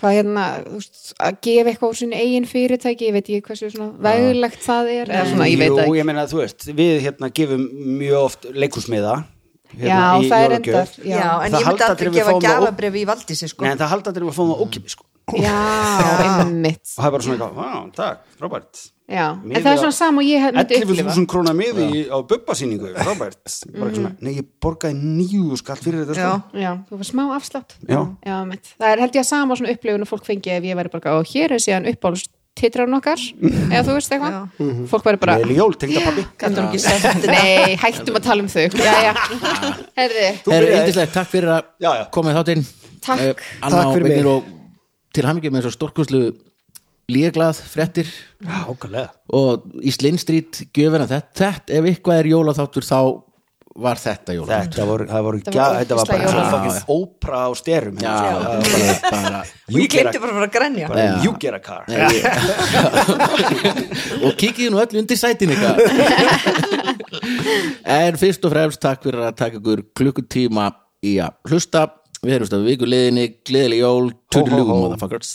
Speaker 5: hvað hérna, þú veist, að gefa eitthvað úr sinni eigin fyrirtæki, ég veit ekki hversu svona veglegt það er, eða svona, ég veit
Speaker 3: Jú,
Speaker 5: það ekki
Speaker 3: ég meina þú veist, við hérna gefum mjög oft leikhúsmiða
Speaker 5: Já,
Speaker 3: í
Speaker 5: það er sko.
Speaker 3: jólagjöf.
Speaker 5: endar Já,
Speaker 4: já,
Speaker 3: Það
Speaker 4: en ég myndi
Speaker 3: halda allir
Speaker 4: aldrei
Speaker 3: við
Speaker 4: gefa
Speaker 3: fáum það ó-
Speaker 4: gjafabrif í valdísi sko
Speaker 3: Nei, en það halda allir að fá maður ókipis sko. og
Speaker 5: já einmitt
Speaker 3: það er bara svona eitthvað, vá, takk, frábært
Speaker 5: Já, en
Speaker 3: Miði
Speaker 5: það er
Speaker 3: á-
Speaker 5: svona sama og ég hef- myndi upplifa
Speaker 3: 11.000 krónar miði í- á bubbasýningu frábært, bara eitthvað svona nei, ég borgaði nýju skall fyrir þetta sko.
Speaker 4: já,
Speaker 5: Mm. Já, þú var smá afslátt
Speaker 3: Já.
Speaker 5: mitt. Það er held ég að sama svona upplifun og fólk fengi ef ég væri bara, og hér er síðan uppáls titrarinn okkar, eða þú veist
Speaker 4: Já.
Speaker 5: eitthvað fólk væri bara,
Speaker 3: Gleðileg jól, tengda pabbi
Speaker 4: gæmdur ekki sett
Speaker 5: nei, hættum að tala um þau já, já, herði
Speaker 2: Herri,
Speaker 3: byrjaðir.
Speaker 2: yndislegt, takk fyrir að
Speaker 3: Já, já.
Speaker 2: koma í þáttinn
Speaker 5: Takk.
Speaker 2: Eh, Anna
Speaker 6: Takk
Speaker 2: og
Speaker 6: fyrir
Speaker 2: Vignir
Speaker 6: mig.
Speaker 2: og til hamingjum með þessar stórkurslu líglað, frettir
Speaker 3: ákvæmlega
Speaker 2: og í Slindstrít gjöfina þetta, þetta, ef eitthvað er jólaþáttur þá var þetta jólaþáttur
Speaker 3: þetta voru, það voru,
Speaker 5: Það
Speaker 3: gja,
Speaker 5: var
Speaker 3: þetta var bara
Speaker 5: ógeðslega
Speaker 3: svona
Speaker 2: jólalegt.
Speaker 3: fucking ópra á styrum
Speaker 2: Já,
Speaker 3: hérna, sko.
Speaker 2: bara, bara
Speaker 3: You
Speaker 4: ég
Speaker 3: get a-
Speaker 4: glemti bara að fara að grænja
Speaker 3: bara,
Speaker 2: Já.
Speaker 3: you get a car
Speaker 2: Nei, ég- og kikið nú öll undir sætin ykkar en fyrst og fremst takk fyrir að taka ykkur klukkutíma í að hlusta við heyrjumst að viku liðinni, gleðileg jól
Speaker 3: Hó, hó,
Speaker 2: tuddelugum
Speaker 3: hó.
Speaker 2: og það fuckers